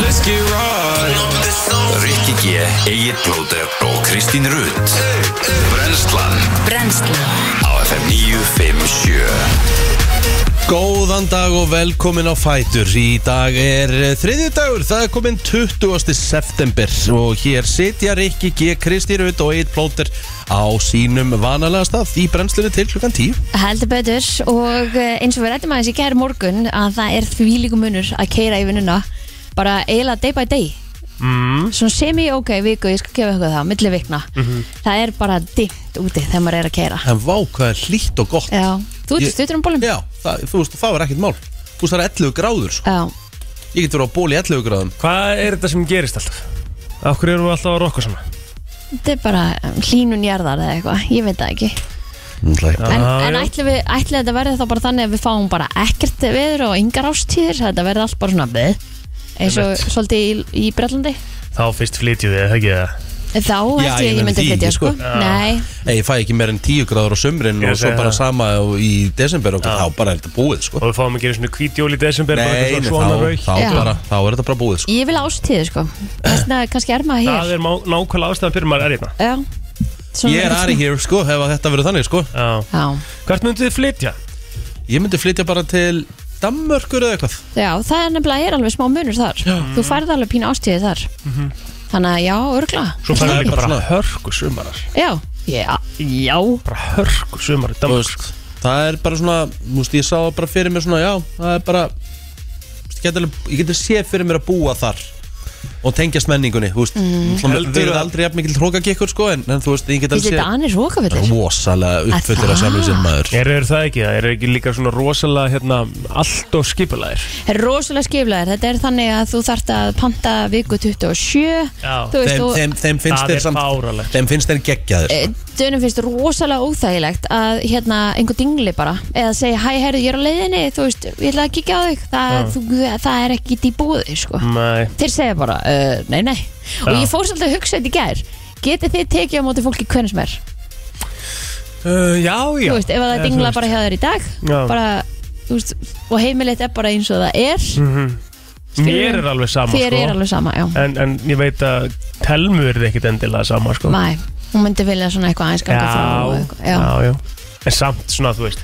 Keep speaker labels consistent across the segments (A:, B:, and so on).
A: Let's get right
B: Rikki G, Egil Blóter og Kristín Rutt Brenslan
C: Brennslan
B: á FM 957
A: Góðan dag og velkomin á Fætur Í dag er þriðju dagur Það er komin 20. september Og hér sitja Rikki G. Kristi Rutt og Eitt Plóter Á sínum vanalega stað Í brennslunni til klukkan 10
C: Heldur betur og eh, eins og við rættum aðeins í gerð morgun að það er þvílíku munur að keira í vinnuna bara eiginlega day by day mm. svona semi-ok viku, ég skal gefa ykkur það, milli vikna það er bara dimmt úti þegar maður er að keira
A: En vá hvað er hlýtt og gott
C: Já, þú ert
A: Ég-
C: stuttur um bólum
A: Já, það, þú veist, það var ekkert mál Þú veist, það er 11 gráður sko.
C: Já,
A: Ég get verið á ból í 11 gráðum
D: Hvað er þetta sem gerist alltaf? Af hverju erum við alltaf að rokka saman?
C: þetta er bara um, hlínun jarðar eða eitthvað, ég veit það ekki
D: Mm,
A: Það
D: Já,
C: En, en
D: já.
C: ætli, við, ætli þetta verði þá bara þannig að við fáum bara ekkert veður og yngar ástíðir þetta verði allt bara svona veð eins og
D: Einmitt.
C: svolítið í, í Brellandi
D: Þá fyrst flytjum við, ekki það?
A: Já,
C: Þá held
A: ég
C: ég að ég
A: meina
C: myndi
A: því
C: flytja
A: ekki,
C: sko,
A: sko.
C: Nei,
A: Nei, ég fæ ekki meir en 10 gráður á sumrin
D: Ég
A: og svo
D: segi
A: bara
D: það.
A: sama í desember og
D: Já.
A: þá bara er þetta búið sko.
D: Og við fáum ekki einu svona hvítjól í desember bara
A: Nei,
D: eitthvað
A: nei,
D: svona
A: þá,
D: rauð.
A: þá,
C: Já.
A: bara, þá er þetta bara búið sko.
C: ég vil ástíðu sko Þessna kannski er maður hér
D: Það er má, nákvæmlega ástæðan fyrir maður er hérna
C: Já, svona
A: Ég er
C: verður
A: Ari
C: svona.
A: hér sko, ef að þetta verður þannig sko
D: Já.
C: Já.
D: Hvert myndu þið flytja?
A: Ég myndi flytja bara til Danmörkur eða eitthvað
C: já, það er nefnilega er alveg smá munur þar Þú færð alveg pínu ástíðu þar Þannig að já, örgla
D: Mhm. Svo
A: Það
D: færðu
A: er
D: líka
A: bara
D: bara
A: svona-
D: hörku sumarar
C: Já, já, já
D: Bara hörku sumar í
A: Þú
D: Danmark
A: veist, Það er bara svona, þú veist, ég sá það bara fyrir mér svona Já, það er bara þú veist, Ég get alveg- ég geti séð fyrir mér að búa þar Og tengjast menningunni, þú veist mm.
C: Mhm.
D: Heldurðu
A: Við erum
D: að-
A: aldrei jafn mikil hrókakikkur sko En, en þú veist, ég get
C: Þessi
A: alveg
C: þetta annir
A: séð
C: rókafullir
A: Rosalega uppfullir
C: Að Ah.
A: að sjálfum sér maður
D: Er er það ekki? Er ekki líka svona rosalega hérna, allt og skipulæðir?
C: Rosalega skiflegar, þetta er þannig að þú þarft að panta viku 27
D: Já.
C: Þú veist,
A: Þeim,
C: Eh. þú
A: þeim, þeim finnst
D: Það
A: þeir
D: er
A: samt
D: fáránlegt.
A: Þeim finnst þeir geggjaðir sko.
C: Dönum finnst rosalega óþægilegt að hérna einhver dingli bara eða segja hæ herru ég er á leiðinni þú veist ég ætla að kíkja á þig það, þú, það er ekki í búði sko
D: Nei,
C: þeir segja bara uh, nei nei og
D: Mm. Já.
C: ég fór svolítið að hugsa þetta í gær getið þið tekið á móti fólki hvernig sem er
D: uh, já, já
C: þú veist ef að það
D: Eða,
C: dingla
D: þú
C: bara hjá þér í dag
D: Já.
C: bara þú veist og heimilið er bara eins og það er
D: veist, Mér er alveg Mm. sama
C: þér
D: sko.
C: er alveg sama já
D: en, en ég veit að Telmu er ekkit endilega sama sko.
C: mæ hún myndi vilja svona eitthvað aðeins ganga frá og eitthvað. já.
D: já, já En samt svona, þú veist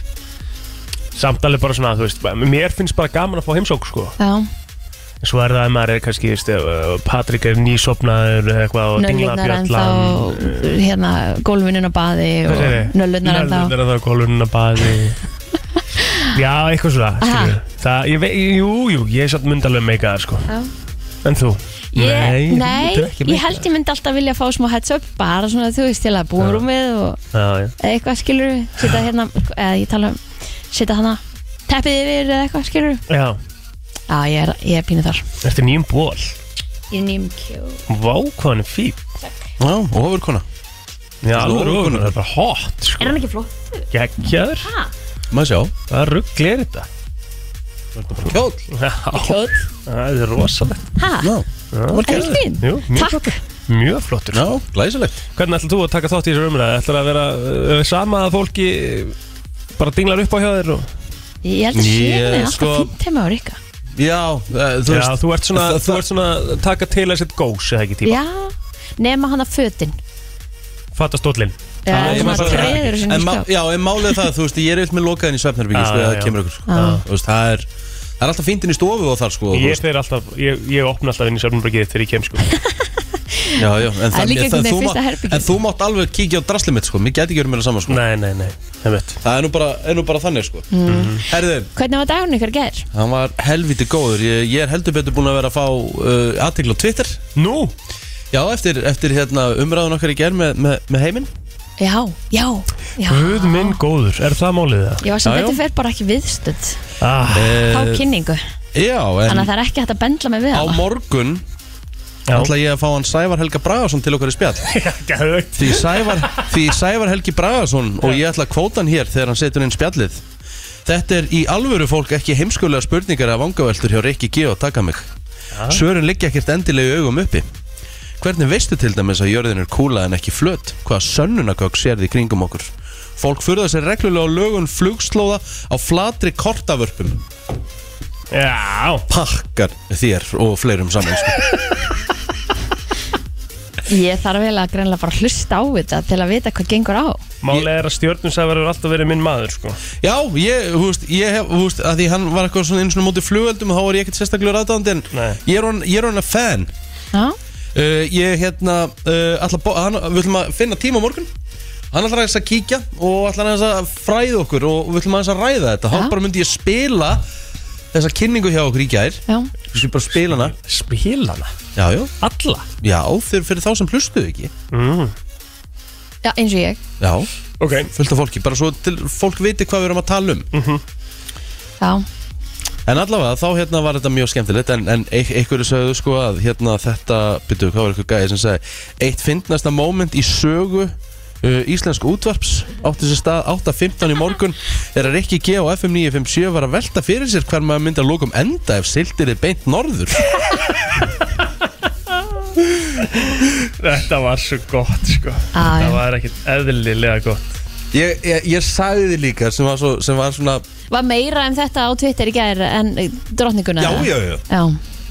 D: Samt alveg bara svona, þú veist Mér finnst bara gaman að fá heimsók, sko
C: Já.
D: En svo er það að maður er kannski, þú veist ef, uh, Patrik er nýsopnaður eða eitthvað og um, dingla
C: nöllurnar ennþá
D: bjallan
C: hérna gólfinin á baði og nöllurnar ennþá
D: Nöllurnar ennþá Gólurinn að baði Já, eitthvað svona skilur. Það, ég veit, jú, jú, ég er satt mynd alveg meika það, sko
C: Já.
D: En þú?
C: Ég,
D: þú
C: nei,
D: myndir ekki
C: ég
D: meika
C: held
D: það.
C: ég myndi alltaf vilja fá smá heads up bara svona þú veist til að búa rúmið og
D: Já, já,
C: eða eitthvað skilur setja hérna, eða ég tala um setja hana teppið yfir eða eitthvað skilur
D: já
C: Já, ég er, ég er pínu þar
D: Ertu nýjum ból?
C: Ég er nýjum kjó
D: Vá, hvað hann er fín
A: Já, ofurkona
D: Já,
A: Svona
D: alveg
A: ókunnur.
D: rúðunar, það er bara hot, sko
C: Er hann ekki flott?
D: Gekkjaður
C: Ha?
A: Maður sjá,
D: Hvað ruggli er þetta?
A: kjól
D: Já,
C: Kjóð
D: það er rosalegt
C: Ha?
A: Já,
D: Já.
C: Er hann fín?
D: Jú, mjög
C: Takk.
D: flottur Mjög flottur
A: já glæsilegt
D: Hvernig ætlar þú að taka þátt í þessu umræði? Ætlar að vera uh, sama að fólki uh, bara dinglar upp á hjá þér og...
C: Ég held að sé
A: Ég,
C: henni alltaf
A: sko-
C: fínt heima á Rikka
A: Já, eh, þú
D: Já,
A: veist
D: þú ert svona,
A: það-
D: þú ert svona að taka til að sitt gós eða ekki tíma
C: Já, nema hann að fötin
D: Fatta stóllin
C: Já,
A: Nei,
C: svona
A: maður-
C: treður sinni
A: En
C: í
A: má-
C: skáp
A: Já, en málið er það, þú veist, ég er eitthvað með lokaðin í svefnherbyggis
D: Já,
A: sko,
D: já,
A: það
D: já.
A: kemur ykkur, sko
C: Já.
A: Þú veist, það er Það er alltaf fíndin í stofu og þar, sko þú
D: Ég
A: veist.
D: fer alltaf, ég, ég opna alltaf inn í sörnumbrökið þegar ég kem sko
A: Já, já, en
C: Það er líka
A: en
C: einhvern
A: þú
C: veginn fyrsta
A: mátt-
C: herbergið.
A: En þú mátt alveg kíkja á draslið mitt, sko Mér gæti ekki verið meira saman, sko
D: Nei, nei, nei, það veit
A: Það er nú bara, er nú bara þannig, sko
D: Mhm.
A: mm. Herðu,
C: Hvernig var dagurinn ykkur gerð?
A: hann var helviti góður Ég, ég er heldur betur búin að vera að fá uh, aðtegla á Twitter
D: Nú,
A: Já, eftir, eftir hérna, umræðun okkar í gerð með, með, með heiminn
C: Já, já, já
D: Guð minn góður, er það málið það?
C: Ég var sem
A: Já, já.
C: betur fer bara ekki viðstönd
D: Ah,
C: á
A: uh,
C: kynningu
A: Já,
C: Þannig að
A: en
C: það er ekki hægt að bendla mig
A: á
C: við hana
A: morgun
D: já,
A: ætla ég að fá hann Sævar Helga Bragason til okkar í spjall
D: geðveikt.
A: Því Sævar, því Sævar Helgi Bragason og ég ætla að kvóta hann hér þegar hann setur inn spjallið Þetta er í alvöru fólk ekki heimskulega spurningar af vangaveltur hjá Rikki G og taka mig Svörin liggja ekkert endilegu augum uppi Hvernig veistu til dæmis að jörðin er kúla en ekki flöt? Hvaða sönnunagögg sérði í kringum okkur? Fólk furða sér reglulega á lögun flugslóða á flatri kortavörpum
D: Já,
A: pakkar þér og fleirum saman sko.
C: Ég þarf eiginlega greinlega bara að hlusta á þetta til að vita hvað gengur á
D: málið er að stjórnusæðar eru alltaf verið minn maður sko.
A: Já, ég, þú veist, ég hef, þú veist, að því hann var eitthvað svona einu svona mótið flugöldum og þá var ég ekkert sérstaklega ráðdæðandi en
D: Nei.
A: ég er hon- ég er hann að fan
C: Já,
A: uh, Ég, hérna, uh, ætla að, bo- hann, við ætlum að finna tíma á morgun Hann ætlar aðeins að kíkja og ætlar aðeins að fræða okkur og við ætlum aðeins að ræða þetta Hann
C: Já.
A: bara myndi ég spila þessa kynningu hjá okkur í gær
C: já,
A: Ég skal bara spila hana
D: Spilana,
A: Já, já,
D: alla
A: já, fyrir, fyrir þá sem hlustuðu ekki
D: mm.
C: já eins og ég
A: Já,
D: Ok,
A: fullt af fólki, bara svo til fólk viti hvað við erum að tala um
C: Já,
A: En allavega, þá hérna var þetta mjög skemmtilegt En, en ein- einhverju sagðu sko að hérna þetta Byttu, hvað var eitthvað gæði sem sagði Eitt fyndnasta moment í sögu uh, Íslensk útvarps Átti sér stað 8.15 í morgun Er að Rikki G og FM 957 var að velta fyrir sér Hver maður myndi að lókum enda Ef sildir er beint norður
D: þetta var svo gott sko.
C: Á,
D: Þetta
C: Ah, já.
D: var ekkert eðlilega gott
A: Ég, ég, ég sagði þið líka sem var, svo, sem var svona
C: var meira um þetta á Twitter í gær en eh, drottninguna
A: Já,
C: eða?
A: já, já
C: Já,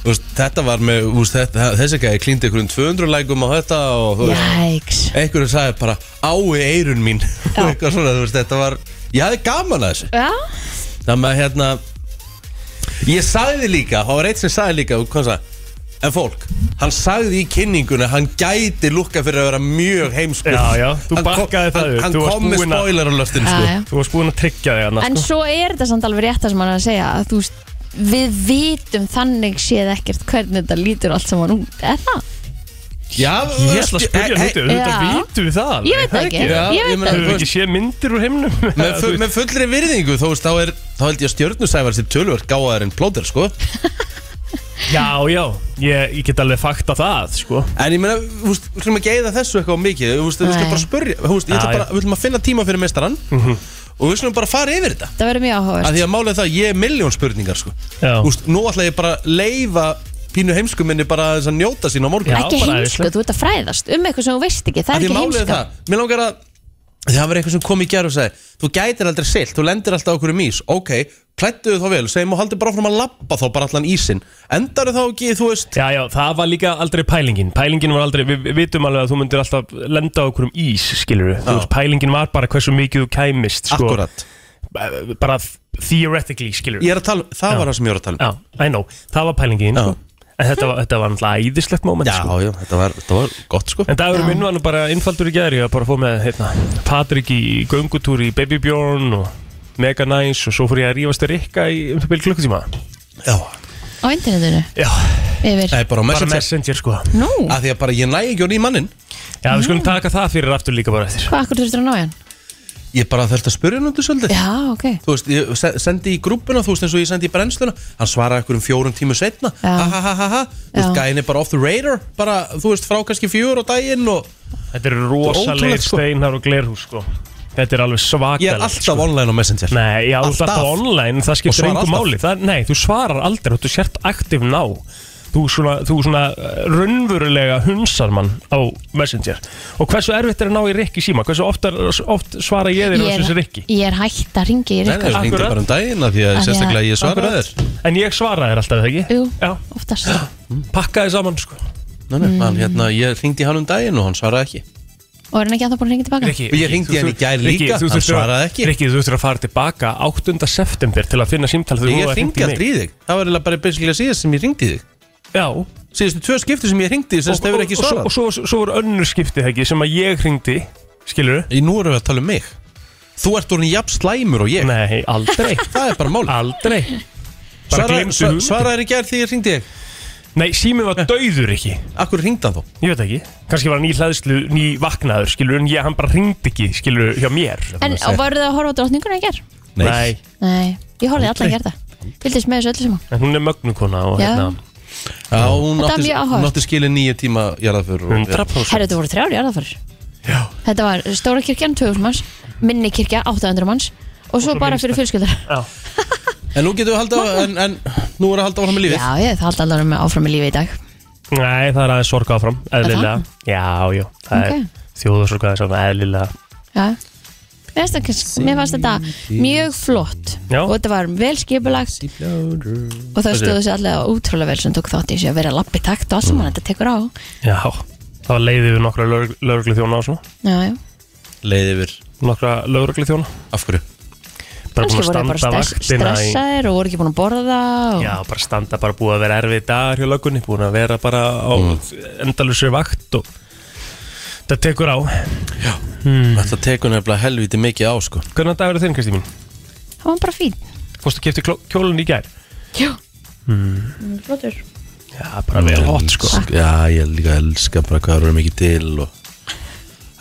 A: Þú veist, Þetta var með, þú veist, þetta, þessi gæði klíndi ykkur um 200 lækum á þetta og þú veist,
C: jæks
A: einhverju sagði bara ái eirun mín og eitthvað svona, þú veist, þetta var ég hafði gaman að þessu
C: Já,
A: þannig að hérna ég sagði líka, það var eitt sem sagði líka hvað hann sagði, en fólk hann sagði í kynningunni, að hann gæti lukka fyrir að vera mjög heimsku
D: Já, já, þú
A: Hann kom-
D: bakkaði það
A: hann,
D: upp,
A: hann
D: þú varst
A: kom með
D: búinn að-
A: spoiler á löftin
C: já,
A: sko.
C: já
D: Þú varst búin að tryggja þig hana
C: En
D: sko.
C: svo er þetta samt alveg rétt það sem hann er að segja að þú veist, við vitum þannig séð ekkert hvernig þetta lítur allt saman út, eða það?
A: já,
D: Ég ætla að spyrja
A: eh,
D: húti,
A: eh,
D: þetta
C: Já.
D: vitum við það alveg,
C: Ég veit það ekki,
A: Já,
C: ég
A: ég
C: veit
A: meina,
D: Hefur
A: þú
C: það
D: við
A: veist-
D: ekki séð myndir úr heimnum?
A: Með, full, með fullri virðingu, þú veist, þá, er, þá held ég að stjörnusævar sér tölvöld gáðar en plóter, sko
D: Já, já, ég, ég get alveg fakta það sko.
A: En ég meina, þú veist, við ætlum að geiða þessu eitthvað mikið Þú veist, við
C: Nei.
A: ætlum bara að spurja Þú veist, ég
D: Já,
A: ætla
D: já.
A: bara,
D: Mhm.
A: við ætlum að finna tíma fyrir meistarann Og við ætlum bara að fara yfir þetta
C: Það verður mjög áhugavert
A: Af því að málið er það, að ég er miljón spurningar, sko
D: Já.
A: Þú veist, nú ætla ég bara að leifa pínu heimskuminni bara aðeins að njóta sín á morgun
D: Já,
C: ekki
D: bara
C: heimsku,
D: æðislegt.
C: þú ert að fræðast um eitthvað sem þú veist ekki, það
A: Af
C: er
A: því að
C: ekki sko.
A: málið er
C: heimsku
A: það, mér langar að Það var eitthvað sem kom í gerð og sagði Þú gætir aldrei silt, þú lendir alltaf okkur um ís Ok, plættuðu þá vel, segjum og haldir bara áfram að labba þá bara allan ísin Endar þá ekki, þú veist
D: Já, já, það var líka aldrei pælingin Pælingin var aldrei, við við vitum alveg að þú myndir alltaf lenda á okkur um ís, skilur við veist, Pælingin var bara hversu mikið þú kæmist sko,
A: Akkurat,
D: b- Bara theoretically, skilur
A: ég
D: við
A: er að tala, það var það sem ég var að tala um
D: Já, I know, það var pælingin
A: Já.
D: sko. En þetta var, þetta var náttúrulega æðislegt moment
A: Já,
D: sko.
A: já, þetta var, þetta var gott sko
D: En dagurum minn var nú bara innfaldur í gæri að bara fóð með hérna, Patrik í göngutúr í Baby Bjorn og Mega Nice og svo fór ég að rífast að rikka í um byrju klukkutíma
A: Já,
C: Á internetinu,
D: Já,
C: yfir
A: Nei, bara á
D: bara
A: messenger
D: messenger sko Mm.
C: Nú,
A: Af því að bara ég næ ekki á ný mannin
D: Já, við skulum taka það fyrir aftur líka bara eftir
C: hvað akkur þurftur að ná í hann?
A: Ég bara þurfti að spurja hann undir svolítið
C: Já, ok
A: Þú veist, ég se- sendi í grúppuna, þú veist eins og ég sendi í brennsluna Hann svaraði einhverjum fjórum tímu setna
C: Já.
A: Ha ha ha ha ha Þú veist,
C: Já.
A: gæin er bara off the radar Bara, þú veist, frá kannski fjör á daginn og
D: Þetta eru rosalegir
A: Ótrúlegt, sko.
D: steinar og glerhús sko Þetta er alveg svakalegt
A: Ég er alltaf
D: sko.
A: online á Messenger
D: Nei, já, alltaf,
A: Alltaf.
D: alltaf online, það
A: Og
D: skiptir
A: svarar
D: engum
A: alltaf.
D: máli það, Nei, þú svarar aldrei, þú sért aktiv ná Þú svona, þú svona eh, raunverulega hunsar mann á Messenger Og hversu erfitt er að ná í Rikki síma? Hversu oft, er, oft svara ég þér
C: Ég
D: versus
C: er,
D: Rikki?
C: ég er hægt að ringi í
A: Nei, nei,
C: Rikku
A: það ringdi
D: Akkurat.
A: bara um daginn af Því að
C: Af því að-
A: sérstaklega ég svaraði þér
D: En ég svara þér alltaf, ekki?
C: Jú,
D: Já,
C: oftast
D: pakkaði saman sko
A: Nei, nei,
C: Mm.
A: hann hérna, ég ringdi hann um daginn og hann svaraði ekki
C: Og er hann ekki að það búin að ringi tilbaka?
D: Rikki,
A: Og ég hringdi
D: þú-
A: í hann í gær
D: Rikki, þú
A: líka, hann
D: þurftir að-
A: svaraði ekki.
D: Rikki, þú þurftur að fara tilbaka 8. september til að finna símtal þegar þú
A: Ég
D: hafðir hringt
A: ringdi
D: í mig.
A: aldrei í þig Það var eiginlega bara basically síðast sem ég ringdi þig
D: Já,
A: Síðustu tvö skipti sem ég ringdi þig, sérst, hefur ekki
D: og, og, og,
A: svarað
D: og svo, svo voru önnur skipti ekki sem að ég hringdi skilur
A: Í nú erum við að tala um mig Þú ert orðin jafn slæmur og ég
D: nei aldrei
A: Það er bara mál
D: aldrei bara
A: Svaraði-
D: glemdu
A: sva-
D: hugmyndum.
A: Svaraðir í gerð því ég ringdi þig
D: nei sími var dauður ekki
A: Akkur ringdi hann þó
D: ég veit ekki kannski var hann í hlæðslu ný vaknaður skilur en ég hann bara hringdi ekki skilur hjá mér
C: En voru þið að horfa á drottninguna í ger?
D: nei
C: Nei, ég horfði alla að gera það Fylgdist með þessu öllu saman
D: en hún er mögnukona og
C: Já.
D: hérna
A: Já, hún
C: Þetta var
A: átti,
C: mjög áhugavert.
A: hún átti skilið nýju tíma jarðaför og-
D: 100%
C: Herru, þetta voru þrjár jarðarfarir
D: Já.
C: Þetta var stóra kirkjan, 2000 manns Minni kirkja, 800 manns Og svo
D: svo
C: bara
D: minnsta.
C: fyrir fjölskyldar
D: Já.
A: En nú getum við haldið á en, en nú er að halda á hann með lífið
C: Já, ég það haldi alveg með áfram í lífi í dag
D: nei það er aðeins sorg áfram eðlilega já já það
C: Ok.
D: er þjóðasorg aðeins áfram eðlilega
C: Já, Mér fannst þetta- mér fannst þetta mjög flott
D: Já.
C: og þetta var vel skipulagt og það stóðu sér allega útrúlega vel sem tók þátt í þessu að vera lappi takt og allt sem
D: Mm.
C: þetta tekur á
D: Já, það var leiðið við nokkra lögreglu þjóna og svona
C: já, já.
A: Leið yfir
D: Nokkra lögreglu þjóna
A: Af hverju?
C: kannski voru þeir bara stress, stressaðir og voru ekki búin að borða og...
D: Já, bara standa bara búið að vera erfið dagar hjá löggunni Búin að vera bara á endalusri vakt og það tekur á
A: Þetta tekur nefnilega helviti mikið á sko
D: Hvernig dagur er þinn, Kristi mín?
C: það var bara fín
D: Fórstu að kipta kjólun í gær?
C: já mm. flottur
D: Já, bara vel hot, sko
A: Elsk- Já, ég líka elska bara hvað það eru mikið til og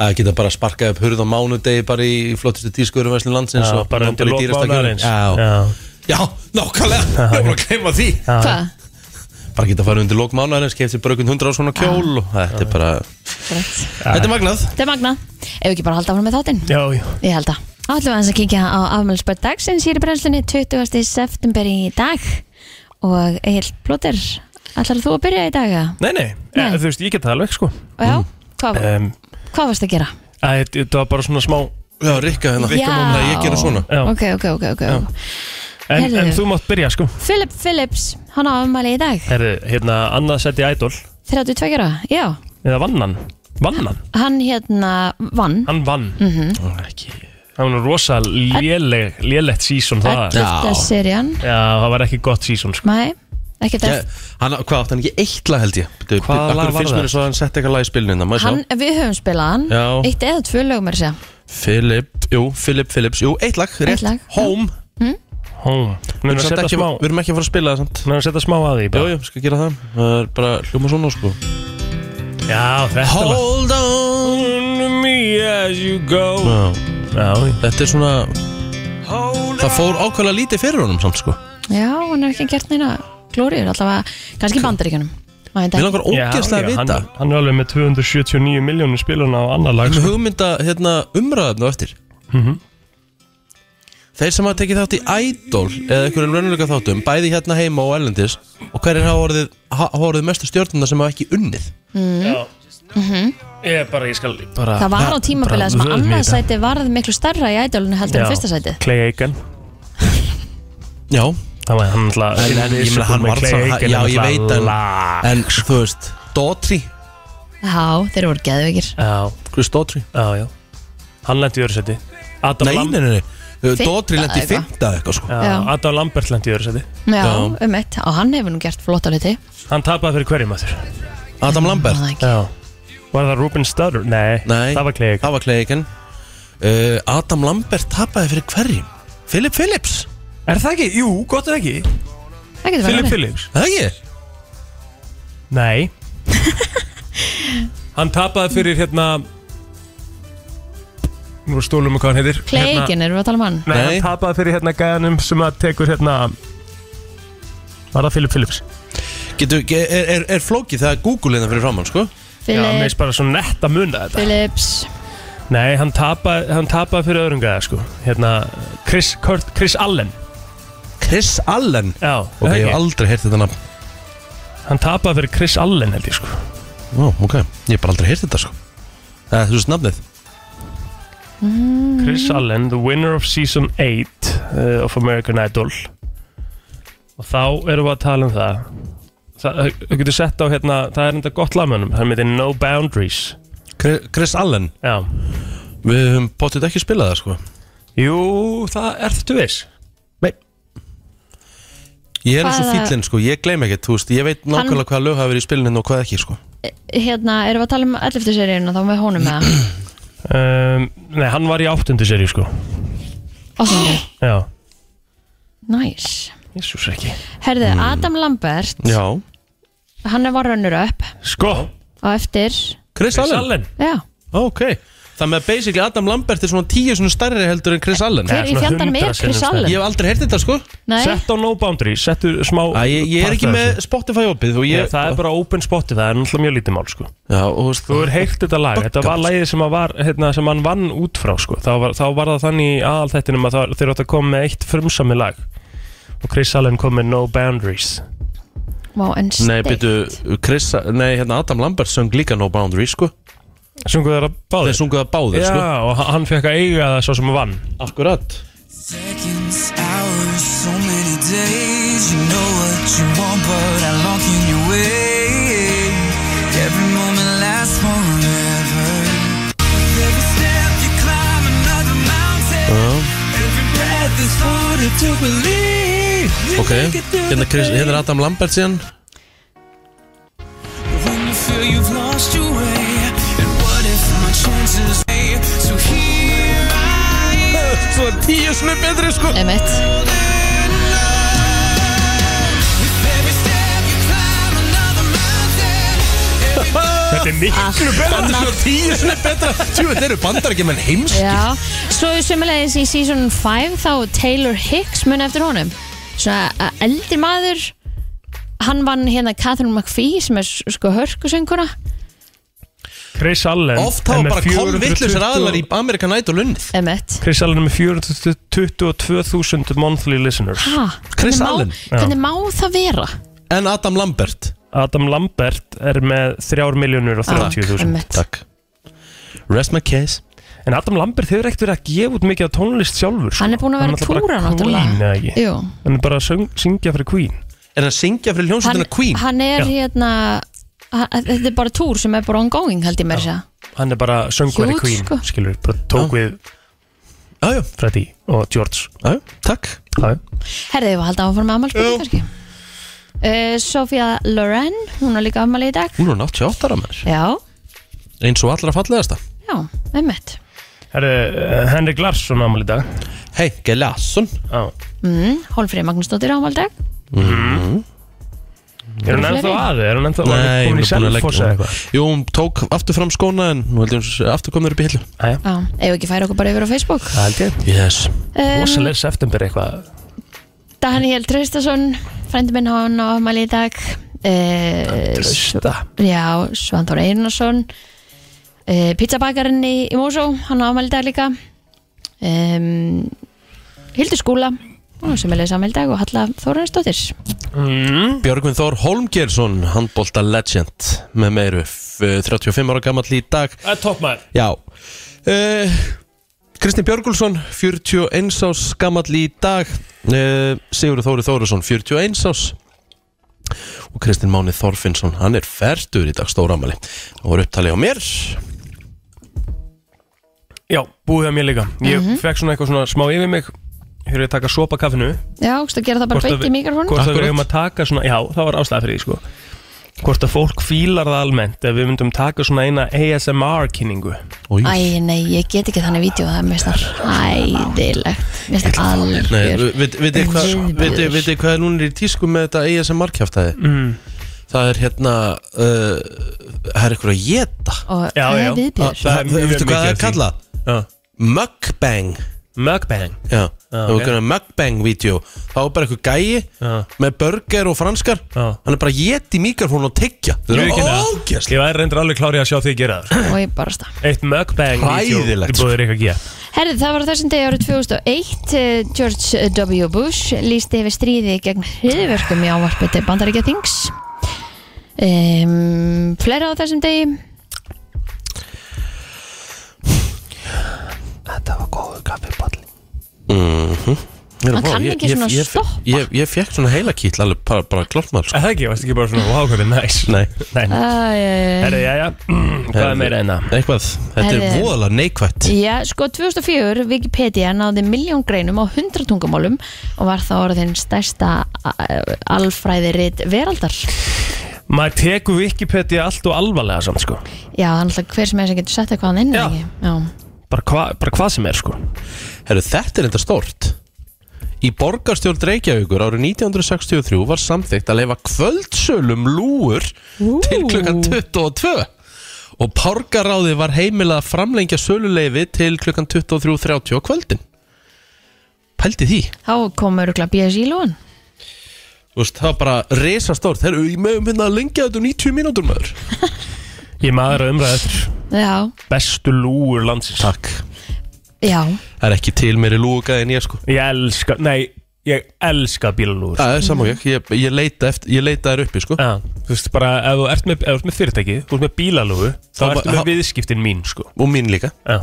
A: að geta bara sparkað upp hurð á mánudegi bara í flottustu tískuverðumvæslu landsins
D: Já,
A: og
D: bara undir
A: í dýrasta
D: lókmáðarins
A: kjólnum. Já, já, nákvæmlega, ég var bara að gleyma því
C: hvað?
A: Bara geta að fara undir lókmánaðarins, kefti bara einhvern hundra á svona kjól og þetta er bara,
C: Grætt.
A: þetta er magnað
C: þetta er magna ef við ekki bara halda áfram með þáttinn
D: Já, já
C: ég held að ætlum við aðeins að kíkja á afmælisbörn dagsins hér í brennslunni 20. september í dag og Egil Blóter ætlar þú að byrja í dag? eða?
D: Nei, nei,
C: Nei.
D: Eh, þú veist, ég get það alveg, sko
C: Og
A: Mm.
C: já, hvað,
A: Eh.
D: um,
C: hvað varst að gera?
D: að, Þetta var bara svona smá
A: Já, Rikka hérna, Rikka núna, ég gera svona
D: Já.
C: ok, ok, ok, ok
D: En,
C: Heyrðu.
D: en þú mátt byrja, sko
C: Philip Phillips, hann á afmæli í dag
D: Herðu, hérna, annað sett í Idol
C: 32 ára, já
D: Eða vannan Vannan,
C: hann hérna vann
D: hann vann mm -hmm. Ekki Það var nú rosa léleg, lélegt sísón það
A: Já.
C: 11. serían
D: Já, það var ekki gott sísón, sko
C: Nei, ekkert
A: Ég-
C: eftir
A: Hann, hvað átt hann ekki eitt lag held ég Bíddu,
D: Hvaða
A: af hverju
D: lag var
A: finnst
D: það?
A: mér eins og hann sett eitthvað lag í spilinu hérna, má ég sjá?
C: Hann, við höfum spilað hann
A: Já.
C: Eitt eða tvö lögum er að segja
A: Philip, jú, Philip Phillips, jú, eitt lag, rétt
C: lag, já.
A: Home,
D: Hó, við
A: við erum
D: erum að
A: samt
D: setja
A: ekki,
D: smá
A: við erum ekki að fara að spila það samt
D: Við erum að setja smá að því
A: Jú,
D: bara.
A: jú, skal gera það Það er bara hljóma svona sko
D: Já, þetta var
A: Hold on
D: to me as you go
A: Já,
D: Já,
A: Þetta er svona Það fór ákveðlega lítið fyrir honum samt sko
C: Já, hann er ekki gert neina glóriður Allavega, kannski í bandaríkjunum Maður veit
A: Mér
C: ekki.
A: langar ógeðslega að
D: já, hann,
A: vita
D: hann er alveg með 279 miljónir spiluna á annar lag
A: Með
D: sko.
A: hugmynda hérna, umræðan og eftir
D: Mhm.
A: Þeir sem hafa tekið þátt í Idol eða einhverjum raunuleika þáttum bæði hérna heima og erlendis og hverjir hafa orðið, ha- hafa orðið mestu stjórnuna sem hafa ekki unnið Mhm.
D: Já
C: Mhm.
D: Ég er bara, ég skal bara
C: Það var á tímabilið þar sem
D: Bara
C: að
D: vöðum í
C: annað
D: þetta.
C: sæti varð miklu starra í ædólinu heldur
D: Já.
C: en fyrsta sæti
D: Clay Aiken
A: Já,
D: Það var hann alltaf
A: en, en ég meina hann var samt Já, ég veit en, en þú veist, Dotri
C: Já, þeir voru geðveikir
D: Já,
A: Chris Dotri
D: já, já Hann lendi í öðru seti Adam,
A: Nei,
D: Lam
A: nei, nei, nei.
C: Fimmta
A: Dotri lendi í
C: eitthvað.
A: fymta eitthvað sko
D: já,
C: Já.
D: Adam Lambert lendi í öðru seti
C: Já, um eitt, og hann hefur nú gert flott á liti
D: Hann tapaði fyrir hverjum að þurr
A: Adam Lambert
D: Já Var það Ruben Stutter? Nei,
A: Nei,
D: það var Clay Aiken
A: það var Clay Aiken. uh, Adam Lambert tapaði fyrir hverjum? Philip Phillips,
D: Er það ekki? Jú, gott er það ekki
C: Það getur verið
D: Philip
C: verið.
D: Phillips
A: er það ekki?
D: Nei Hann tapaði fyrir hérna Nú er stólum og hvað hann heitir hérna,
C: Kleikin, erum við að tala um hann?
D: Nei,
A: Nei.
D: hann tapaði fyrir hérna gæjanum sem að tekur hérna Var það Philip Phillips?
A: Getu, er, er, er flókið það er Google hérna fyrir framann sko?
D: Já, Ah. mér finnst
C: Philip,
D: bara svo nett að muna þetta
C: Philips
D: Nei, hann tapaði, hann tapaði fyrir öðrum gæja sko Hérna, Chris, Kurt, Chris Allen
A: Chris Allen
D: Já, það
A: Ok, ég
D: ekki?
A: hef aldrei heyrt þetta nafn
D: hann tapaði fyrir Chris Allen held ég sko
A: Ó, ok, ég hef bara aldrei heyrt þetta sko Það er þú veist nafnið
D: Chris Allen, the winner of season 8 uh, of American Idol og þá erum við að tala um það það, þú getur sett á hérna það er enda gott lagmönum, það heitir No Boundaries
A: Chri- Chris Allen,
D: já,
A: við höfum bóttið ekki spilað það sko
D: jú, það er þetta viss
A: Ég er eins og
C: Hvaða-
A: fílinn sko, ég gleym ekkert, þú veist Ég veit nákvæmlega hvaða lög hafa verið í spilinu og hvað ekki sko
C: Hérna, erum við að tala um 11. seríun og þá með honum með
D: um, nei, hann var í áttundu seri sko
C: það
D: já,
C: Næs
D: jésús ekki
C: Herðu,
D: Mm.
C: Adam Lambert,
A: Já,
C: hann var runnur upp
D: sko,
C: og eftir,
A: Chris,
D: Chris
A: Allen,
D: Allen
C: já
A: Ok, það með basically Adam Lambert er svona tíu svona stærri heldur en Chris Allen
C: Hver í
D: svona
C: fjandarnum er
D: 100 sinnum
C: Chris
D: stærri.
C: Allen?
A: Ég hef aldrei heyrt þetta sko
C: Nei,
D: sett á No Boundaries, settu smá
A: Æ, ég, ég er ekki
D: part af
A: með
D: þessu.
A: Spotify opið og
D: Ég,
A: ég
D: það er bara open spotið, það er náttúrulega mjög lítið mál sko
A: Já, og þú veist
D: Þú hefur heyrt þetta lag, þetta var lagið sem, að var, hérna, sem hann vann út frá sko. þá, var, þá var það þannig í aðalþættinum að það, þeir áttu að koma með eitt frumsami lag og Chris Allen kom með No Boundaries
C: Vá, en
A: Nei,
C: steik
A: byrju, Chris, nei, hérna Adam Lambert söng líka No Boundary sko
D: Sungu þeirra báðir
A: Þeir sko. sungu það báðir,
D: Já, og h- hann fekk að eiga það svo sem vann
A: sko Akkurat
E: Seconds, hours, so many days. You know what you want, but I long in your way. Every moment lasts forever. Every step you climb another mountain. Every breath is harder to believe. You
A: Ok,
E: make it through
A: hérna,
E: the
A: Chris,
E: pain.
A: hérna er Adam Lambert síðan
E: When you feel you've lost your way, and what if my chances lay? So here I am.
A: Svo er tíu sinni betri sko
C: Emmett
E: Every step you climb another mountain.
D: Þetta er miklu betra
A: Þetta er svo tíu sinni betra Tjú, þetta eru bandar ekki menn heims
C: Já, svo sumulegis í season 5 þá Taylor Hicks mun eftir honum svona uh, eldri maður hann vann hérna Catherine McPhee sem er s- sko hörkusönguna
D: Chris Allen
A: Oft hafa
D: er með
A: bara kolvillusir
D: 420
A: aðlar í Amerikan Idol unnið
C: Emmett
D: Chris Allen er með 422.000 monthly listeners
C: ha,
A: Chris
C: hvernig má-
A: Allen.
C: Hvernig má það vera?
A: En Adam Lambert
D: Adam Lambert er með
C: Ah,
D: 3.030.000
C: Emmett
A: Takk Rest my case
D: En Adam Lambert hefur ekkert verið að gefa út mikið af tónlist sjálfur sko.
C: Hann er búinn að vera
D: náttúrulega
C: túra
D: bara Queen eða
C: náttúrulega
D: ekki
C: Jú.
D: Hann er bara að söng, syngja fyrir Queen
A: Er hann að syngja fyrir
C: hann,
A: hljómsveitina Queen?
C: hann er
D: Já.
C: hérna hann, þetta er bara túr sem er bara ongoing held ég mér sér
D: Hann er bara söngveri
C: Huge,
D: Queen
C: sko.
D: Skilur, bara tók við
A: Jájú,
D: Freddy og George
A: jájú, takk
D: Já,
C: Herðið, ég var haldið áfram með afmælspöðu kannski uh, Sofía Loren hún er líka afmæli í dag
A: Hún er hún 88 ára maður
C: Já,
A: Eins og allra fallegasta
C: já, einmitt
D: Herri, uh, Henrik Larsson ámali í dag
A: Heike Lasson
D: Já
C: mm, Hólfríð Magnúsdóttir ámæli í dag
D: Er hún
C: Eru
D: ennþá
C: fleiri?
D: aðið? Er hún ennþá var
A: Nei,
D: hún komin í
A: hún er búin að
D: Selfoss
A: leggja
D: eða
A: hún-
D: eitthvað?
A: Jú, hún tók aftur fram skóna en nú heldur hún sé aftur komnur upp í hillu
D: Jæja,
C: Já, eigum við ekki að færa okkur bara yfir á Facebook
D: Það held ég
A: Yes
C: um,
D: Rosalega september eitthvað
C: Daniel Traustason, frændi minn hann á afmæli í dag uh,
D: Trausta
C: Já, Svandór Einarsson uh, Pizzabakarinn í, í Mósó hann á afmæli í dag líka um, Hildur Skúla hún sem er leisa afmæli í dag og Halla Þórunnsdóttir
D: mm.
A: Björgvin Þór Holmgjersson, handbólta legend með meiru, eh, f- 35 ára gammal í dag
D: Það er toppmæður
A: Já uh, Kristinn Björgulsson, 41 ás gammal í dag uh, Sigurður Þóri Þórusson, 41 ás og Kristinn Máni Þorfinnsson hann er færtur í dag stóramæli og voru upptalið á mér
D: Já, búið að mér líka Ég
C: Mhm.
D: fekk svona eitthvað svona smá yfir mig Hér er að taka sopa kaffinu
C: Já, þú að gera það bara
D: Hvort að
C: beint í
D: við-
C: mikrofónu
D: Hvort að við
A: Akkurat.
D: hefum að taka svona Já, það var ástæða fyrir því sko Hvort að fólk fílar það almennt Ef við myndum taka svona eina ASMR kynningu
A: Új.
C: Æ, nei, ég get ekki þannig vídeo það er mér snart æðilegt Mér snart
A: Nei,
C: algjör
A: veit- vitið hvað viti, viti hvað er núna í tísku með þetta ASMR kjaftaði mm. það er hérna uh, það er eitthvað að geta
C: og
D: Já,
C: það
D: já.
C: er viðbjör
D: Það er mjög
A: veitu
D: mikið
A: hvað það
D: af
A: er
D: því.
A: kallað?
D: Já.
A: Mukbang
D: Mukbang
A: Já, það var
D: ok.
A: einhverjum mukbang-vídeó þá var bara eitthvað gæi
D: Já.
A: með burger og franskar
D: Já.
A: hann er bara að geta í mikrofónu og teggja
D: Ég
A: það er
D: viðurkenni það.
A: ógæslega
D: Ég væri reyndur alveg klári að sjá þig gera það sko.
C: og ég barasta
D: Eitt mukbang
A: Hræðilegt,
D: Þú
A: sko.
D: búður eitthvað að gera
C: Herði, það var á þessum degi árið 2001 eh, George W. Bush lísti yfir stríði gegn hriðverkum í ávarpi til bandaríkja þings um, Fleira á þessum degi
D: Þetta var góðu kaffiballi
C: Hann kann ekki svona
A: ég, ég,
C: stoppa.
A: ég, ég fekk svona heila kýtla alveg bara, bara klart maður sko.
D: Það ekki, varst ekki bara svona Wow, hvað er næs
A: Nei,
D: Nei, nei
C: Æ,
D: Herri, jæja Hvað er meira hérna? enna?
A: eitthvað, þetta er
C: Herðu.
A: voðalega neikvætt
C: Já, sko 2004 Wikipedia náði miljón greinum á 100 tungumálum og var þá orðin stærsta alfræði rít veraldar
D: Maður tekur Wikipedia allt og alvarlega samt sko
C: Já, þannig að hver sem er sem getur sett eitthvað hann inn
D: Já.
C: eða ekki? Já.
D: Bara hva- bara hvað sem er sko
A: Herru, þetta er enda stort Í borgarstjórn Reykjavíkur árið 1963 var samþygt að leifa kvöldsölum lúur til klukkan 22 og párgaráði var heimilað að framlengja söluleifi til klukkan 23.30 á kvöldin Pældi því
C: Þá kom örugla BSI lóan
A: Þú veist, Það var bara resastórt Herru, ég meðum hérna að lengja þetta um 90 mínútur maður
D: Ég maður að umræða eftir
C: Já,
D: Bestu lúur landsins
A: Takk
C: já,
A: Það er ekki til meiri lúgaði en ég sko
D: Ég elska, nei, Ég elska bílalúður
A: Það er saman ég, ég, ég leita eftir, ég leita þær uppi sko
D: Já, þú veist bara ef þú ert með, ef þú ert með fyrirtæki þú ert með bílalúgu, þá
A: Þá bara-
D: ertu með
A: þá-
D: viðskiptin mín sko.
A: Og mín líka
D: Já.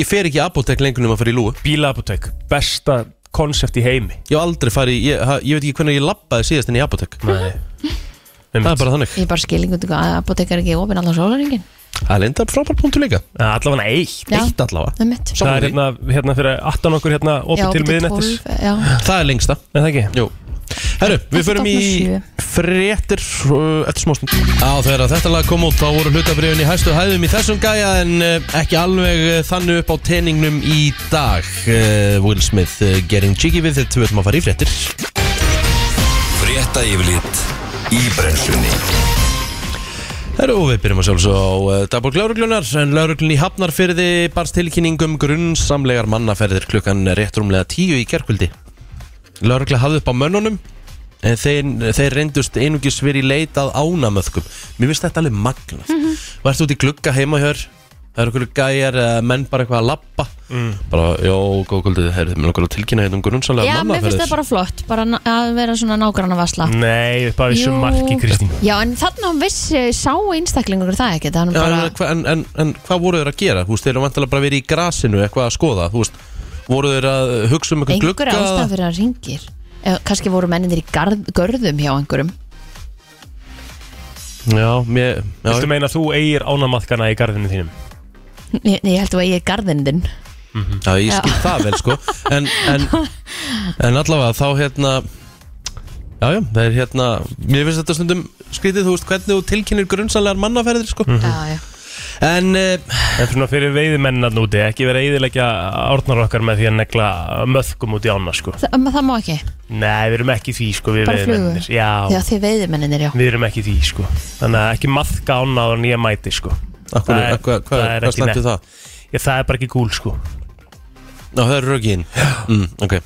A: Ég fer ekki í apotek lengur nema að fara í lúu
D: Bílaapotek, besta konsept í heimi
A: Ég hef aldrei farið, í- ég, ha- ég veit ekki hvernig ég labbaði síðast inn í apotek
D: Nei
A: Það er bara þannig
C: Ég bara skil einhvern veginn að apotekar er ekki opinn allan sólaringin
A: Það er lindar frábær punktu líka
D: Allavega eitt
C: Já.
A: Eitt allavega
C: Það er mitt
A: Sammála
D: Það er
A: því.
D: hérna, hérna fyrir aftan okkur hérna opið til miðnettis
C: Já,
A: Það er lengsta
D: Er það ekki?
A: Jú Herru, við
C: Þetta
A: förum í
C: opnar sjö.
A: fréttir uh, eftir smástund Á þegar að þetta lag kom út þá voru hlutabriðin í hæstu hæðum í þessum gæja en uh, ekki alveg uh, þannig upp á teiningnum í dag uh, Will Smith uh, getting jiggy with it við ætlum að fara í fréttir
B: Frétta yfirlit í brennslunni
A: Herru, og við byrjum að sjálfsög á uh, dagborg lauruglunar en lauruglun í Hafnarfyrði barst tilkynningum grunnsamlegar mannaferðir klukkan rétt rúmlega tíu í gerkvöldi Laurugla hafði upp á mönnunum en þeir, þeir reyndust einungis verið í leit að ánamöðkum Mér finnst þetta alveg magnað mm
C: Mhm.
A: -hmm. Værstu út í glugga heima hjör Það eru okkur gæjar, uh, menn bara eitthvað að lappa
C: Mm.
A: Bara, já, góð kvöldið, heyrðu, mér langar að tilkynna hérna um grunnsamlegar
C: já mér finnst
A: mannaferðir
C: það bara flott bara na- að vera svona nágrann vasla
D: Mm, Nei, upp á þessu marki Kristín
C: Já, en þannig að vissi sá einstaklingur það ekki Þannig
A: Já,
C: bara,
A: en, hva- en, en, en hvað voru þeir að gera? Þú veist, þeir eru vantilega bara verið í grasinu eitthvað að skoða, þú veist voru þeir að hugsa um einhvern
C: einhver
A: glugga
C: ástæð fyrir að ringir Kanski voru menninir í garð, görðum hjá einhverjum
A: Já, mér já,
D: Viltu meina að þú eigir ánamaðkana í garðinu þínum?
C: Ég, ég held að ég er garðinn þinn
A: já, ég skil það vel, sko en, en, en allavega þá hérna Já, já, það er hérna Mér finnst þetta stundum skrítið, þú veist, hvernig þú tilkynir grunnsanlegar mannaferðir, sko
D: Mhm.
C: Já, já
A: En eh,
D: En svona fyrir veiðimennan úti, ekki vera að eyðileggja árnar okkar með því að negla möðkum út í ána, sko.
C: Þa, um, það má ekki,
D: Nei, við erum ekki í því, sko, við
C: Bara
D: veiðimennir.
C: því
D: Já,
C: að þið veiði menninir, já
D: við erum ekki í því, sko. Þannig að ekki maðka ána á nýja mæti, sko.
A: akkur,
D: Það er-
A: akkur, hvað,
D: það er
A: hvað
D: ekki
A: stendur
D: nett.
A: það?
D: Já, það er bara ekki gúl, sko.
A: Já, það eru rökin mm, okay.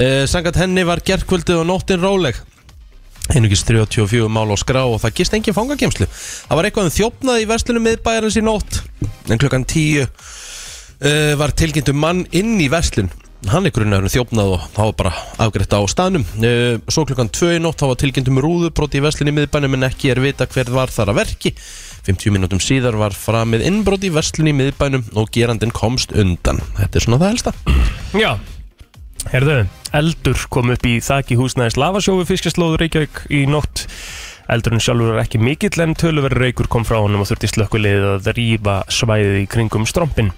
A: uh, Sangat henni var gerkvöldið og nóttin róleg Einungis 34 mál á skrá og það gist engin fangakemslu Það var eitthvað um þjófnað í verslunum miðbæjarins í nótt En klukkan 10 uh, var tilkynntu mann inn í verslun Hann er grunnaður um þjófnað og það var bara afgreitt á staðnum uh, Svo klukkan 2 í nótt þá var tilkynntu um rúðubroti í verslun í miðbæjarnum En ekki er vita hver var þar að verki 50 mínútum síðar var framið innbrot í verslun í miðbænum og gerandin komst undan. Þetta er svona það helsta.
D: Já. Herðu, eldur kom upp í þaki húsnæðis lavasjófi fiskjaslóður Reykjavík í nótt. Eldurinn sjálfur er ekki mikill en töluverður reykur kom frá honum og þurfti slökkulið að rýfa svæðið í kringum strompin.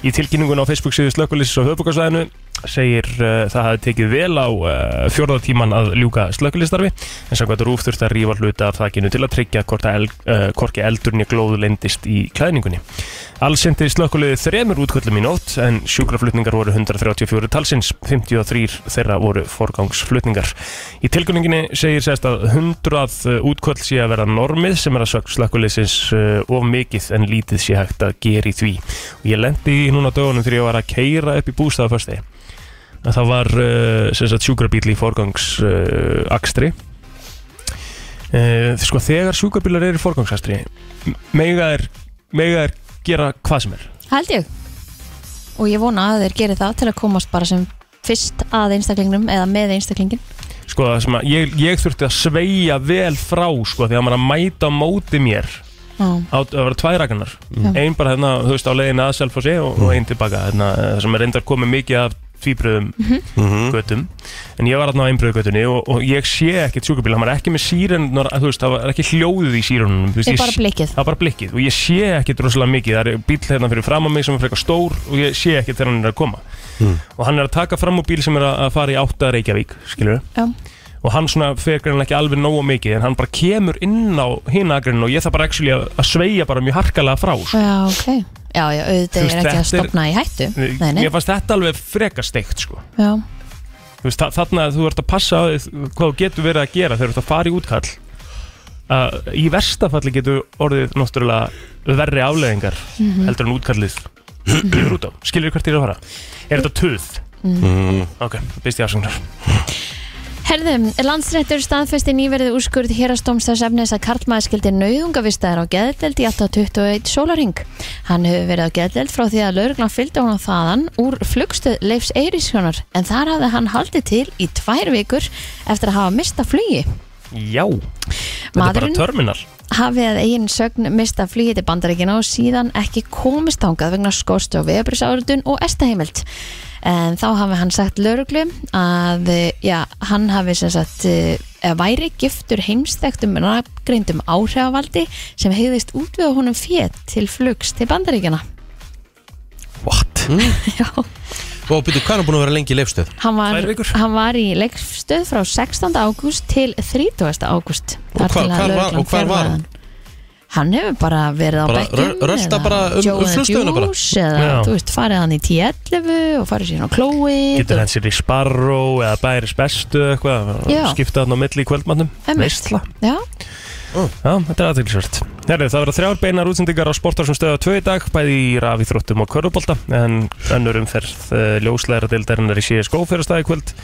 D: Í tilkynningun á Facebook síðu slökkulisis á höfbúkarsvæðinu segir uh, það hafi tekið vel á uh, fjórðatíman að ljúka slökkulistarfi en samkvæmt rúf þurfti að rífa hluta af þakinu til að tryggja hvort að el, uh, hvorki eldurni glóðu lendist í klæðningunni. Alls sendi slökkuliði þremur útköllum í nótt en sjúkraflutningar voru 134 talsins, 53 þeirra voru forgangsflutningar. Í tilkynninginni segir sérst að 100 útköll sé að vera normið sem er að sögn slökkuliðsins uh, of mikið en lítið sé hægt að gera í því og ég lendi í núna dögunum þegar ég var að keira upp í bústaða fyrsti að það var uh, sem sagt sjúkrabíl í forgangsakstri uh, akstri. uh, sko þegar sjúkrabílar eru í forgangsakstri m- mega er, mega er gera hvað sem er
C: Held ég Og ég vona að þeir geri það til að komast bara sem fyrst að einstaklingnum eða með einstaklingin
D: sko það sem að ég, ég þurfti að sveigja vel frá sko þegar maður er að mæta á móti mér
C: Já,
D: á, það var tværakanar
C: Já.
D: ein bara hérna, þú veist, á leiðin að Selfossi og, og ein tilbaka, hérna, það sem er reyndar komið mikið af tvíbröðum
C: Mhm.
D: götum en ég var hérna á einbröðgötunni og, og ég sé ekkert sjúkabíl, hann var ekki með síren þú veist, það var ekki hljóðið í sírunum
C: Ég bara blikkið
D: það var bara blikkið og ég sé ekkert rosalega mikið, það er bíl hérna fyrir fram á mig sem er frekar stór og ég sé ekkert þegar hann er að koma og hann er að taka fram úr bíl sem er að að fara í átta Reykjavík, skilur
C: Já,
D: og hann svona fegur hann ekki alveg nógu mikið en hann bara kemur inn á hinagrin og ég þarf bara actually að, að sveigja bara mjög harkalega frá sko.
C: já ok Já, já,
D: Þú
C: auðvitað
D: veist,
C: er ekki að
D: þetta er-
C: stopna í hættu Nei, nei,
D: ég fannst þetta alveg freka steikt sko.
C: já
D: Þú veist, þa- þarna að þú ert að passa á þig hvað þú getur verið að gera þegar þú ert að fara í útkall uh, í verstafalli getur orðið náttúrulega verri afleðingar
C: Mhm.
D: heldur en útkallið yfir út á, skilur hvert ég er að fara er þetta töð? Mm. ok, byrst ég afsögnar
C: Herðum, landsrættur staðfesti nýverðið úrskurð hérastóms þess efnis að Karlmaður skildi nauðungavistaðar á geðdeld í alltaf 21 sólarhing. Hann hefur verið á geðdeld frá því að lauruglan fylgdi honum þaðan úr flugstöð Leifs Eirísjónar en þar hafði hann haldið til í tvær vikur eftir að hafa mista flugi.
D: Já, þetta er bara
C: Maðurinn-
D: terminal
C: hafi að eigin sögn mista flýið til bandaríkina og síðan ekki komist ángað vegna skorst og vegabrisáritun og estaheimild. En þá hafi hann sagt lauruglu að eh, já, hann hafi sem sagt eh, eða væri giftur heimsþektum rafgreindum áhrifavaldi sem heiðist útvega honum fét til flugs til bandaríkina.
D: What?
C: Já,
A: Og byrju, Mm. hvað er hann búin að vera lengi í leifstöð?
C: hann var,
D: Tvær vikur.
C: hann var í leikstöð frá 16. ágúst til 30. ágúst.
A: Og hvar- hvar var- og hvar var hann?
C: Hann hefur bara verið á
A: Bara
C: bekkjum
A: rö- rölta
C: eða
A: bara um-
C: Joe
A: um
C: and the
A: flugstöðina bara?
C: Juice eða,
D: Já.
C: þú veist, farið hann í 10.11 og farið síðan á klóið
D: Getur
C: og-
D: hann sér í Sparrow eða Bæris Bestu eitthvað
C: Já.
D: Skipta hann á milli í kvöldmannum
C: Einmitt.
D: Veistla
C: Já,
D: Já, þetta er aðtilsvært. Herri, það verða þrjár beinar útsendingar á sportar sem stöða tvö í dag, bæði í rafi þróttum og körubólta, en önnur umferð uh, ljósleira deildarinnar í CSGO fyrir staði kvöld.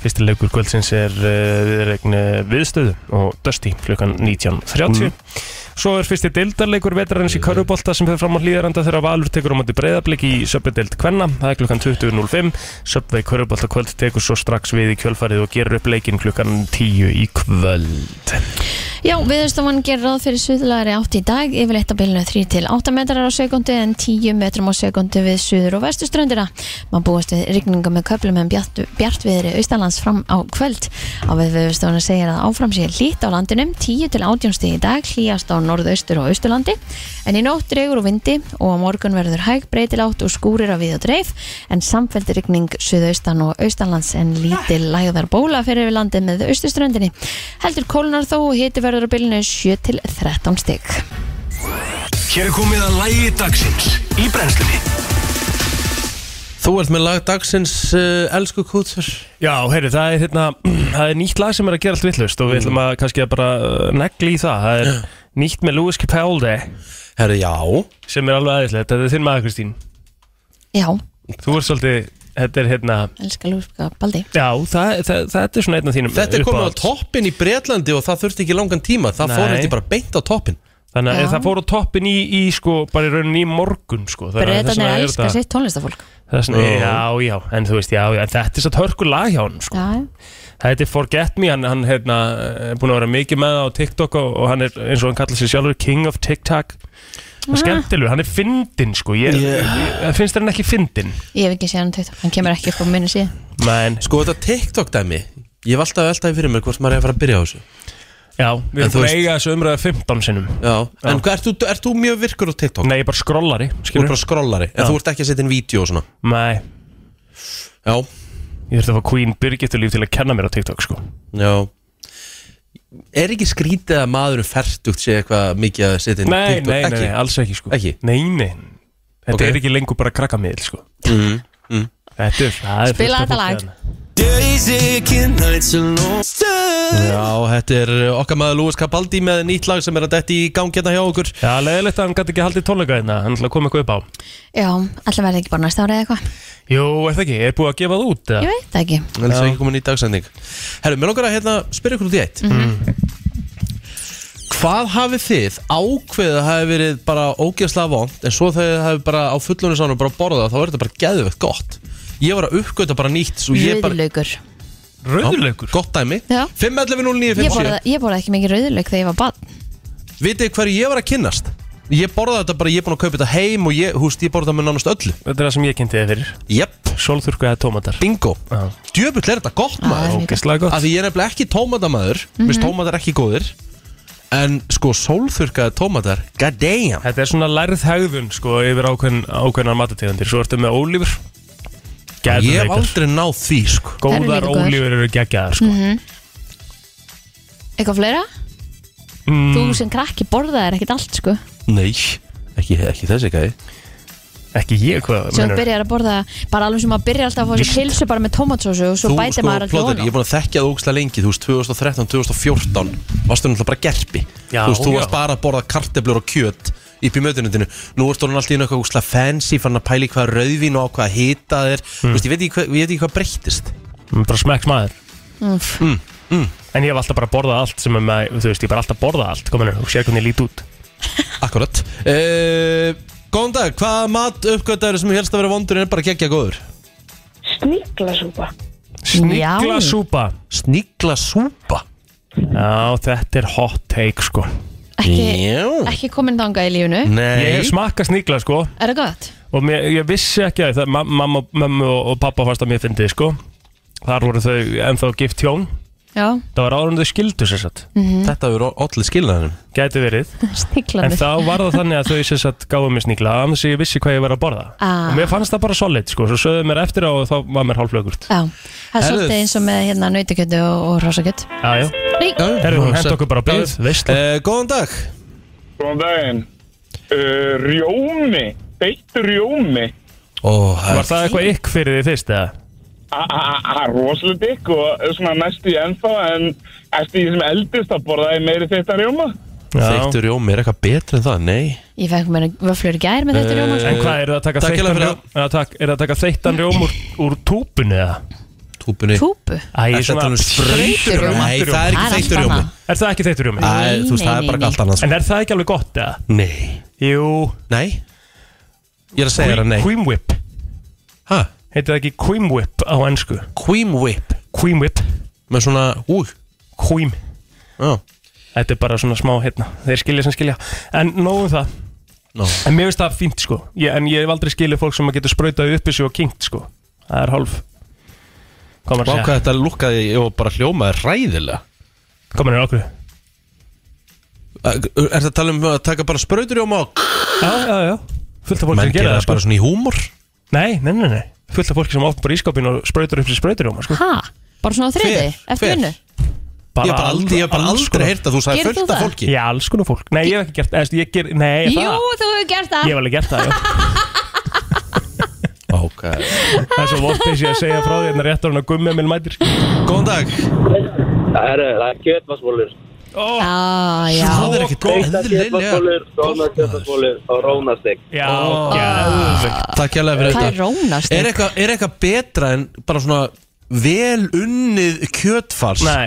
D: Fyrsti leikur kvöldsins er uh, viðregn uh, viðstöðu og Dusty klukkan 19.30. Svo er fyrsti deildarleikur vetrarins í körubólta sem fyrir fram á hlýðaranda þegar Valur tekur á móti breyðablik í söpudeld Kvenna. Það er klukkan 20.05. Söpvei körubólta kvöld tekur svo strax við í kjölfarið og gerur upp leikinn klukkan 10 í kvöld.
C: Já viðurstofan gerir ráð fyrir suðlæri átt í dag, yfirleitt á bylnu 3 til 8 metrar á sekundu en 10 metrum á sekundu við suður og vestuströndina. Man búast við rigninga með köplum en bjart, bjartviðri austanlands fram á kvöld. Á við viðurstofan segir að áfram sé lít á landinum 10 til 18 stig í dag, hlýjast á norðaustur og austurlandi. En í nótt dregur og vindi og á morgun verður hæg breytilátt og skúrir að við og dreif en samfellt rigning suðaustan og austanlands en lítil lægðar bóla fyrir við landið með austuströndinni. Heldur kólnar þó og hiti verður á bylnu 7 til 13 stygg.
B: Hér er komið að lægi dagsins í brennslunni
A: Þú ert með lag dagsins, uh, elsku kútur
D: Já, heyri, það er, hérna, það er nýtt lag sem er að gera allt villust og við
A: Mm.
D: ætlum að kannski að bara uh, negli í það Það er nýtt með Lewis Capaldi
A: Herru, já
D: sem er alveg aðeinslegt Þetta er þinn maður Kristín
C: Já,
D: Þú ert svolítið, þetta er hérna
C: elskar lúska baldi.
D: Já, það, það, þetta er svona einn af þínum
A: Þetta er komið á
D: uppáhalds.
A: toppin í Bretlandi og það þurfti ekki langan tíma Það fór
D: Nei.
A: þetta bara beint á toppin
D: Þannig
C: Já.
D: að það fór á toppin í, í sko, bara í rauninni í morgun sko. Þannig að þess vegna
C: Breytanir
D: er
C: elskar
D: þetta-
C: sitt tónlistafólk.
D: þess vegna- Já, já, en þú veist, já, já en þetta er satt hörku lag hjá hann sko.
C: Já,
D: Þetta er Forget Me, hann, hann hérna, er búin að vera mikið með það á TikTok og, og hann er eins og hann kallar sig sjálfur King of TikTok og
C: Ah.
D: skemmtilegur, hann er fyndin sko, ég, ég finnst þér hann ekki fyndin
C: ég hef ekki séð hann tætt. Hann kemur ekki upp á minni síðan.
D: Men,
A: Sko þetta TikTok dæmi Ég hef alltaf veltaði fyrir mér hvort maður er að fara að byrja á þessu
D: já, við
A: En þú
D: erum
A: veist-
D: eiga þessu umræða 15 sinnum
A: Já, en hvað, ert þú, ert þú mjög virkur á TikTok?
D: Nei, ég er bara skrollari,
A: Þú ert
D: skilur
A: bara skrollari,
D: Já.
A: en þú ert ekki að setja inn vídeo og svona
D: Nei,
A: Já,
D: ég þurfti að fá Queen Birgittu líf til að kenna mér á TikTok sko
A: já Er ekki skrítið að maðurinn fertugt sé eitthvað mikið að setja inn
D: Nei,
A: TikTok?
D: nei, nei,
A: Ekki?
D: nei, alls ekki sko
A: Ekki?
D: Nei, nei, þetta
A: Ok.
D: er ekki lengur bara krakkamiðl sko Þetta er, það er
C: Spila
D: fullt af
C: þetta
D: fólki hérna.
C: lag.
D: þarna.
A: Já, þetta er okkar maður Lúis Capaldi með nýtt lag sem er að detti í gang hérna hjá okkur
D: Já, leiðilegt að hann gæti ekki haldið tónleika hérna, hann ætla að koma eitthvað upp á
C: Já, allir verði ekki bara næsta ára eða eitthvað.
D: Jú, er það ekki? Er búið að gefa það út?
C: Ég
D: Eða?
C: veit það ekki.
A: En þess að ekki komin í dagsending Herru, mér langar að hérna spyrja ykkur út í eitt Hvað hafið þið ákveðið að hafi verið bara ógeðslega vond en svo þegar þið hafið bara á fullunum sánum bara borðað þá er þetta bara geðvegt gott Ég var að uppgöta bara nýtt svo ég bara,
C: Rauðlaugur.
D: Rauðurlaukur?
A: Gott dæmi
C: Já.
A: 5.11.09.50
C: Ég borða- ég borða ekki mikið rauðlaug þegar ég var barn.
A: Vitið þið hverju ég var að kynnast? Ég borðaði þetta bara, ég er búin að kaupa þetta heim og ég, húst, ég borðaði þetta með nánast öllu
D: Þetta er það sem ég kynnti þið fyrir
A: Jep,
D: Sólþurku eða tómatar
A: bingo
D: Já.
A: Djöfull er þetta gott
C: Já,
A: maður
C: mjög
D: Ógeðslega
A: Af
D: gott
A: því ég er nefnilega ekki tómatamæður mm -hmm.
C: Mhm.
A: Mist tómatar ekki góðir En sko sólþurkaði tómatar God damn
D: Þetta er svona lærið hegðun sko yfir ákveðin, ákveðinar matategundir Svo ertu með ólífur
A: Ég hef
D: Gæðurleikar
A: aldrei náð því sko
C: Þær eru
D: Góðar
C: líka góðar.
D: ólífur eru geggjaðar sko
C: Eitthvað fleira?
D: mm.
C: Þú sem krakki borðaðir ekkert allt sko
A: Nei, ekki, ekki þessi gæði
D: Ekki ég hvað
C: sem þú
D: meinarðu?
C: byrjar að borða bara alveg sem maður byrjar alltaf að fá sér pilsu bara með tomatsósu og svo
D: sko,
C: bætir maður alltaf
A: plóður,
C: ofan á.
A: sko, Ég er búin að þekkja það ógstlega lengi Þú veist, 2013, 2014 Varstu náttúrulega bara gerpi
D: Já,
A: Þú veist, þú
D: já.
A: varst bara að borða karteblur og kjöt Upp í mötunundinu Nú ertu hann alltaf í eitthvað ógstlega fancy Fann að pæli Mm. hvað rauðvín og á hvað hýta þér Þú veist, ég veit ekki hvað, ég veit ekki hvað breyttist
D: Mm, Bara smekks maður
C: mm.
D: En ég hef alltaf bara borðað allt sem er með, þú veist, ég hef bara alltaf borðað allt, kominu, og sér hvernig ég lít út.
A: Akkurat uh, Góðan dag, hvaða mat uppgötaður sem helst að vera vondur en er bara geggja góður?
F: Sníklasúpa.
D: Snigla súpa.
A: Snigla súpa
D: Já, þetta er hot take, sko.
C: ekki,
A: Já
C: ekki komin þangað í lífinu
D: Ég
A: Nei
D: hef smakkað snigla, sko,
C: Er það gott?
D: og mér, ég vissi ekki að það, ma- mamma, mamma og, og pappa fannst að mér fyndi, sko. Þar voru þau ennþá gift hjón.
C: Já,
D: Það var árum þau skildu, sér satt.
A: Þetta eru allir skilnaðinum
D: Gæti verið. En
C: sniklanir
D: þá var það þannig að þau sér satt gáðu mér snigla, annars ég vissi hvað ég var að borða.
C: Ah.
D: Og mér fannst það bara solid, sko, svo sögðu mér eftir á og þá var mér hálflögurt.
C: Já, það er
A: Herðu.
C: svolítið eins og með hérna nautakjötu og, og rosakjött
D: Já, já.
C: Nei,
D: Herru, hún hendt okkur bara á byggð, veistla.
A: uh, Góðan dag
G: Góðan daginn. Uh, rjómi. Beittur rjómi.
A: Ó, það
D: Var það eitthvað ykk fyrir því fyrst eða?
G: Það er rosalega dykk og uh, svona næstu í ennþá en eftir því sem eldist að borða ég meiri þetta rjóma.
A: Þeittur rjómi er eitthvað betra en það, nei
C: ég fekk mér vöflur í gær með þetta
A: Eh,
C: rjóma sko.
D: En hvað, eru það að taka
A: Takk hérlega
D: þeittan rjóm?
A: fyrir
D: Er það að taka þeittan rjóm úr, úr túpunni eða?
A: Túpunni
C: Túpu
D: Æ, ég
A: Er
D: er
A: þetta
D: svona
A: alveg sprautur
C: Sprauturjómi?
A: Nei, það er ekki
C: Það er allt
A: þeittur rjómi
C: annað.
D: Er það ekki þeittan rjómi?
A: Æ,
C: Nei,
A: Þú
D: En er það ekki alveg gott eða? Jú,
A: veist, það er bara allt annað sko. Nei Nei
C: nei, nei,
A: Ég er að segja það nei
D: cream whip
A: Hæ?
D: Heitir það ekki cream whip á ennsku?
A: Cream whip
D: Cream whip,
A: Með svona Új
D: cream
A: Já
D: Þetta er bara svona smá hérna, þeir skilja sem skilja En nógum það
A: Nó.
D: En mér finnst það fínt sko ég, En ég hef aldrei skilið fólk sem getur sprautað upp í sig og kinkt sko Það er hálf Komar
A: Vá hvað þetta lukkaði og bara hljómaði ræðilega
D: Komar er okkur
A: Er þetta að tala um að taka bara sprauturjóma og
D: Já, já, já Fullt af fólki
A: Menn
D: sem
A: gera
D: gera það
A: það
D: sko
A: bara svona í húmor
D: Nei, nei, nei, nei Fullt af fólki sem opnar bara ískapin og sprautur upp sér sprautur sko
C: Ha? Bara svona á þriði?
A: Hver?
C: Eftir
A: Hver?
C: vinnu?
A: Ég hef bara aldrei, ég hef bara aldrei heyrt að þú sagði
C: Gerir þú
A: fullt af
C: það?
A: fólki
D: Já, alls konar fólk Nei, ég hef ekki gert eða, þú veist, Ég ger, nei,
C: Jú,
D: það
C: þú hefur gert það
D: Ég hef alveg gert það, já
A: Ok
D: Það er svo vortis ég að segja frá því En rétt á hann að gummi minn mætir sko.
A: Góðan dag
H: Það eru, það er kjötvarsbólur.
D: Ó,
C: Já, já
A: Það er ekkert eðlilega
H: Kjötvarsbólur, rónakjötvarsbólur og rónastek.
D: Já, geðveikt.
A: Takk hjá fyrir
C: Hvað er
A: þetta
C: rónast?
A: Er eitthvað er eitthvað betra en bara svona vel unnið kjötfars
D: Nei,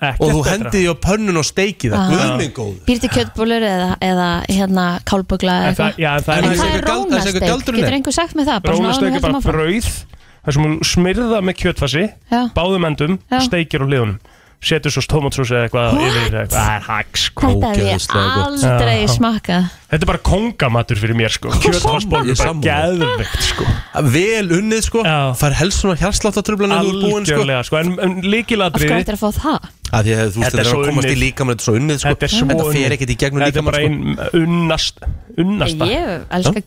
D: ekkert
A: og þú
D: betra.
A: hendið því á pönnun og steikið það
C: Aha.
A: Guðminn góð
C: Býrti kjötbólur eða, eða hérna kálbugla eða
D: En það-
C: eitthvað?
D: Já, en það er
A: En
C: En
A: það
C: hvað er
A: eitthvað gald- það er eitthvað
C: rónasteik?
A: galdurinn er.
C: Getur einhver sagt með það? Bara svona áður en
D: Rónastek
C: við
D: er bara
C: höldum áfram?
D: brauð þar sem þú smyrða með kjötfassi
C: Já.
D: báðum endum,
C: Já.
D: steikir á liðunum setur svo tómatsós eða eitthvað
C: What?
D: yfir, eða eitthvað. það er hags sko.
C: Þetta hef ég
A: Ógeðslega gott.
C: aldrei
D: Já.
C: smakkað
D: þetta er bara kongamatur fyrir mér sko. kjötfassból
A: Ég
D: er bara
A: sammála.
D: geðveikt sko.
A: Vel unnið sko
D: Já.
A: Fær helst svona hjarsláttartrublan en þú er búinn sko
D: algjörlega sko. en, en
C: Af hverju
D: líkilatriði
C: ættir að fá það?
A: að því að þú veist
D: Þetta er
A: þetta er
D: svo
A: að komast í
D: unnið.
A: líkamann þetta er svo unnið sko
D: þetta er svo
A: þetta fer ekkert í gegnum
D: þetta er
A: líkamann
D: bara
A: sko.
D: ein unnast unnasta
C: Ég elska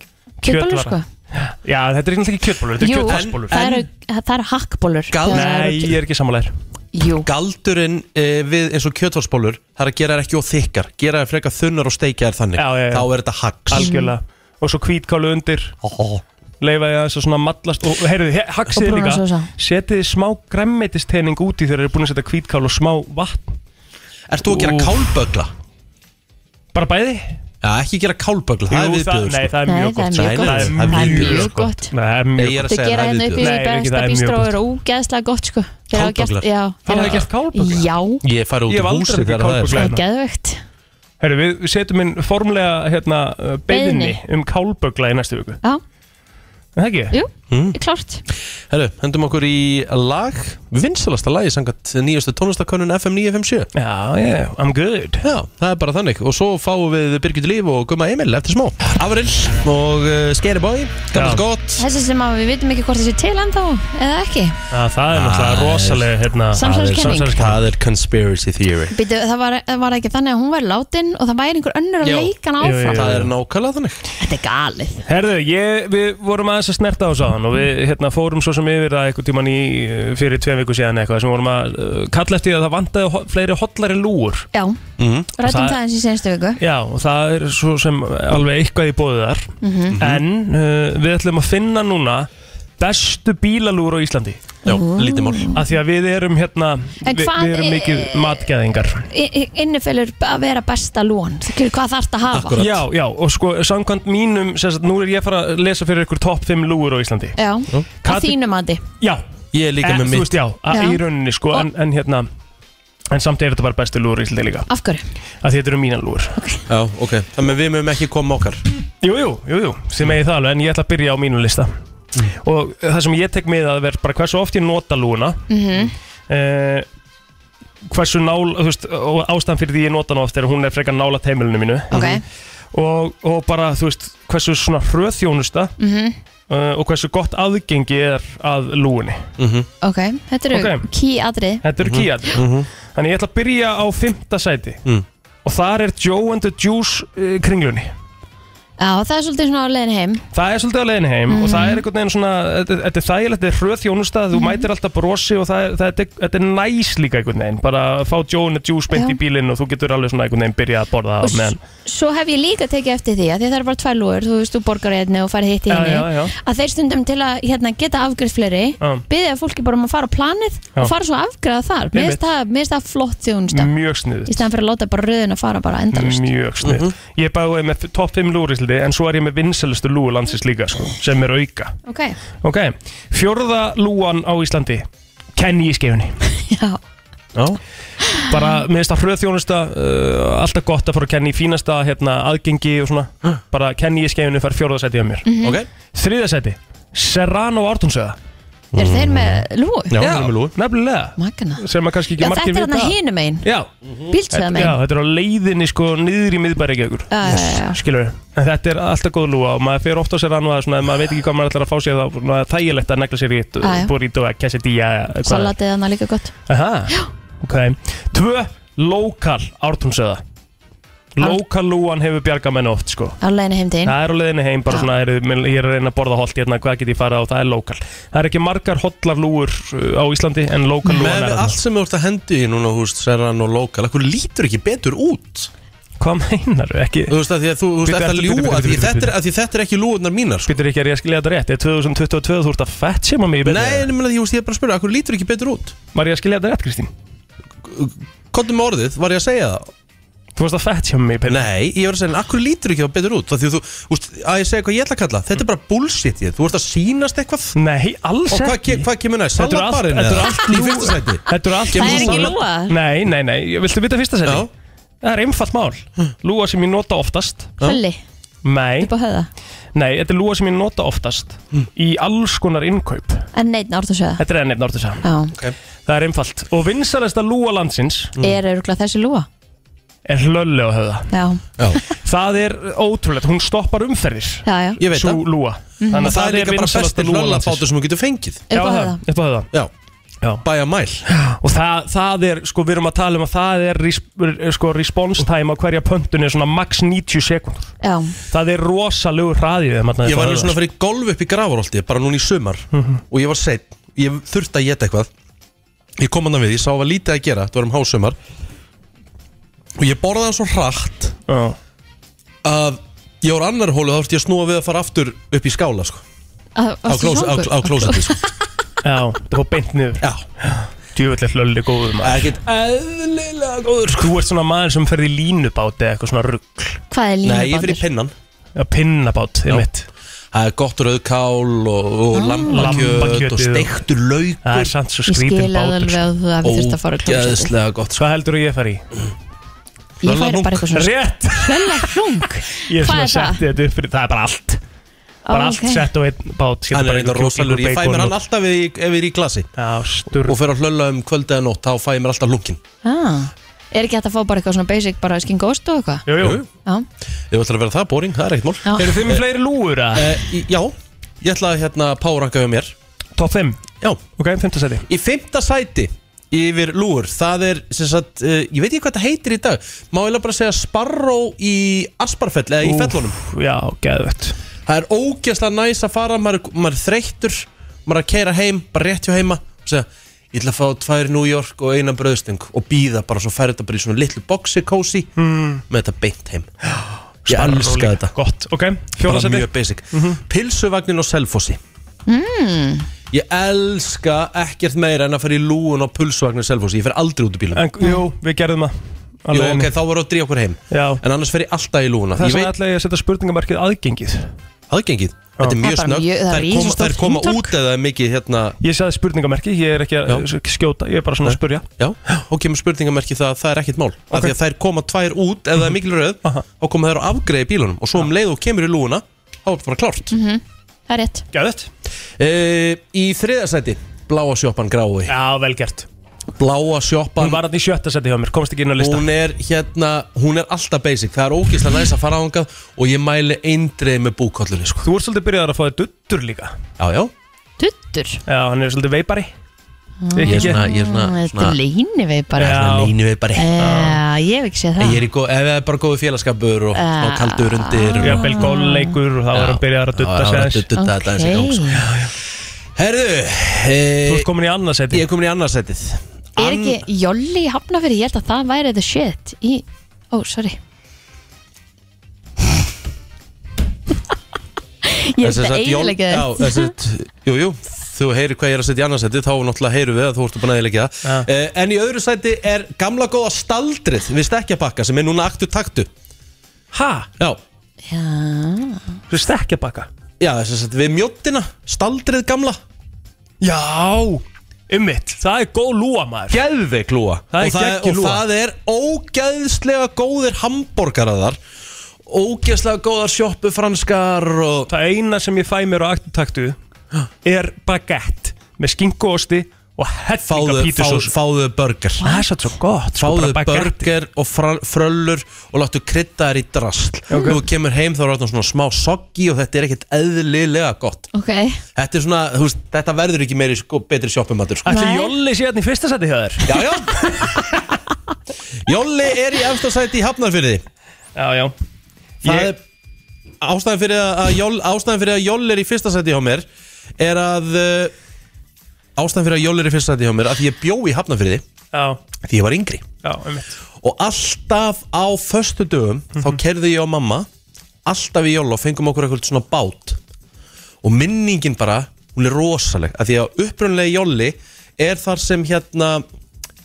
C: kjötbólur sko
D: Kjötvara. já þetta er náttúrulega ekki kjötbólur, þetta er
C: Jú,
D: kjötfassbólur
C: það eru- það eru hakkbólur
A: Gal-
C: Þegar það
D: nei
C: eru-
D: ég er ekki samanlegar
C: Jú,
A: galdurinn e, við eins og kjötvarsbólur það er að gera þær ekki of þykkar gera þær frekar þunnar og steikja þær þannig
D: Já, já, já.
A: þá er þetta hax
D: algjörlega og svo hvítkálu undir
A: oh,
D: leifa ég aðeins að svona mallast og heyrðu, haksið
C: Og brúna
D: líka
C: sósa.
D: setið smá græmmetistening út í þegar þeir eru búin að setja hvítkál og smá vatn
A: Ert þú að gera
D: Úff.
A: kálbögla?
D: bara bæði
A: Já, ekki gera kálbögla, það er
D: Jú,
A: viðbjöður
D: nei,
A: sko.
D: það er
C: Nei,
D: mjög
C: það er
D: gott
A: mjög
D: það er
A: gott. Það er mjög
D: mjög gott sko.
C: gott.
D: Nei, það er
A: Nei,
D: mjög
A: ég er
D: gott
A: að
C: Þau
A: segja
C: gera
A: það er
C: hérna upp í
D: Nei,
A: viðbjöður
D: ég er ekki, það
C: besta
D: er mjög
C: bístró
D: gott.
C: er ógeðslega gott sko Þeir hafa gert-
A: Kálbögglar.
C: já,
D: Það
C: þeir
D: er
C: hafa-
D: gert kálbögglar.
C: Já,
A: Ég fari út
D: Ég hef
A: í
D: aldrei
A: húsi
D: verið
A: þegar það er
D: kálböggla.
A: sko.
C: það er geðvegt
D: Herru, við, við setjum inn formlega hérna, uh, beiðinni
C: Beiðni.
D: um kálbögla í næstu viku
C: Já,
D: Er það ekki?
C: jú,
A: Hmm.
C: klárt
A: Herru, hendum okkur í lag Vinsalasta lagi sangat nýjastu tónlistakönnun FM 957
D: Já, yeah, I'm good
A: Já, það er bara þannig og svo fáum við Birgit Líf og Gumma Emil eftir smá Afril og uh, Skeribói,
D: Já.
A: gammalt gott
C: Þessi sem að við vitum ekki hvort þessi til ennþá eða ekki
D: Já, Það er náttúrulega rosalega hérna,
C: Samsæriskenning.
D: samsæriskenning.
A: Það er conspiracy theory
C: Býtu, það, var, það var ekki þannig að hún var látin og það væri einhver önnur að
A: Jú.
C: leika hana
D: Jú, jú,
C: áfram
D: jú.
A: Það er nákvæmlega þannig
C: Þetta er galið
D: Herðu, ég, við vorum aðeins að snerta á sáðan og við hérna, fórum svo sem yfir það einhvern tíman í uh, fyrir tveim viku síðan eitthvað sem við vorum að uh, kalla eftir því að það vantaði ho fleiri hollari lúur
C: Já,
A: Mhm.
C: rættum
D: Það-
C: það eins í senstu viku
D: Já, og það er svo sem alveg eitthvað í bóðið þar
C: Mhm.
D: En uh, við ætlum að finna núna bestu bílalúr á Íslandi
A: Já, lítið mál
D: Af því að við erum hérna,
C: En
D: við,
C: hvað
D: við erum
C: er-
D: mikið matgæðingar
C: Innifelur að vera besta lón Þú- Hvað þarf það að hafa?
A: Akkurat.
D: Já, já, og sko samkvæmt mínum, sem sagt, nú er ég að fara að lesa fyrir ykkur topp 5 lúur á Íslandi
C: Já,
A: Jú.
C: að þínu mandi
D: Já,
A: Ég er líka
D: Eh,
A: með
D: Þú
A: mitt
D: veist, já, já.
C: Já.
D: í rauninni sko, en, en hérna En samt er þetta bara bestu lúr í Íslandi líka
C: Af hverju?
D: að Þetta eru mína lúr
A: Já, ok Þannig að við mögum ekki koma með okkar
D: Jú, jú, jú, jú, sem eigi það alveg En ég ætla að byrja á mínu lista
A: Mm.
D: Og eh, það sem ég tek með að vera bara hversu oft ég nota lúna mm Hversu nál, þú veist Og ástæðan fyrir því ég nota hana oft er að hún er frekar nála teimilinu mínu
C: Ok,
A: Mhm.
D: og, og bara, þú veist, hversu svona hröðþjónusta mm
C: Mhm.
D: og hversu gott aðgengi er að lúinni
C: ok, þetta eru
D: Ok.
C: okay. key atrið
D: Þetta eru kíat
C: Mhm.
D: Þannig ég ætla að byrja á fymta sæti
A: Mm.
D: og þar er Joe and the Juice uh, kringlunni
C: Já, það er svolítið svona á leiðin heim
D: Það er svolítið á leiðin heim og það er
C: Mhm.
D: einhvern veginn svona þetta þetta er þægilegt, þetta er hröðþjónusta þú mætir alltaf brosi og það, er- það, þetta, er- þetta er næs líka einhvern veginn, bara að fá Joe and the Juice beint
C: Já.
D: í bílinn og þú getur alveg svona einhvern veginn byrjað að borða
C: Og s-
D: það meðan
C: Svo hef ég líka tekið eftir því að því það eru bara tvær lúgur Þú veist, þú borgar í einni og farið hitt í
D: Já,
C: henni
D: já, já.
C: Að þeir stundum til að hérna, geta afgreð fleiri
D: Já.
C: Byðið að fólki bara um að fara á planið
D: Já. Mm.
C: Og fara svo afgreða þar Mér finnst það, mér finnst það flott þjónusta
D: mjög sniðut
C: Í Mhm. stæðan fyrir að láta bara röðin að fara bara endalust
D: Mjög snið Ég er bæðið með topp 5 lúrisliti En svo er ég með vinsælustu lúu landsins líka sko, Sem er auka
C: Ok,
D: Ok, fjórða lúan á Íslandi Kenny í skefinni
C: já,
A: Já
D: Bara, mér finnst það hröðþjónusta uh, Alltaf gott að fara að kenni í fínasta hérna, Aðgengi og svona Bara Kenny í skefinni fær fjórða seti af mér
C: Mhm.
A: Mhm. Ok
D: Þriða seti, Serrano Ártúnsöða
C: eru þeir með lúgu?
A: Já, við erum með lúgu
D: nefnilega
C: Magna
D: Sem að kannski Mm. ekki
C: Já,
D: margir
C: þetta er hann að hinum einn,
D: Já,
C: bíltsöða
D: þetta, já,
C: megin
D: þetta er á leiðinni sko niður í miðbæri ekki okkur
C: Já, já, já, já.
D: skilur en þetta er alltaf góð lúa og maður fer ofta sér annað að svona, ef maður veit ekki hvað maður ætlar að fá sér þá svona, þægilegt að negla sér í eitt
C: Já, já.
D: burrito eða quesadilla eða hvað það er.
C: Salatið hann líka gott
D: Aha, ok Tvö, lokal ártúnsöða Lokal lúan hefur bjarga menn oft sko
C: á leiðinu heim til þín
D: Það er á leiðinni heim, bara
C: Já.
D: svona, er, ég er að reyna að borða holt hérna, hvað get ég fara á, það er lokal. Það er ekki margar hotlar lúur uh, á Íslandi, en lokal lúan
A: Með
D: er
A: allt
D: það.
A: sem þú ert að hendi í núna, húst, serran og lokal Akkur lítur ekki betur út
D: Hvað meinar þú? Ekki,
A: Þú veist að því að þú þú
D: Bíddu,
A: veist þetta
D: ertu- bíddu,
A: ljúa
D: bíddu,
A: af því
D: bíddu,
A: þetta
D: bíddu.
A: er- af því þetta er ekki ljúunar mínar sko.
D: Býtur ekki að ég skilja þetta rétt, er 2022 þú ert að fett sem að mig í beinni?
A: Nei, en ég meina því, þú veist, ég er bara að spyrja Akkur lítur ekki betur út
D: Var ég að skilja þetta rétt, Kristín?
A: Kondum með orðið, var ég að segja það
D: Þú varst að fett hjá mig í penna
A: Nei, ég var að segja, akkur lítur ekki það betur út Það því að þú, úst, að ég segja hvað ég ætla að kalla Þetta er bara bullshit ég, þú ert að sínast eitthvað
D: Nei, alls
A: Og hvað,
D: ekki
A: ke- hvað kemur næst,
D: Þetta eru allt-
A: salatbarinn
D: þetta eru
A: eða
D: allt
A: í fyrsta sæti
D: Þetta er allt
C: Það er
D: lúa.
C: ekki lúa
D: Nei, nei, nei, viltu vita fyrsta seti?
A: Já.
D: Það er einfalt mál Lúa sem ég nota oftast
C: Hölli,
D: Nei,
C: upp á höða
D: nei, þetta er lúa sem ég nota oftast Í alls konar innkaup
C: En neitt nártasöða
D: Þetta er ennir Nortusa
C: Já,
D: Það er einfalt Og vinsalesta lúa landsins
C: er öruglega þessi lúa
D: er hlölli á höfða
C: Já,
A: Já,
D: Það er ótrúlegt, hún stoppar umferðir
C: já, já,
A: ég veit
D: Sú
A: það
D: lúa Þannig
A: Og það er líka bara
D: vinsælasta
A: besti
D: lúa landsins.
A: hlöllabátur sem þú getur fengið
D: Já,
C: upp á höða
D: það- upp á höfða
A: Já,
D: Já.
A: bæja mæl
D: Og það, það er, sko, við erum að tala um að það er ris, er, sko, response time á hverja pöntun er svona max 90 sekúndur.
C: Já,
D: Það er rosalegu hraðið þegar maður
A: Ég var einu svona að fara í golf upp í gravarolti bara núna í sumar og ég var seitt ég þurfti að geta eitthvað ég kom hann við, ég sá að var lítið að gera þetta var um hásumar og ég borðaði hann svo hratt
D: Já,
A: að ég var á annar hólu þá þurfti ég að snúa við að fara aftur upp í skála sko,
C: Á-
A: á,
C: varstu
A: klós, á,
C: svangur?
A: á klósetti sko.
D: já það fór beint niður.
A: Já,
D: Djöfullir hlölli góður maður.
A: ekkert eðlilega góður sko.
D: Þú ert svona maður sem ferði í línubát eða eitthvað svona ruggl.
C: Hvað er
A: Nei, ég fyrir
C: línubátur?
A: pinnan
D: Já, pinnabát,
A: Já.
D: þið mitt.
A: Það er gott rauðkál og, og lambakjöt og
D: Lambakjötið og-
A: steiktur
D: Það
A: laukur
D: er samt svo
C: Ég
D: skrítin
C: skil að
D: bátur.
C: alveg
D: sko.
C: að þú hafi þurft að fara á klósetti
A: Ógeðslega gott sko.
D: Hvað heldur þú ég fari í?
C: Ég færi
A: Lallalung.
C: bara eitthvað svona
D: Rétt!
C: Hölli hlung
D: Ég er svona
C: Hvað
D: að
C: er það?
D: setja þetta upp fyrir, það er bara allt. Bara
C: Ó,
D: allt
C: ok.
D: sett á einn bát. Setur bara
A: Hann er eitthvað
D: einhver
A: rosalur,
D: kjúklingur,
A: ég fæ mér
D: bacon
A: hann
D: og-
A: alltaf ef ég- ef ég er í glasi
D: Já, sturl.
A: og fer að hlölla um kvöld eða nótt þá fæ ég mér alltaf lunkin
C: Ah, Er ekki hægt að fá bara eitthvað svona basic bara skin ghost og eitthvað?
D: Jú, jú.
A: Jú.
C: Já,
A: Ég ætla að vera það boring, það er ekkert mál
C: Já.
D: Eru þið með fleiri lúur að?
A: uh, Já, ég ætla að hérna páranga hjá mér
D: Top 5.
A: Já,
D: Ok, 5. seti.
A: í fymta sæti yfir lúur, það er sem sagt, uh, ég veit ekki hvað það heitir í dag má ég bara segja sparró í asparfell eða í
D: Úff,
A: fellunum
D: Já, geðvett
A: Það er ógeðslega næs að fara, maður, er- maður er þreyttur maður er að keira heim, bara rétt hjá heima og segja, ég ætla að fá tvær í New York og eina bröðstöng og býða bara svo færi þetta bara í svona litlu boxi kósi
D: Hmm.
A: með þetta beint heim Ég elska þetta
D: Gott, ok,
A: bara
D: fjóðarsæti
A: mjög basic
D: Mhm.
A: Pilsuvagnin og selfossi
C: Hmm.
A: Ég elska ekkert meira en að fara í lúun á pilsuvagnin og selfossi Ég fer aldrei út úr bílum
D: En, jú, við gerðum það
A: Jú,
D: Alveg
A: ok,
D: einu.
A: þá voru að dríja okkur heim
D: Já.
A: En annars fer ég alltaf í lúuna
D: Það
A: Ég
D: sem
A: veit,
D: ætla ég að setja spurningamarkið aðgengið
A: aðgengið Þetta er
C: Það
A: mjög
C: er bara
A: snögg
C: mjög- það er
A: Þær koma,
C: risastórt
A: þær koma
C: hringtorg.
A: út eða er mikið hérna
D: Ég sagði spurningamerki, ég er ekki að
A: Já.
D: skjóta, ég er bara svona að spurja
A: Já, og kemur spurningamerki það að það er ekkit mál okay.
D: Ok.
A: Því að þær koma tvær út ef það er mikil röð
D: Aha.
A: og koma þær á afgreiði bílunum og svo um leið og kemur í lúuna þá er bara klárt
D: Mhm.
A: mm
C: það er rétt
D: Gæðið?
A: Í þriðasæti, bláa sjoppan grái
D: Já, vel gert
A: Bláa
D: Hún
A: sjoppan,
D: var hann í sjötta seti hjá mér, komst ekki inn á lista
A: hún er hérna hún er alltaf basic, það er ógeðslega næs að fara ángað og ég mæli eindreið með búkollunni sko.
D: Þú ert svolítið byrjaðar að fá þér duttur líka
A: Já, já,
C: Tuttur
D: Já, hann er svolítið veipari Ekki
A: ég er
D: ekki?
A: svona, ég er svona,
C: Þetta
A: svona,
C: er leini við bara
D: Já.
A: svona línu við bara
C: Eh, Ég hef ekki séð
A: Ah. Ég
C: það
A: er í góð, ef það er bara góðu félagskapur og, og kaldur undir
D: Já,
A: og,
D: vel góðleikur og þá er hann byrjaðar að dutta sig aðeins
A: sig aðeins
C: Ok.
A: Herðu,
D: Þú
A: e,
D: ert komin í annað seti
A: ég er komin í annarsætið
C: Er ekki Jolli í Hafnafjörði, ég held að það væri the shit í, ó, sorry Ég held að eiginlega
A: Já, þess að, jú, jú, þú heyrir hvað ég er að setja í annarsætið Þá náttúrulega heyrum við að þú ertu búin að
D: Já.
A: eiginlega það e, En í öðru sæti er gamla góða staldrið Við stekkjabakka sem er núna aktu taktu
D: Ha?
A: Já,
C: Já,
D: Þú stekkja baka
A: já þess að við mjóttina, staldrið gamla
D: Já, ummitt, það er góð lúa maður
A: Geðveik lúa
D: Það er
A: og, það,
D: geggjuð
A: og
D: lúa.
A: það er ógeðslega góðir hambúrgaraðar Ógeðslega góðar sjoppu franskar og
D: Það eina sem ég fæ mér á aktutaktu er baguette með skinkuosti og hellinga
A: fáðu, fáðu,
D: pítusós
A: fáðu burger
D: Það er svolítið svo gott sko,
A: fáðu
D: bara baguette.
A: börger og fra- fröllur og láttu krydda þær í drasl okay. þú kemur heim þá er þetta svona smá soggi og þetta er ekkert eðlilega gott
C: ok
A: þetta er svona, þú veist, þetta verður ekki meiri sko, betri sjoppumatur sko.
D: Ætli
C: Nei.
D: Jolli sé hérna í fyrsta seti hjá þér
A: já, já Jolli er í efsta sæti í Hafnarfyrði
D: Já, já
A: það
D: Ég-
A: er ástæðan fyrir að, að Jolli, ástæðan fyrir að Jolli er í fyrsta sæti hjá mér er að uh, ástæðan fyrir að Jolli er í fyrsta sæti hjá mér að því ég bjó í Hafnarfyrði
D: Já,
A: því ég var yngri
D: já, einmitt
A: Og alltaf á föstu dögum Þá
D: Mhm.
A: kerði ég og mamma Alltaf í jól og fengum okkur eitthvað svona bát Og minningin bara Hún er rosaleg af Því að upprunlega jóli er þar sem hérna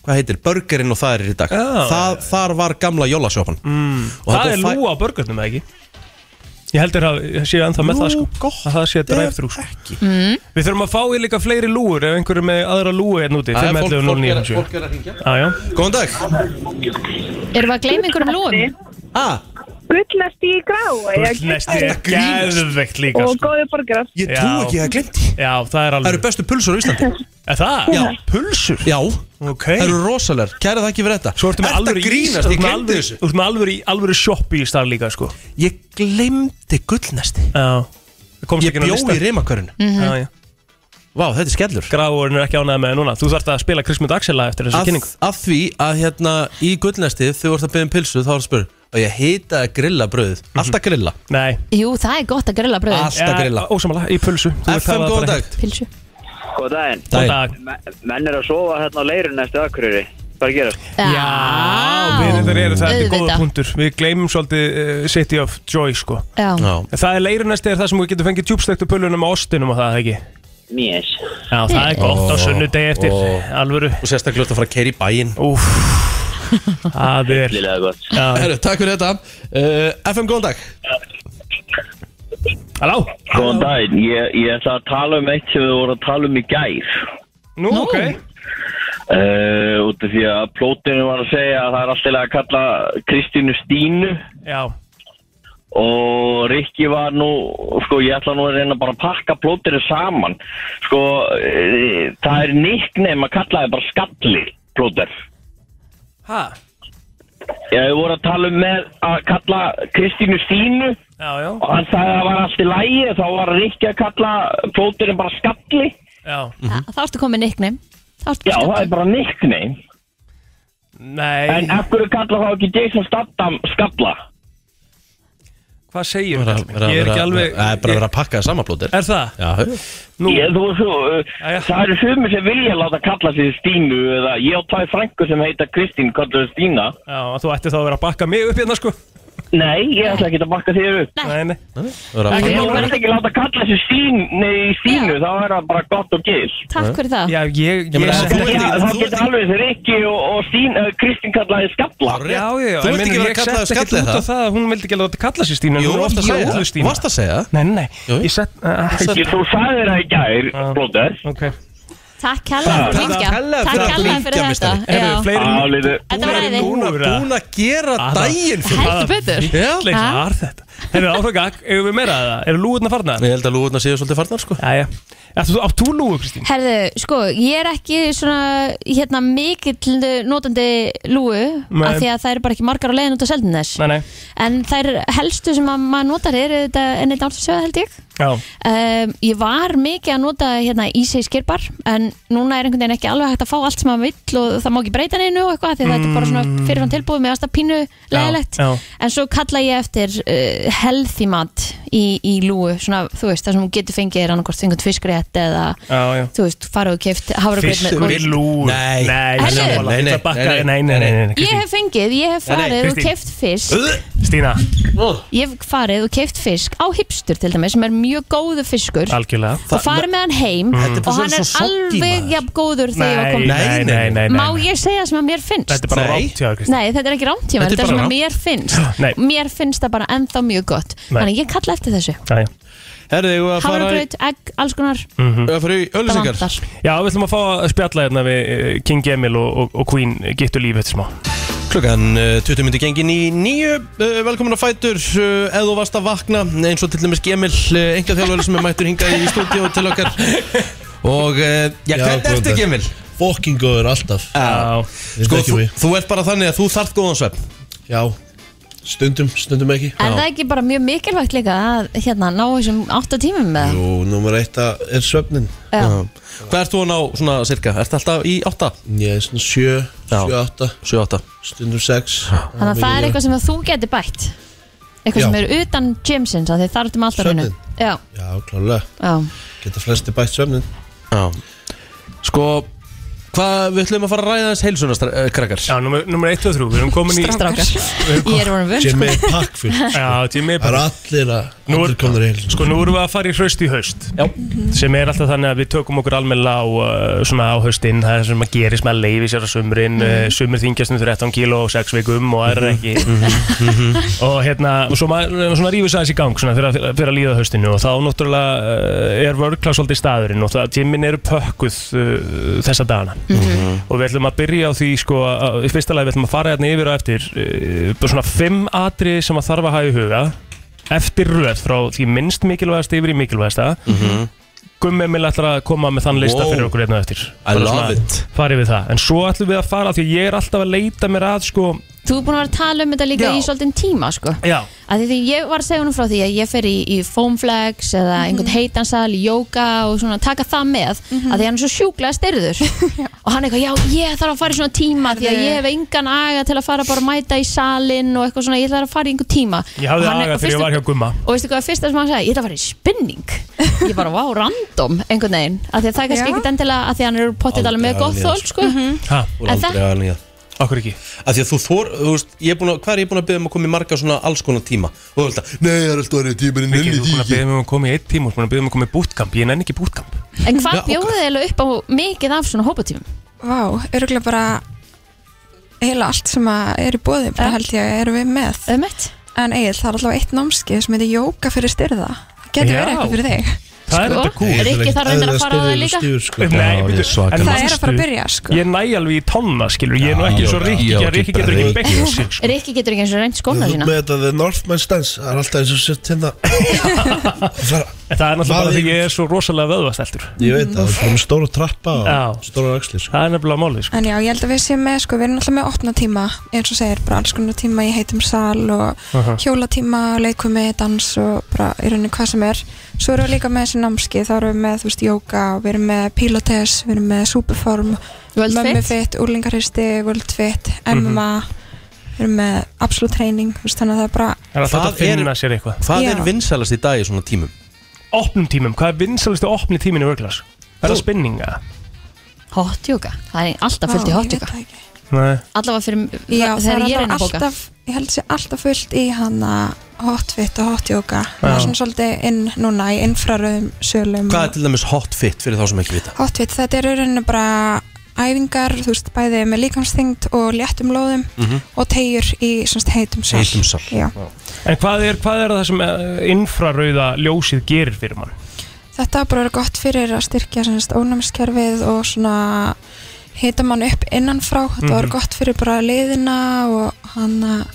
A: Hvað heitir, burgerinn og það er í dag
D: Já.
A: það, Þar var gamla jólasjópan mm.
D: Það er lúa á börgurnum, eða ekki? Ég heldur að það sé ennþá með það, sko
A: gott
D: Að það sé drive-thru, sko Við þurfum að fá í líka fleiri lúur ef einhverju með aðra lúu hérna úti
A: Það er fólk, fólk, er,
D: 511
A: fólk er að hringja
D: Já, já
A: Góðan dag
C: Erum við að gleyma einhverjum lúum?
A: ah,
F: Gullnesti í grái ég
D: Gullnesti
F: keypti
D: er geðveikt líka,
F: Og
D: sko
F: góði borgarar
A: Ég
D: Já.
A: trú ekki að ég glemt því
D: Já, það er
A: Það eru
D: alveg
A: bestu pulsur á Íslandi
D: Er það?
A: Já.
D: Pulsur?
A: Já,
D: Ok
A: það eru rosalegar Kæra það ekki fyrir þetta
D: Svo ertu með
A: Ertu að
D: alvöru
A: grínast,
D: Þú ert
A: ég
D: með
A: glemdi
D: alvöru-
A: þessu
D: Þú ert með alvöru, alvöru sjoppi í starf líka, sko
A: Ég glemdi gullnesti
D: Já Það komst
A: Ég
D: ekki inn á
A: bjó
D: listan.
A: í rimakörinu
D: Já, já.
A: Vá, þetta er skellur
D: Grafurinn er ekki ánægð með það núna Þú þarft að spila Krismund Axela eftir þessu
A: að,
D: kynningu
A: að því að hérna í gullnesti þegar þú ert að byggja um pilsu þá er að spyrja og ég heita að grilla bröðið
D: Mhm.
A: alltaf grilla
D: Nei
C: Jú, það er gott að grilla bröðin
A: Allt. Alltaf grilla.
D: Ósamala, í pulsu Þú ert
A: FM
D: talað
A: góðan
D: bara
A: dag
D: heilt.
C: Pilsu
H: Góð daginn.
D: Góðan
A: Daginn.
D: dag
H: Me- Menn er að sofa hérna á leirun eftir Akureyri. Hvað er að gerast?
D: Já, vinir eru það er góða
C: Auðvitað.
D: punktur Við gleymum svolítið uh, City of Joy sko
C: Já,
A: Já.
D: En Það er leirunesti er það sem við getum fengið djúbstektu pölunum á ostinum og það ekki
H: Mjög.
D: Já, það er gott á sunnudegi eftir
A: Ó.
D: Alvöru
A: og sérstaklega ertu að fara að keira í bæinn
D: Úf Það er
H: Lillega gott.
D: Já.
A: Herru, takk fyrir þetta uh, FM góðan dag
D: Halló
H: Góðan daginn. Ég, ég ætla að tala um eitt sem við vorum að tala um í gær.
D: Nú, ok
H: Uh, út af því að plótinu var að segja að það er alltaf að kalla Kristínu Stínu.
D: Já
H: og Rikki var nú sko ég ætla nú að reyna bara að pakka plótinu saman sko e, það er nickname að kalla það bara skalli plóter
D: Ha?
H: ég voru að tala um með að kalla Kristínu Stínu
D: Já, já
H: og hann sagði að það var allt í lægi þá var Rikki að kalla plótinu bara skalli
D: Já
C: þá ertu komin nickname Þá ertu
H: já það
C: skemmtileg.
H: er bara nickname
D: Nei
H: en af hverju kalla þá ekki Jason Statham skalla
D: Hvað segir
A: Vera- vera-
D: Ég er ekki
A: vera-
D: alveg
A: Það er bara að vera að pakka það saman plótir
D: Er það?
A: Já,
D: Nú
H: ég, þú, svo, uh,
D: Jæja.
H: það eru sumir sem vilja láta kalla sig Stínu eða ég á tvær frængu sem heita Kristín kallar sig Stína
D: Já, þú ætti þá að vera að bakka mig upp hérna sko
H: Nei, ég ætla ekki að bakka þér upp
D: Nei, nei
A: Það er að-
C: Nei,
H: Þú
C: ég bara-
H: verður ekki láta kalla þessu sín Nei, sínu, þá er það bara gott og gil
C: Takk fyrir það
D: Já, ég,
A: Ég
D: ég
A: meina,
D: set
A: þú
D: ekki
A: ert
H: Já,
A: ekki-
H: þá
A: þú ert
H: getur alveg þeir ekki og, og sín, uh, Kristín kallaði skalla
A: Hárrétt.
D: Já, já, já,
A: Þú
D: ég
A: ert
D: meina,
A: ekki verið
D: ég
A: að kalla það
D: set ekki
A: skallið
D: út á
A: það
D: það að hún vildi ekki láta kalla sér Stínu en
A: Jú,
D: hún er
A: varst að
D: oft
A: segja
D: kölluð
A: það
D: Stína.
A: Varst að segja það
D: Nei, nei,
A: Jú, jú.
D: ég set uh,
H: Ég, þú sagði það í gær,
D: Já.
H: blóður
D: Ok,
C: Takk kærlega fyrir að
A: Takk
C: ringja
A: kærlega
C: Takk
A: fyrir að
C: kærlega
A: hringja,
C: fyrir þetta
A: meistari.
C: Já.
D: Heyrðu, fleiri
H: Áliðu
C: Þetta var
D: Fleiri
C: æði
D: nú-
A: Búin að-
D: Úra.
A: búin að gera
D: Aða.
A: daginn fyrir
C: Heldur betur
A: Já.
D: Leila,
C: Ha?
D: það er þetta Hefur það áfragak, hefur við meira að það? Eru lúðurna farnar?
A: Ég held að lúðurna séu svolítið farnar sko
D: Jæja, Ertu- átt þú lúðu, Kristín?
C: Herðu, sko, ég er ekki svona hérna mikill uh, notandi lúu
D: Nei.
C: af því að það eru bara ekki margar á leiðin út á seldin þess
D: Nei, nei,
C: en þær helstu sem að maður notar er þetta enn eitt ártarsöða held ég
D: já,
C: um, Ég var mikið að nota hérna íseg skirpar en núna er einhvern veginn ekki alveg hægt að fá allt sem maður vill og það má ekki breyta neinu og eitthvað af því að þetta er bara svona fyrirfann tilbúið með alltaf pínu leðilegt
D: Mm. já.
C: en svo kalla ég eftir uh, healthy mat í, í lúu svona, þú veist, það sem hún getur fengið er annarkort fengið fiskrétt eða
D: já, já
C: þú veist, farið og keft hafragröð
D: Fyrstu
C: með
D: við lúður
A: Nei.
D: nei,
C: Herðu.
D: sammála.
A: Nei, nei,
D: Ég ætla að bakka-
A: nei, nei.
D: nei, nei, nei, nei,
C: Ég
D: Kristín
C: hef fengið, ég hef
A: Nei, nei,
C: farið og
D: Kristín.
C: keft fisk
D: Stína,
C: Ég hef farið og keft fisk á hipstur til dæmis sem er mjög góðu fiskur
D: algjörlega
C: og farið með hann heim
A: Þetta er bara
C: og hann
A: svo
C: er
A: soggy, maður.
C: alveg jafn góður þegar ég var
D: Mm. Nei,
C: komin
D: nei, nei, nei, nei
C: Má ég segja sem að mér
D: Þetta
C: finnst?
D: er bara
A: Nei.
D: rátt hjá þér, Kristín
C: Nei, þetta er ekki rámt hjá mér,
A: Þetta er
C: þetta er
A: bara
C: svona
A: rangt.
C: mér finnst
D: Nei.
C: Mér finnst það bara ennþá mjög gott
D: Nei.
C: Þannig ég kalla eftir þessu
D: Jæja.
A: Herðu, ég var að fara í-
C: Hafragröð, egg, alls konar,
A: að fara í
C: það
A: öllisingar
C: vantar
D: Já, við ætlum að fá að spjalla hérna við eh, King Emil og, og, og Queen Gittu líf eftir smá
A: Klukkan eh, 20 myndi gengin í nýju Velkomin að fætur eh, Ef þú varst að vakna eins og til dæmis Gemil Enga þjálfur sem er mættur hingað í stúdíu til okkar Og eh, já,
I: Já,
A: hvernig
I: góðan
A: ertu
I: dag.
A: Gemil?
I: Fokking góður alltaf
D: Já,
A: Sko,
I: Sko,
A: þú, þú ert bara þannig að þú þarft góðan svefn
I: Já, stundum, stundum ekki
C: Er það ekki bara mjög mikilvægt líka að hérna, ná þessum 8 tímum með það?
I: Jú, nummer eitt að- er svefnin
C: Já.
A: Hvað ert þú að ná svona cirka? Ert alltaf í 8?
I: Ég er svona sjö,
A: Já.
I: sjö, átta
A: 7-8
I: Stundum sex
C: Þannig að það er eitthvað sem að þú getur bætt Eitthvað
I: Já.
C: sem er utan gymsins af því þar ertum alltaf raunum Já,
I: Já, klálega
C: já
I: Geta flesti bætt svefnin
A: Já Sko, hvað við ætlum að fara að ræða þess heilsunast krakkar
D: já nummer, nummer 1 og 3 Við erum komin í
C: Strákar, ég er voru vönd
I: Jimmy
C: sko.
I: Packfull
D: Já, Jimmy
I: Það er allir að
D: Nú er-
I: Allir komnir heil
D: Sko nú erum við að fara í hraust í haust
A: Já.
D: sem er alltaf þannig að við tökum okkur almenna á uh, svona á haustinn, það er sem að gerist með að leifi sér að
C: Mhm.
D: sumrin, mm. uh, sumir þingjast um 13 kíló og 6 vikum og aðrar ekki og hérna og svo maður svona rífur sæðis í gang svona fyrir að, fyrir að líða haustinu og þá náttúrulega uh, er vörkla svolítið staðurinn og það tímin eru pökkuð uh, þessa dagana
A: Mhm.
D: og við ætlum að byrja á því sko að, í fyrsta lagi við ætlum að fara hérna yfir og eftir uh, bara svona fimm atri sem að þarf að hafa í huga eftir röð frá því minnst mikilvægast yfir í mikilvægasta Gummi Emil ætlar að koma með þann lista
A: Mhm. Wow.
D: fyrir okkur hérna á eftir
A: I love it.
D: farið við það en svo ætlum við að fara af því að ég er alltaf að leita mér að sko
C: Þú er búin að vera að tala um þetta líka
D: Já.
C: í svolítinn tíma sko.
D: já
C: að því því ég var að segja honum frá því að ég fer í, í foamflex eða
J: Mhm.
C: einhvern heitansal í jóka og svona taka það með
J: Mhm.
C: að því hann er svo sjúklega styrður og hann eitthvað, já ég þarf að fara í svona tíma því að
J: Herðu.
C: ég hef engan aga til að fara bara að mæta í salin og eitthvað svona, ég ætla að fara í einhvern tíma
D: Ég hafði
C: Og hann er-
D: aga
C: og
D: þegar ég
C: fyrstu-
D: var hjá Gumma
C: og veistu hvað, fyrsta sem hann sagði, ég ætla að fara í spinning ég bara, vá, random, einhvern veginn af því að það er
J: Já.
C: kannski
J: Mhm.
C: ekkit endilega, af því að hann er pottit alveg með
A: Aldrei
C: gott
A: alveg,
C: þól, sko
D: Hæ,
A: Úr
C: En það-
A: aldrei að nýja
D: okkur ekki
A: Af því að þú þor, þú veist, ég er búin að, hvað er ég búin að byggja um að koma í marga svona alls konar tíma? Og þú veist að, nei, það er alltaf aðrið tíma en
D: Viki,
A: nenni
D: þú er
A: því
D: búin að
A: ekki.
D: beða mér um að koma í eitt tíma og búin að beða mér um að koma í bútkamp ég nenni ekki bútkamp
C: en
A: Já,
C: hvað
A: ok.
C: bjóðu þið eiginlega upp á mikið af svona hópatímum?
J: Vá, örgulega bara heila allt sem að er í bóði bara
C: Já.
J: held ég að erum við með
C: Ömmett?
J: en Egil, það er allavega eitt námskið sem heitir jóka fyrir styrða það getur
D: Já.
J: verið eitthvað fyrir þig
D: það er
C: Sko.
D: þetta kúl
C: Rikki þarf reyndar að fara á
I: um
C: það líka.
I: sko.
D: Nei,
A: ég er
D: bíddu,
A: svakalega-
D: en
J: það er
D: manstu-
J: að fara að byrja sko
D: ég næ alveg í tónna skilur ég er nú ekki
A: Já,
D: svo
A: já,
D: rikki
A: já,
D: að rikki getur ekki
A: bara
D: beitt úr sig, sko.
C: Rikki getur ekki eins og reynd skóna
I: Þú
C: sína
I: með þetta The Northman Stance Það er alltaf eins og sett hérna Það er-
D: En það er náttúrulega bara
I: Maður-
D: því ég er svo rosalega vöðvastæltur
I: Ég veit það, það er með stóra trappa
D: Já.
I: og stóra axlir
D: það er nefnilega málið sko.
J: en já, ég held að við séum með sko, við erum alltaf með opna tíma eins og segir, bara alls konar tíma í heitum sal og
D: Aha.
J: hjólatíma, leikumi, dans og bara í rauninni hvað sem er svo erum við líka með þessi námskið, þá erum við með þú veist, jóka, og við erum með pilates við erum með superform
C: World
J: Mömmu
C: Fit?
J: fit, úrlingarhisti, world fit, MMA Við erum með absolutt treyning þú veist, Þannig að það er bara
D: Það er alltaf
A: Það
D: hægt að finna
A: er-
D: sér eitthvað
A: Hvað
J: Já.
A: er vinsalast í dag í svona tímum?
D: opnum tímum, hvað er vinsalistu opni tímin í vörglas? Er það spinninga?
C: Hot yoga, það er alltaf fullt í
J: Vá,
C: hot
J: ég veit
C: yoga
J: það ekki.
D: Nei.
C: Allavega fyrir
K: Já, það er
C: þegar ég er inn að
K: alltaf,
C: bóka
K: alltaf, ég held sér alltaf fullt í hana hotfit og hotyoga það er
A: Já.
K: svona svolítið inn núna í infraröðum sölum
A: Hvað er til dæmis hot fit fyrir þá sem ekki vita?
K: hotfit, þetta er í rauninni bara æfingar, þú veist, bæði með líkamsþyngd og léttum lóðum
D: Mhm.
K: og tegjur í svona heitum sal
D: Heitum sal.
K: Já.
D: En hvað er, hvað er það sem eh, infrarauða ljósið gerir fyrir mann?
K: Þetta bara er gott fyrir að styrkja semst, ónæmiskerfið og svona hita mann upp innanfrá þetta
D: Mhm.
K: var gott fyrir bara liðina og hann að-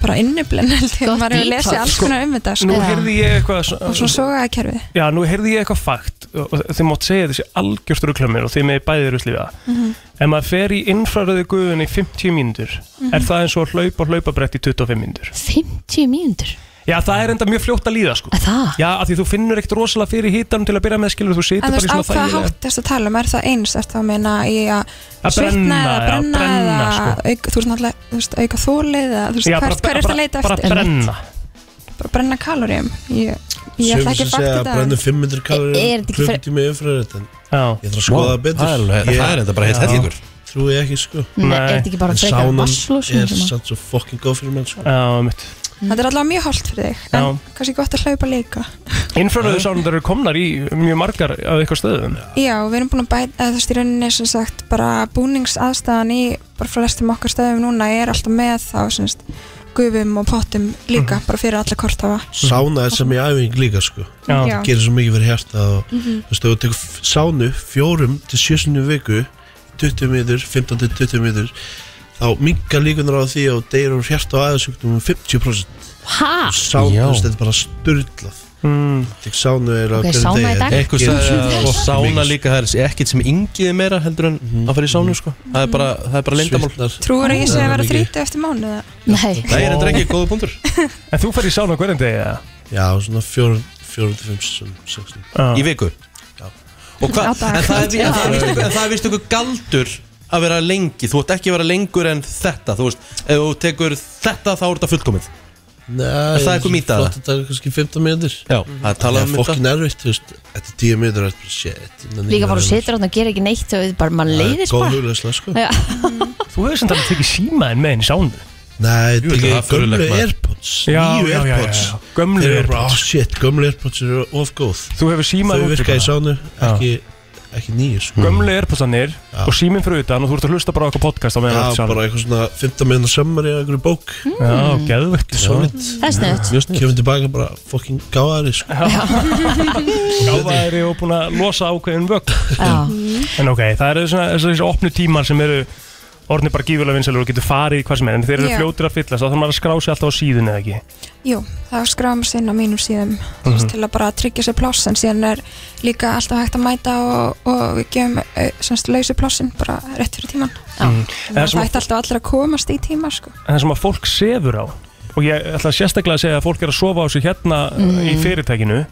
K: bara innublinn held ég,
C: Gott
K: maður hefur
C: ítak.
K: lesið alls konar um þetta sko.
D: Nú heyrði ég eitthvað
K: og svona sogaðakerfið
D: Já, nú heyrði ég eitthvað fakt og og þið mátt segja þessi algjörst ruglamir og þið með bæðir ruslið það
K: Mhm.
D: Ef maður fer í infrarauði guðun í 50 mínútur er
K: Mhm.
D: það eins og að hlaupa og hlaupabrett í 25 mínútur
C: 50 mínútur
D: Já, það er enda mjög fljótt að líða sko
C: Það?
D: Já, af því þú finnur ekkert rosalega fyrir hítanum til að byrja með skilur þú situr
K: En þú
D: bara í
K: veist, á
D: svona
K: hvað
D: þægilega
K: hátt þess að tala um, er það eins, er það að meina í að,
D: Að
K: svitna
D: brenna,
K: eða
D: já,
K: brenna,
D: brenna,
K: eða
D: sko.
K: auka, þú veist náttúrulega, þú veist, auka þólið eða, þú veist,
D: Já,
K: hvert,
D: bara-
K: hvað er þetta að
D: bara-
K: leita
D: bara
K: eftir?
D: brenna.
K: Bara brenna kaloríum, ég, ég
I: Sumir
K: ætla ekki
I: sem
K: að fakta
I: segja að um
K: þetta.
I: brennu 500
K: Er- er
I: kalorir
K: þetta ekki fyrir-
I: klukkutími umfrarið en
D: ég
I: þarf að skoða það betur
A: Það er alveg- það er þetta bara heill
I: Já.
A: hellingur.
I: Trúi ég ekki sko
C: Nei, er þetta ekki bara
I: En
C: frekar
I: sánan
C: vatnslösun
I: er
C: sem að-
I: samt svo fucking góð fyrir menn sko
D: Já, mitt
K: Þetta er allavega mjög hálft fyrir þig, en kannski gott að hlaupa líka.
D: Infrarauðu sánundar eru komnar í mjög margar á eitthvað stöðum
K: Já, við erum búin að bæta, eða þú veist, í rauninni sem sagt, bara búningsaðstæðan í, bara flestum okkar stöðum núna, er alltaf með þá, sem sagt, gufum og pottum
D: Mhm.
K: líka, bara fyrir alla kortafa.
I: Sána er sem í æfing líka sko
K: Já.
I: Það gerir svo mikið fyrir hjarta og
K: Mhm.
I: þú veist, ef þú tekur f- sánu fjórum til sjössinu viku 20 minnur, 15 til 20 minnur þá mingar líkunar á því að deyra úr hjarta og aðeinsugtum um 50%
C: Hæ?
I: Sána, þú veist, þetta er bara styrlað
D: mm.
I: Tek sánu er á
C: Ok,
I: hverjum
C: sána í
I: degi.
C: dag.
I: Þetta
A: Eitthvað
I: gerir
A: sagði
I: svo
A: að og sána
I: mikið.
A: líka það er ekkert sem yngiði meira heldur en að fara í sánu sko Það er bara, það er bara lindamál
K: Trúur að ég sé að vera
A: mikið.
K: þrítu eftir mánuða?
C: Nei.
A: Nei, er þetta ekki góða punktur?
D: En þú fer í sána hverjum degi eða?
I: Já, svona fjórum, fjórum til fimm, svona, sextum
A: Í viku?
I: Já
A: Og
I: Á
A: hvað, en
I: dag.
A: það er- en það er
I: Já.
A: víst einhver- en það er vist einhver galdur að vera lengi, þú ætti ekki að vera lengur en þetta, þú veist, ef þú tekur þetta þá er þetta fullkomið
I: Nei,
A: Er það eitthvað mýta
I: Flott að taka kannski 15 minnur
A: Já, það er talað um
I: þetta Fokkin erfitt, þú veist, þetta er 10 minnur Líka
C: Líka bara þú situr þarna og gerir ekki neitt og bara maður leiðist bara
I: Góð huglegsla, sko
C: Já.
D: Þú hefur sem þetta tekið símaðin með henni sánu
I: Nei,
D: Jú, það
I: þetta er
D: er
I: ekki gömlu
D: furðulegt, maður.
I: Airpods
D: Já,
I: Nýju
D: já, já, já,
I: Airpods
D: já. Gömlu
I: Þeir eru bara,
D: AirPods.
I: oh shit, gömlu Airpods eru of góð
D: Þú hefur símaðin
I: Þau
D: úti
I: virka í
D: bara.
I: sánu,
D: Já.
I: ekki, ekki nýju, sko
D: Gömlu erpasannir og síminn fyrir utan og þú ert að hlusta bara á eitthvað podcast á meðan
I: Já,
D: þú ert í sánu.
I: bara eitthvað svona 15 minnur sammar í einhverju bók
C: Mm.
D: Já, geðvegt
I: Solid
C: Það er sniðugt.
I: Mjög sniðt Kemur tilbaka bara fokkin gáðari, sko
D: gáfaðri og búin að losa ákveðin vögg
C: Já.
D: en ok, það eru svona, þessi, þessi opnu tímar sem eru orðnir bara gífurlega vinsælur og getur farið í hvað sem er en þeir eru
K: Já.
D: fljótir að fyllast þá þarf maður að skrá sig alltaf á síðunni eða ekki
K: Jú, það skráum sig inn á mínum síðum þú veist,
D: Mhm.
K: til að bara tryggja sér pláss en síðan er líka alltaf hægt að mæta og, og við gefum eh, semst lausu plássin bara rétt fyrir tíman
D: Mm. En
K: það
D: það sem,
K: hægt alltaf allir að komast í tíma sko.
D: en það sem að fólk sefur á og ég ætla sérstaklega að segja að fólk er að sofa á sig hérna
C: Mm.
D: í fyrirtækinu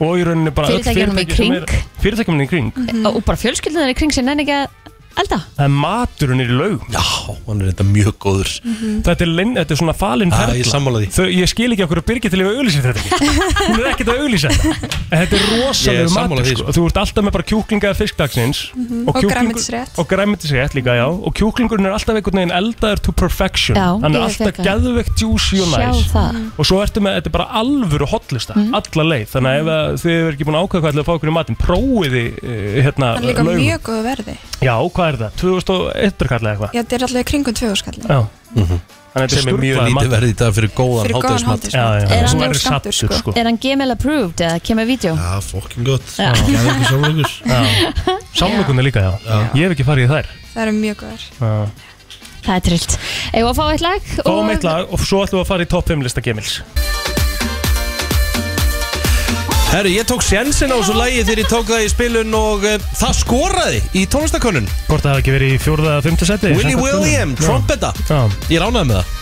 D: og í rauninni bara öll
C: Fyrirtækjunum í Mm. Eh,
D: fyrirtæki sem Mhm. eru- fyrirtækjunum í kring
C: Og bara fjölskyldunar í kring sem nenni ekki að elda
D: það er maturinn í laug
A: Já, hann er þetta mjög góður
C: Mhm.
D: þetta, er leyn, þetta er svona falin
A: Já,
D: perla
A: ég sammála því.
D: Þau, ég skil ekki okkur að Birgit til að auðlýsa þetta ekki hún er ekkert að auðlýsa þetta en þetta er
A: Ég er
D: rosalega
A: sammála
D: matur
A: því,
D: sko.
A: sko.
D: þú ert alltaf með bara kjúklinga eða fiskdagsins
K: Mhm, og
D: kjúklingur-
K: grænmetisrétt.
D: og græmitisrétt líka já og kjúklingurinn er alltaf einhvern veginn eldaður to perfection
C: Já,
D: hann er
C: ég
D: alltaf
C: fékk það.
D: geðveikt juicy og
C: Sjá
D: næs
C: það.
D: og svo ertu með þetta er bara alvöru hotlista
K: Mhm.
D: alla leið þannig að ef að þið hefur ekki búin að ákveða hvað ætlaðu að fá okkur í matinn prófiði eh, hérna
K: það er líka
D: laugum.
K: mjög góðu verði
D: já hvað er það 2001 kallega eitthvað
K: já, þetta er alltaf í kringum tvöðuskallin
D: Já Þannig að þetta
A: Mhm. Sem er mjög
D: sturlaður
A: lítið
D: matur.
A: verð í dag fyrir góðan
K: Fyrir góðan hádegismat.
D: Já,
A: hádegismat.
D: já,
C: Er
D: já.
C: hann
D: Svo
C: mjög
D: verður
C: skattur
D: saddur,
C: sko Er hann GML approved eða kemur vídeo?
I: Já, fokkin gott
C: Já.
I: Það er ekki samlokur
D: Samlokunni líka, já. Ég hef ekki farið í þær.
K: það eru mjög góður
D: Já.
C: Það er trillt Eða að fá eitt lag
D: Fáum eitt lag og svo ætlum við að fara í topp 5 lista Gemils.
A: Herru, ég tók sjensin á þessu lægi þegar ég tók það í spilun og uh, það skoraði í tónlistakönnun
D: Hvort það hafi ekki verið í fjórða eða fymta seti.
A: Willy William, trompeta Ég ránaði með það.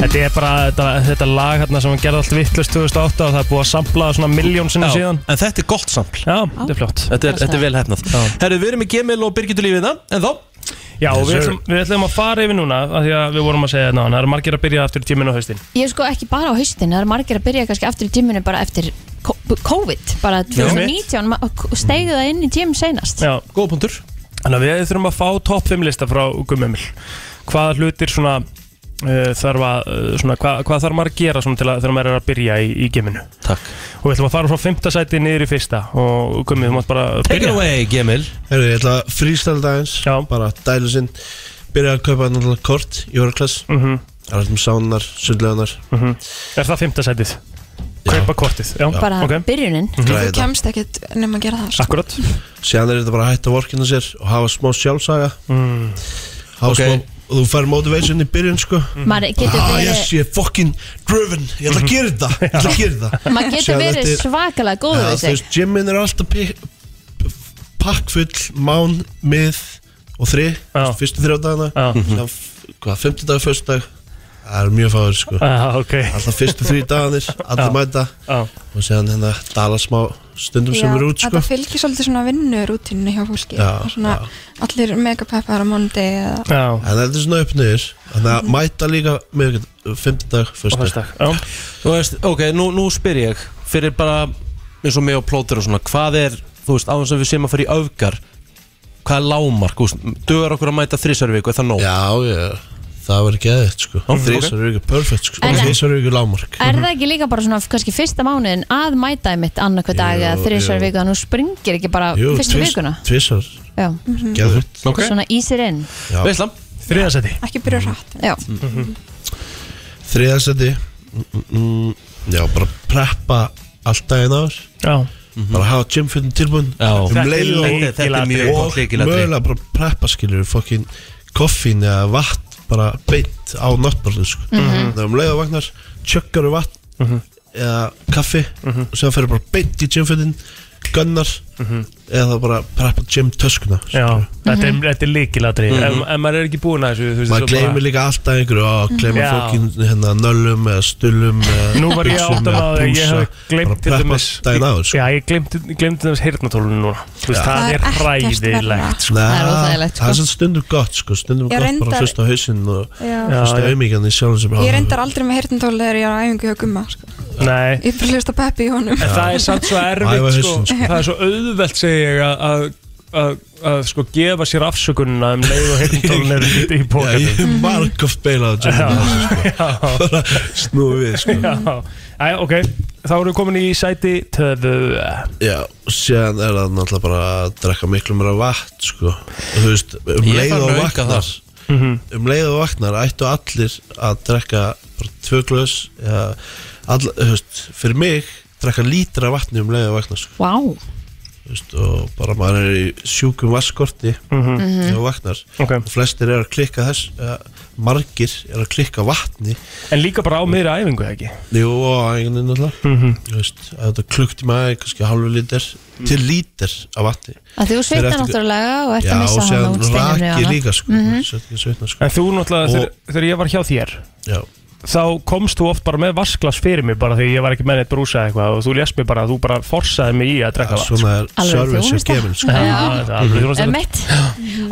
D: Þetta er bara þetta, þetta lag hérna sem hann gerði allt vittlust 2008 og það er búið að samplaða svona miljón sinni
A: Já,
D: síðan.
A: En þetta er gott sampl
D: Já, þetta er flott
A: Þetta er, þetta er vel hefnað Herru, við erum í Gemil og Birgitur lífið það En þá?
D: Já, og við
A: Yes, sir.
D: ætlum, við ætlum að fara yfir núna af því að við vorum að segja þetta náðan. Það eru margir að byrja aftur tíminn á haustin.
C: Ég er sko ekki bara á haustin Það eru margir að byrja kannski aftur í tíminu bara eftir co- COVID Bara 2019 ma- Steigðu það inn í tím seinast
D: Já.
A: Góð punktur.
D: Þannig að við þurfum að fá topp 5 lista frá Gummumil. hvaða hlutir svona uh, þarf að, uh, svona, hvað, hvað þarf maður að gera svona til að þegar maður er að byrja í, í geminu
A: Takk
D: Og við ætlum að fara frá fymta sæti niður í fyrsta og komið, þú mátt bara
A: Take it
D: byrja
A: away, Gemil
I: Herru, ég ætla að freestyle dagins Já. Bara dælu sinn Byrja að kaupa náttúrulega kort í Oraklass mm
D: -hmm.
I: Arðum sánar, sundleganar
D: mm -hmm. Er það fymta sætið? Kaupa kortið, já,
C: bara
D: ok.
C: byrjunin
I: Mhm. Græða.
J: Þú kemst ekkert nema að gera það sko.
D: Akkurat
I: Síðan er þetta bara að hætta vorkina sér Og hafa smá sjálfsaga
D: mm.
I: Hafa
A: Ok.
I: smá Þú fær motivation í byrjun sko
C: Maður getur
I: Ah,
C: verið-
I: yes, ég er fucking driven Ég ætla að gera þetta Ég ætla að gera þetta
C: maður getur
I: Síðan
C: verið
I: þetta er-
C: svakalega góður
I: Já,
C: við
I: þú
C: sig
I: veist, Gymmin er alltaf pi- pakkfull Mán, mið og þri Fyrstu þrjá dagana Síðan f- Hvað, fymtudag, föstudag Það er mjög fáður sko
D: ah, okay.
I: Alltaf fyrstu þrjú dagarnir, allir
D: Já.
I: mæta
D: Já.
I: Og síðan hérna dala smá stundum sem
J: Já,
I: er út sko
J: Þetta fylgir svolítið svona vinnu rútinu hjá fólki
I: Já,
J: Það er svona, Allir mega peppar á mondi eða...
D: Já.
I: En þetta er svona uppnöður Þannig að mæta líka með fymtudag, föstudag
A: Þú veist, ok, nú, nú spyr ég Fyrir bara eins og mig og plótir og svona Hvað er, þú veist, á þess að við séum að fara í öfgar Hvað er lámark, þú veist Dugar okkur að mæta þrísar í viku, er það nóg?
I: Já, já, það verður geðið sko
A: ok.
I: Þrísar viku, perfect sko
C: En-
I: Þrísar viku lámark
C: Er það ekki líka bara svona kannski fyrsta mánuðin að mæta einmitt annarkvæð dag eða þriðsvara
I: jú.
C: viku að nú springir ekki bara
I: Jú,
C: fyrstu
I: tvis-
C: vikuna? Mhm.
I: Tvisvar,
C: Já,
I: geðið
C: okay. svona ísir inn
I: Já.
A: Veislam
D: Þriðasæti
J: Ekki byrja hratt Já,
I: Þriðasæti mm, mm, mm, Já, bara preppa allt daginn áður
D: Já
I: Bara hafa gymfittin tilbúin
A: Já. Þetta
I: um
A: er
I: leið og
A: lykilatriði. Þetta er mjög gott
I: og
A: lykilatriði.
I: mögulega bara preppa skilur fokkin koffín eða vatn bara beint á náttborðu sko. mm
A: Mhm.
I: um leið og vagnar tjöggar og vatn
D: Mhm.
I: eða kaffi og séðan fyrir bara beint í gymfittin gunnar eða bara preppa gymtöskuna
D: Mhm. Já, þetta er, þetta er líkilatri
I: Mhm.
D: ef, ef maður er ekki búin að þessu þú veist,
I: maður
D: svo bara-
I: gleymir líka alltaf einhverju og gleymir
D: Já.
I: fokkin hérna, nöllum eða stulum eða
D: Nú var ég
I: buxum
D: áttan
I: eða
D: að ég
I: blúsa.
D: hef glemt til
I: bara preppa
D: dæmis
I: daginn áður sko.
D: Já, ég glemt til dæmis heyrnatólun núna Þú veist,
I: Já.
D: það
I: Það
D: er
I: er ekkert verra.
D: hræðilegt sko.
I: Nei,
D: Það er óþægilegt, sko.
I: Það er svona stundum gott sko, stundum
J: Já,
I: gott bara
J: reyndar-
I: að hlusta á hausinn og
J: Já.
I: hlusta
D: Já, já.
I: auðmíkan í sjálfum sem
J: Ég reyndar aldrei með hirtintól þegar ég er á æfingu hjá gumma sko.
D: Nei
J: Ég bara hlust á peppi í honum
D: En það er samt svo
I: Æfa
D: erfitt sko.
I: hausinn, sko.
D: Það er svo auðvelt segi ég að- að að að sko gefa sér afsökunna um leið og heyrnatólun er í, í
I: Já, ég
D: bókanum
I: hef margóft beilað á
D: Já.
I: Jimmy Johnson
D: Já,
I: bara snúið við sko.
D: já Æ, ok, þá erum við komin í sæti töðu
I: Já, og síðan er það náttúrulega bara að drekka miklu mér að vatn sko. og þú veist, um
A: Ég er
I: leið
A: farin
I: og
A: að auka
I: vaknar um leið og vaknar ættu allir að drekka bara tvö glöðs ja, all, þú veist, fyrir mig drekka lítra af vatni um leið og vaknar sko.
C: Vá wow.
I: Þú veist, og bara maður er í sjúkum vaskorti
D: Mhm.
C: Mhm.
I: þegar þú vaknar
D: Ok.
I: og flestir er að klikka þess uh, margir er að klikka vatni
D: En líka bara á miðri æfingu, eða ekki?
I: Jú, á æginni náttúrulega
D: Mhm.
I: Þú veist, að þetta klukkti maður kannski halvu lítir til lítir af vatni
C: Að þú svitnar
I: Fyrir eftir-
C: náttúrulega og ert að
I: Já,
C: missa
I: og
C: hana
I: síðan
C: út steinunni og
I: rak ég
C: annað.
I: líka, sko,
C: Mhm.
I: svo ég svitna, sko.
D: En þú náttúrulega,
I: Og-
D: þegar, þegar ég var hjá þér
I: Já.
D: Þá komst þú oft bara með vasklas fyrir mig bara þegar ég var ekki með neitt brúsa eða eitthvað og þú lést mig bara, þú bara forsaði mig í að drekka vatn sko.
I: Svona er
C: Alveg
I: service hjá
C: þjónusta.
I: gemin sko.
D: Já, þetta er alveg þjónusta.
C: Emmett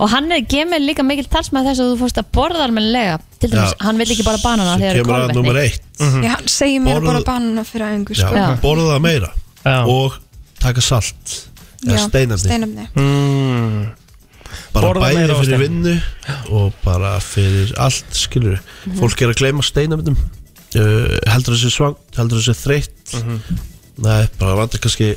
C: Og hann er gemur líka mikil talsmaður þess að þú fórst að borða almennilega Til dæmis,
I: Já.
C: hann vil ekki bara banana
I: Svo
C: þegar það er
I: kemur að
C: kolvetni
I: númer eitt. Mhm.
J: Já, hann segir mér að
I: Borð-
J: bara banna fyrir æfingu
I: Já,
J: sko.
I: borða það meira og taka salt eða
J: Já,
I: steinandi,
J: steinefni.
D: mm.
I: bara
D: Borða meira
I: bæði
D: og
I: fyrir
D: steinefni.
I: vinnu og bara fyrir allt skilur
D: Mhm.
I: fólk er að gleyma steinamindum uh, heldur þessi svangt, heldur þessi þreytt
D: Mhm.
I: nei, bara vantar kannski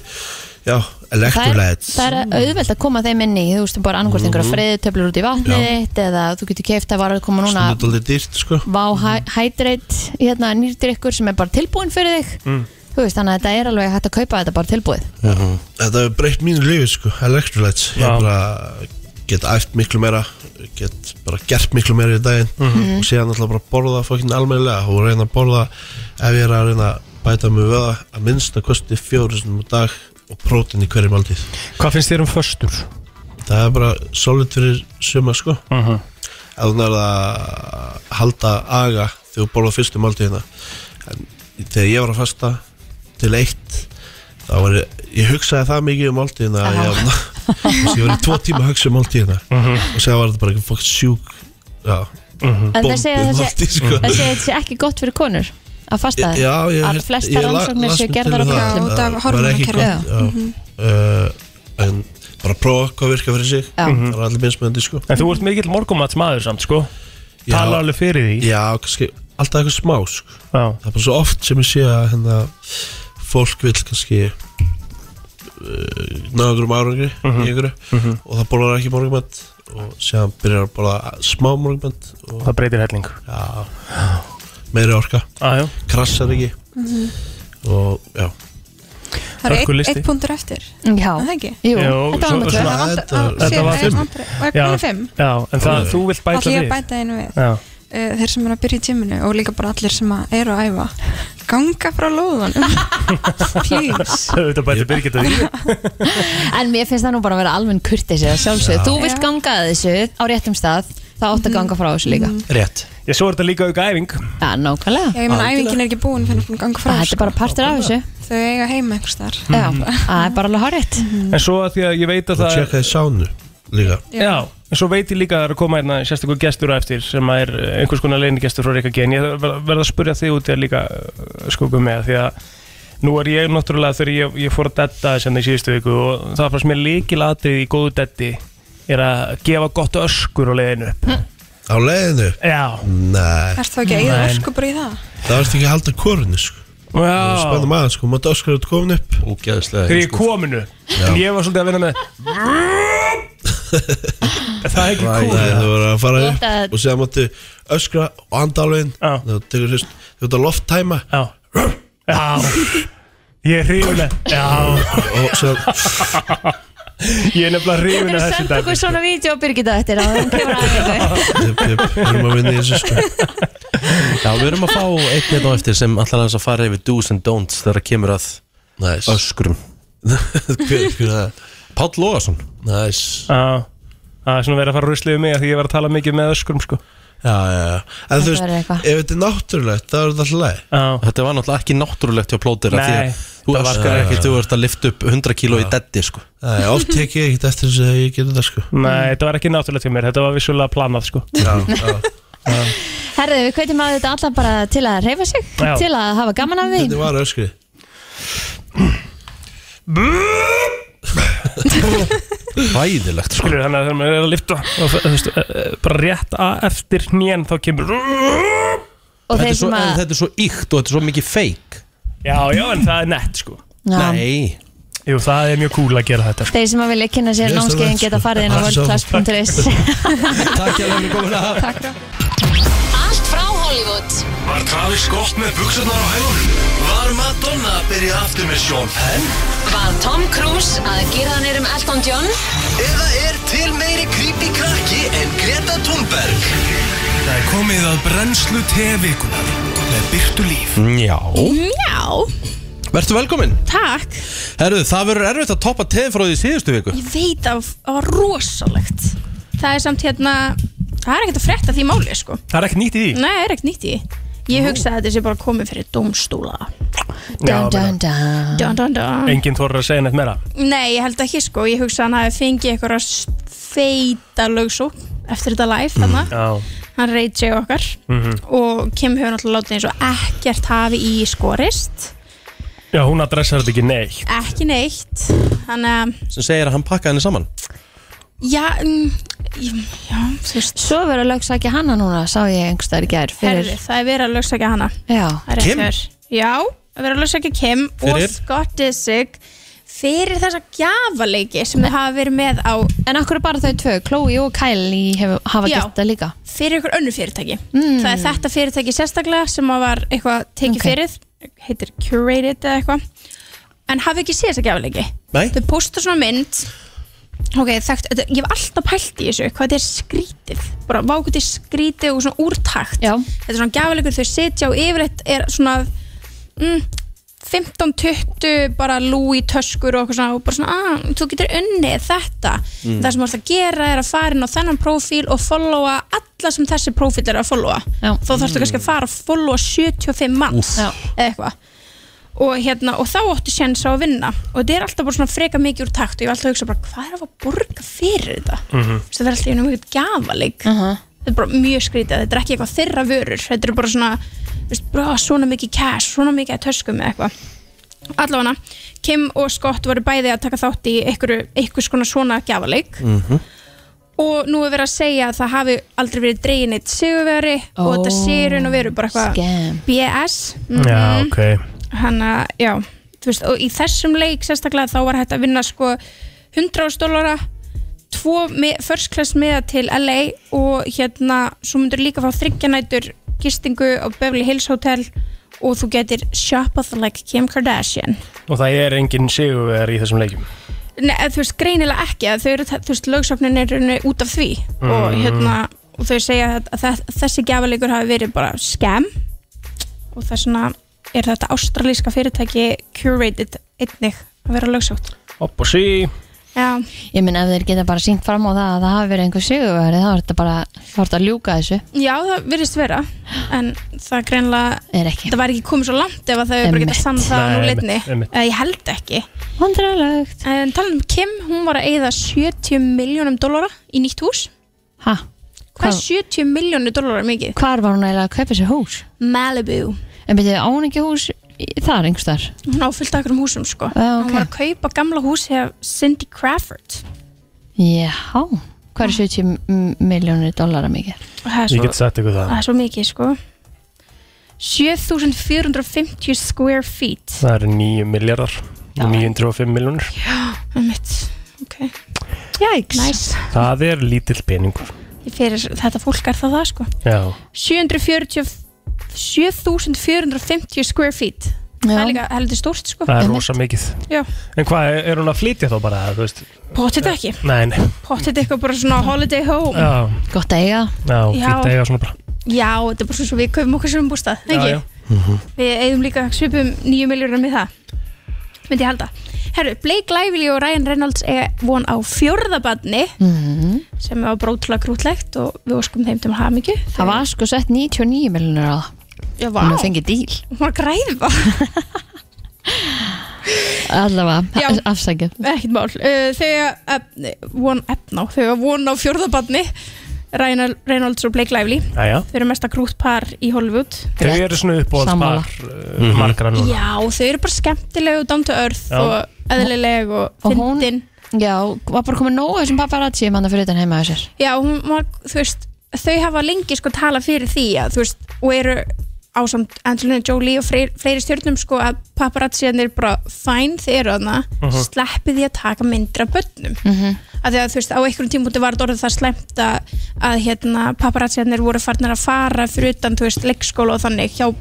I: já,
C: Það er,
I: elektrolæts
C: það er auðvelt að koma þeim inn í Þú veist, bara annarkvort einhverja
I: Mhm.
C: freyðutöflur út í vatnið þitt Eða þú getur keift að vara að koma núna
I: stundum þetta dýrt sko
C: Vá Hy- Hydrate, hérna, nýrdrykkur sem er bara tilbúin fyrir þig
I: Mm.
C: Þú veist, þannig að þetta er alveg hægt að kaupa þetta bara tilbúið
I: Þetta hefur breytt mínu lífi sko, electrolytes Ég
D: Já.
I: bara get æft miklu meira get bara gert miklu meira í daginn
D: Mhm.
I: og síðan alltaf bara borða fokkin almennilega og reyna að borða ef ég er að reyna að bæta mig vöða að minnsta kosti fjórusunum á dag og prótin í hverju máltíð
D: Hvað finnst þér um föstur?
I: Það er bara solid fyrir suma sko ef þú nærða að halda aga þegar þú borða fyrstu máltíðina en þegar ég var að fasta til eitt þá var ég, ég hugsaði það mikið um máltíðina að ég var Þessi, ég var í tvo tíma að hugsa um máltíðina og segja var þetta bara eitthvað fokkt sjúk já,
C: En það
I: bombu
C: segja að
I: máltíð,
C: þessi,
I: sko.
C: þessi, þessi ekki gott fyrir konur að fasta
I: Ég- já, ég
C: að
I: held-
C: flestar
I: ég la-
C: rannsóknir
I: las
C: séu
I: mér
C: gerðar á
I: til það,
C: köllum
I: það var ekki gott, já. Uh, en bara prófa hvað virkar fyrir sig
C: Já.
I: það er allir minnsmöndi sko
D: En þú ert mikill morgumatsmaður samt, sko tala alveg fyrir því
I: Já, kannski alltaf eitthvað smá sko.
D: Það
I: er bara svo oft sem ég sé að hérna, fólk vil kannski uh, ná einhverjum árangri
D: Mhm.
I: í einhverju
D: Mhm.
I: og það borðar ekki morgunmönd og síðan byrjar að borða smá morgunmönd og
D: Það breytir helling
I: Já, meiri orka
D: ah,
I: krassar ekki
J: Mhm.
I: og já
J: Það er einn eitt punktur eftir
C: Já,
J: það ekki?
C: Jú,
I: Jú,
J: þetta var
I: svo-
J: nummer tvö
I: svona-
J: Það vantar-
I: þetta-
J: á-
I: þetta
J: síðan
I: var
J: er
I: fimm.
J: vantar- var komið fimm
D: Já, en það, þú vilt bæta
J: Ætli
D: við
J: ég að bæta einu við
D: Já.
J: Uh, þeir sem eru að byrja í tíminu og líka bara allir sem að eru að æfa ganga frá lóðunum Please.
D: Þetta bæti Birgit að því
C: En mér finnst það nú bara að vera alveg kurtið sér sjálfsög.
D: Já.
C: Þú vilt ganga að þessu á réttum stað, þá átt
J: Mhm.
C: að ganga frá þessu líka.
D: Rétt Já, svo er þetta líka auka æfing
C: Já, nákvæmlega
J: Já, ég meina æfingin er ekki búin fyrir að ganga
K: Ah,
J: frá sko.
C: Þetta er bara partur af þessu.
K: Mhm.
J: Þau eiga heima einhvers þar
C: Já, það er bara alveg hárétt
J: Mhm. Mm.
D: En svo að því að ég veit að
I: og
D: það
I: tjekka því sánu líka
D: Já, en svo veit ég líka að það er að koma hérna sérstakur gestur á eftir sem að er eh, einhvers konar leinigestur frá Rikka Gen. Ég ver- verð að spurja þig út í að líka skóku með því að nú er ég náttúrulega þegar ég, ég fór að detta þess hérna í síðustu viku og það fannst mér líkilatrið í góðu detti er að gefa gott öskur á leiðinu upp.
I: á leiðinu
D: Já
I: Nei
J: Erst þá ekki að eigða orku bara í það?
I: Það varst ekki að halda korinu sko
D: Já
I: Spennum aðeins sko, maður öskur að komin upp
A: Ógæðislega
D: Þegar ég kominu,
I: Já.
D: en ég var svolítið að vinna með Það er ekki kúl
I: Nei, það var að fara
C: Þú átt að-
I: upp og séðan máttu öskra og anda alveg inn Það tekur hlust, þú ert að lofttæma
D: Já Já Ég er hrifin að Já
I: Og svo
D: Ég er nefnilega
C: Ég
D: hrifin
C: vil
D: að þessu
C: senda okkur svona vídeo að Birgitta eftir að hún kemur að
I: erum að vinna í þessu sko
A: Já, við erum að fá einn eitt hérna á eftir sem allar að fara yfir do's and don'ts þegar kemur að
I: nice.
A: öskrum
I: Hver hver er það?
A: Páll Lóðarsson
I: Næs
D: Já Það er svona verið að fara ruslið um mig af Því ég var að tala mikið með öskrum sko
I: Já, já, já En þú
C: Þetta
I: veist,
C: verður
I: ef
C: eitthvað.
I: þetta er náttúrulegt, það er þetta alltaf leið
D: Já
A: Þetta var náttúrulega ekki náttúrulegt hjá plótir af því að
D: Nei,
A: Þú
D: það var-
A: öskar ekki, þú ert að lifta upp 100 kíló í detti sko.
I: Nei, oft tek ég ekkert eftir þess að ég gerir það sko
D: Nei, þetta var ekki náttúrulega til mér Þetta var vissulega planað sko
I: Já, já
C: Herðið, við kveitjum að þetta alla bara til að reyfa sig
D: Já.
C: Til að hafa gaman af
I: Þetta
C: því
I: var öskrið
A: Hræðilegt sko.
D: Skilur þannig að þegar maður er að lifta og, þú veist, eh, eh, Bara rétt að eftir hnén Þá kemur
A: þetta,
C: Og þeir
A: er svo,
C: sem
A: en
C: að
A: þetta er svo íkt og þetta er svo mikið feik
D: Já, já, en það er nett sko
C: Já.
A: Nei
D: Jú, það er mjög cool að gera þetta sko.
C: Þeir sem að vilja kynna sér
I: Ég er svo
C: námskeiðin
I: langt,
C: geta
I: sko.
C: farið inn á
I: Ah, svo.
C: worldclass.is
A: Takk ég að við komin að
J: Takk fyrir
E: Allt frá Hollywood
B: Var Travis Scott með buksunar á hælunum? Var Madonna að byrja aftur með Sean Penn?
E: Var Tom Cruise að gera hann erum Elton John?
B: Eða er til meiri creepy krakki en Greta Thunberg? Það er komið að brennslu tevikunar með byrtu líf.
A: Já
K: Já,
A: Vertu velkomin
K: takk
A: Herðu, það verður erfitt að toppa teð frá því síðustu viku
K: Ég veit að það var rosalegt Það er samt hérna Það er ekkert að frétta því máli sko
D: Það er ekkert nýtt í því
K: Nei, það er ekkert nýtt í því Ég hugsa að þetta sé bara komið fyrir dómstóla
D: Já,
C: Mm. Dun, Mm. dun, dun.
K: Dun, dun, dun.
D: Enginn þorir að segja neitt meira
K: Nei, ég held ekki sko Ég hugsa að hann hafi fengið eitthvað feita lögsókn Eftir þetta live
C: Mhm.
K: þarna
D: Já
K: Hann reyt sig okkar Og Kim hefur náttúrulega látið eins og ekkert hafi í skorist
D: Já, hún adressar þetta ekki neitt
K: Ekki neitt Þannig að
A: sem segir að hann pakkaði henni saman
K: Já, mm, já, þú veist
C: Svo verður lögsækja hana núna Sá ég einhverstaðar í gær
K: Herri,
C: fyrir
K: það er verið að lögsækja hana
C: Já,
K: Það er rétt
A: Kim?
K: hjá þér. Já, það er verið að lögsækja Kim
A: Fyrir?
K: og Scott Disick fyrir þessa gjafaleiki sem þau hafa verið með á
C: En akkur er bara þau tvö, Chloe og Kylie hef, hafa
K: Já.
C: gert það líka
K: fyrir ykkur önnu fyrirtæki það er þetta fyrirtæki sérstaklega sem að var eitthvað tekið
C: Hmm. Ok.
K: fyrir heitir Curated eða eitthvað en hafi ekki séð þessa gjafaleiki
A: Nei.
K: þau posta svona mynd ok, þekkt, þetta, ég hef alltaf pælt í þessu hvað þetta er skrítið bara vákut er skrítið og svona úrtakt
C: Já.
K: þetta er svona gjafalegur þau sitja og yfirleitt er svona mm, 15-20 bara lúi töskur og, eitthvað svona, og bara svona, ah, þú getur unnið þetta það sem þú ert að gera er að fara inn á þennan prófíl og followa alla sem þessi prófíl er að followa
C: Já.
K: þá þarfstu kannski að fara að followa 75 manns
C: Já.
K: eða eitthvað og, hérna, og þá áttu séns á að vinna og þetta er alltaf bara svona freka mikið úr takt og ég var alltaf að hugsa bara hvað er að fá að borga fyrir þetta mm -hmm. það er alltaf einu mjög gafalik þetta er bara mjög skrítið, þetta er ekki eitthvað þeirra vörur þetta er bara svona þú veist, bara, svona mikið cash, svona mikið að töskum eða eitthvað allavega Kim og Scott voru bæði að taka þátt í einhverju, einhvers konar svona gjafalik og nú er verið að segja að það hafi aldrei verið dregin eitt sigurveri og þetta
C: Ó,
K: sé í raun og veru bara eitthvað
C: scam.
K: BS
C: Mm-hmm.
K: mm
D: Já, ok
K: hann að, já, þú veist og í þessum leik sérstaklega þá var hægt að vinna sko 100 dólara tvo me, first class meða til LA og hérna svo myndur líka fá þryggjanætur gistingu á Beverly Hills Hotel og þú getur shoppað like Kim Kardashian
D: Og það er engin sigurvegar í þessum leikjum
K: Nei, eða þú veist, greinilega ekki að þau eru, þú veist, lögsöfnin er í rauninni út af því og
D: Mhm.
K: hérna, og þau segja að, að þess- þessi gjafalegur hafi verið bara skem og þess vegna er þetta ástralíska fyrirtæki curated einnig að vera lögsöft
D: Opp og sí
K: Já,
C: Ég minn ef þeir geta bara sínt fram á það að það hafi verið einhver sigurveri þá er þetta bara, þá er þetta að ljúka þessu
K: já það virðist vera en það greinilega
C: Er ekki.
K: það var ekki komið svo langt ef að þau eru bara
C: Einmitt.
K: getað samt það á
C: Nei, einmitt,
K: núleitni
D: einmitt.
K: eða ég held ekki
C: Vandræðilegt
K: En talað um Kim, hún var að eyða 70 miljónum dólara í nýtt hús
C: Ha?
K: Hvað er 70 miljónu dólarar mikið?
C: Hvar var hún eiginlega að kaupa sér hús?
K: Malibu
C: En byrjuðu, á hún ekki hús í- þar einhverstaðar?
K: Hún á fullt af okkur um húsum sko
C: Já,
K: Hún var að kaupa gamla húsi af Cindy Crawford Ah.
C: Já, hvað er 70 m- milljónir dollara mikið?
K: Og það er
D: Ég
K: svo-
D: get sagt ykkur það.
C: Ah.
K: Það er svo mikið sko 7450 square feet
D: Það eru 9 miljardar 905 miljónur
K: Já, um mitt Ok Jæks Næs
D: Það er lítill peningur
K: Ég Fyrir, Þetta fólk er það það sko
D: Já
K: 740 7450 square feet Það er líka heldur stórt sko
D: Það er rosa mikið
K: Já.
D: En hvað, er- er hún að flytja þá bara, þú veist?
K: Pottþétt ekki.
D: Nei, nei
K: Pottið eitthvað bara svona holiday home
D: Já,
C: Gott að eiga
D: já,
K: Já.
D: fýtt eiga svona bara
K: Já, þetta er bara svo við kaupum okkur sem bústað
D: Já,
K: ekki?
D: já. Mhm.
K: Við eigum líka svipum nýju miljónum í það myndi ég halda Herru, Blake Lively og Ryan Reynolds eiga von á fjórðabanni
C: Mhm.
K: sem var brótulega grútlegt og við óskum þeim til hamingju
C: Það var sko sett 99 milljónir á það
K: Já, vá.
C: Hún hefur fengið díl
K: Hún var græði bara
C: Allavega,
K: Já.
C: a- afsakið
K: ekkert mál uh, þau eiga von, efna, þau eiga von á fjórðabanni Ryan Reynolds og Blake Lively
D: Jæja
K: þau eru mesta grútpar í Hollywood
D: Þau eru svona uppbóðspar uh, margra núna
K: Já, þau eru bara skemmtilegu og down to earth
D: Já.
K: og eðlileg og
C: Og hún, já, var bara komið nóg af þessum paparazzi manna fyrir utan heima á sér
K: Já, hún var, þú veist, þau hafa lengi sko talað fyrir því að, þú veist, og eru ásamt Angelina Jolie og fleiri, fleiri stjórnum sko að paparazziðan er bara fæn þeir eru þarna, uh
D: Mhm.
K: sleppið því að taka myndra börnum.
C: mm -hmm.
K: Af því að þú veist, á einhverjum tímúti var þetta orðið það slemmt að, að hérna, paparazziðan voru farnar að fara fyrir utan, þú veist, leikskóla og þannig hjá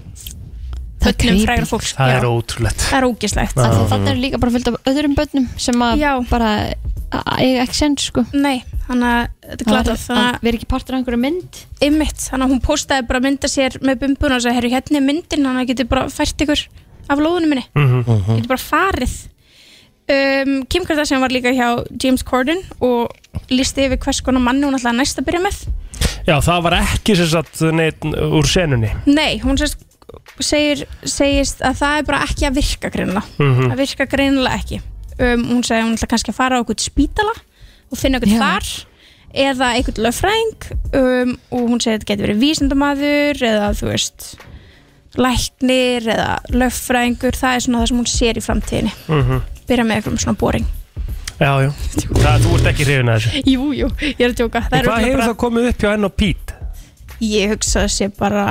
K: börnum frægra fólks.
D: Það
K: Já.
D: er ótrúlegt
K: Það er ógislegt.
D: Já. Af því
C: Þannig er líka bara fyllt af öðrum bönnum sem að bara a- a- eiga ekki sens sko
K: Nei, hann að þetta er
C: Það
K: glatað
C: var- að
K: Við
C: erum ekki partur af einhverju mynd
K: Ymmit, hann að hún postaði bara mynda sér með bumbuna og sagði, herru, hérna er myndin hann að geti bara fært ykkur af lóðunum minni
L: Mhm.
K: geti bara farið um, Kim Kardashian var líka hjá James Corden og listi yfir hvers konar manni hún ætlaði næst að byrja með
D: Já, það var ekki sem sagt neitt úr senunni
K: Nei, hún sérst, segir, segist að það er bara ekki að virka greinilega
D: Mhm.
K: það virka greinilega ekki um, hún segir að hún ætla kannski að fara á eitthvað spítala og finna eitthvað þar eða eitthvað löffræðing um, og hún segir að þetta getur verið vísindamaður eða þú veist læknir eða löffræðingur það er svona það sem hún sér í framtíðinni
D: Mhm.
K: byrja með eitthvað svona boring
D: Já, já Það, þú ert ekki hrifin að þessu
K: Jú, jú, ég er að djóka Það
D: En
K: er
D: Hvað
K: örugglega
D: hefur
K: bara-
D: það komið upp hjá enn og Pít?
K: Ég hugsa að sé bara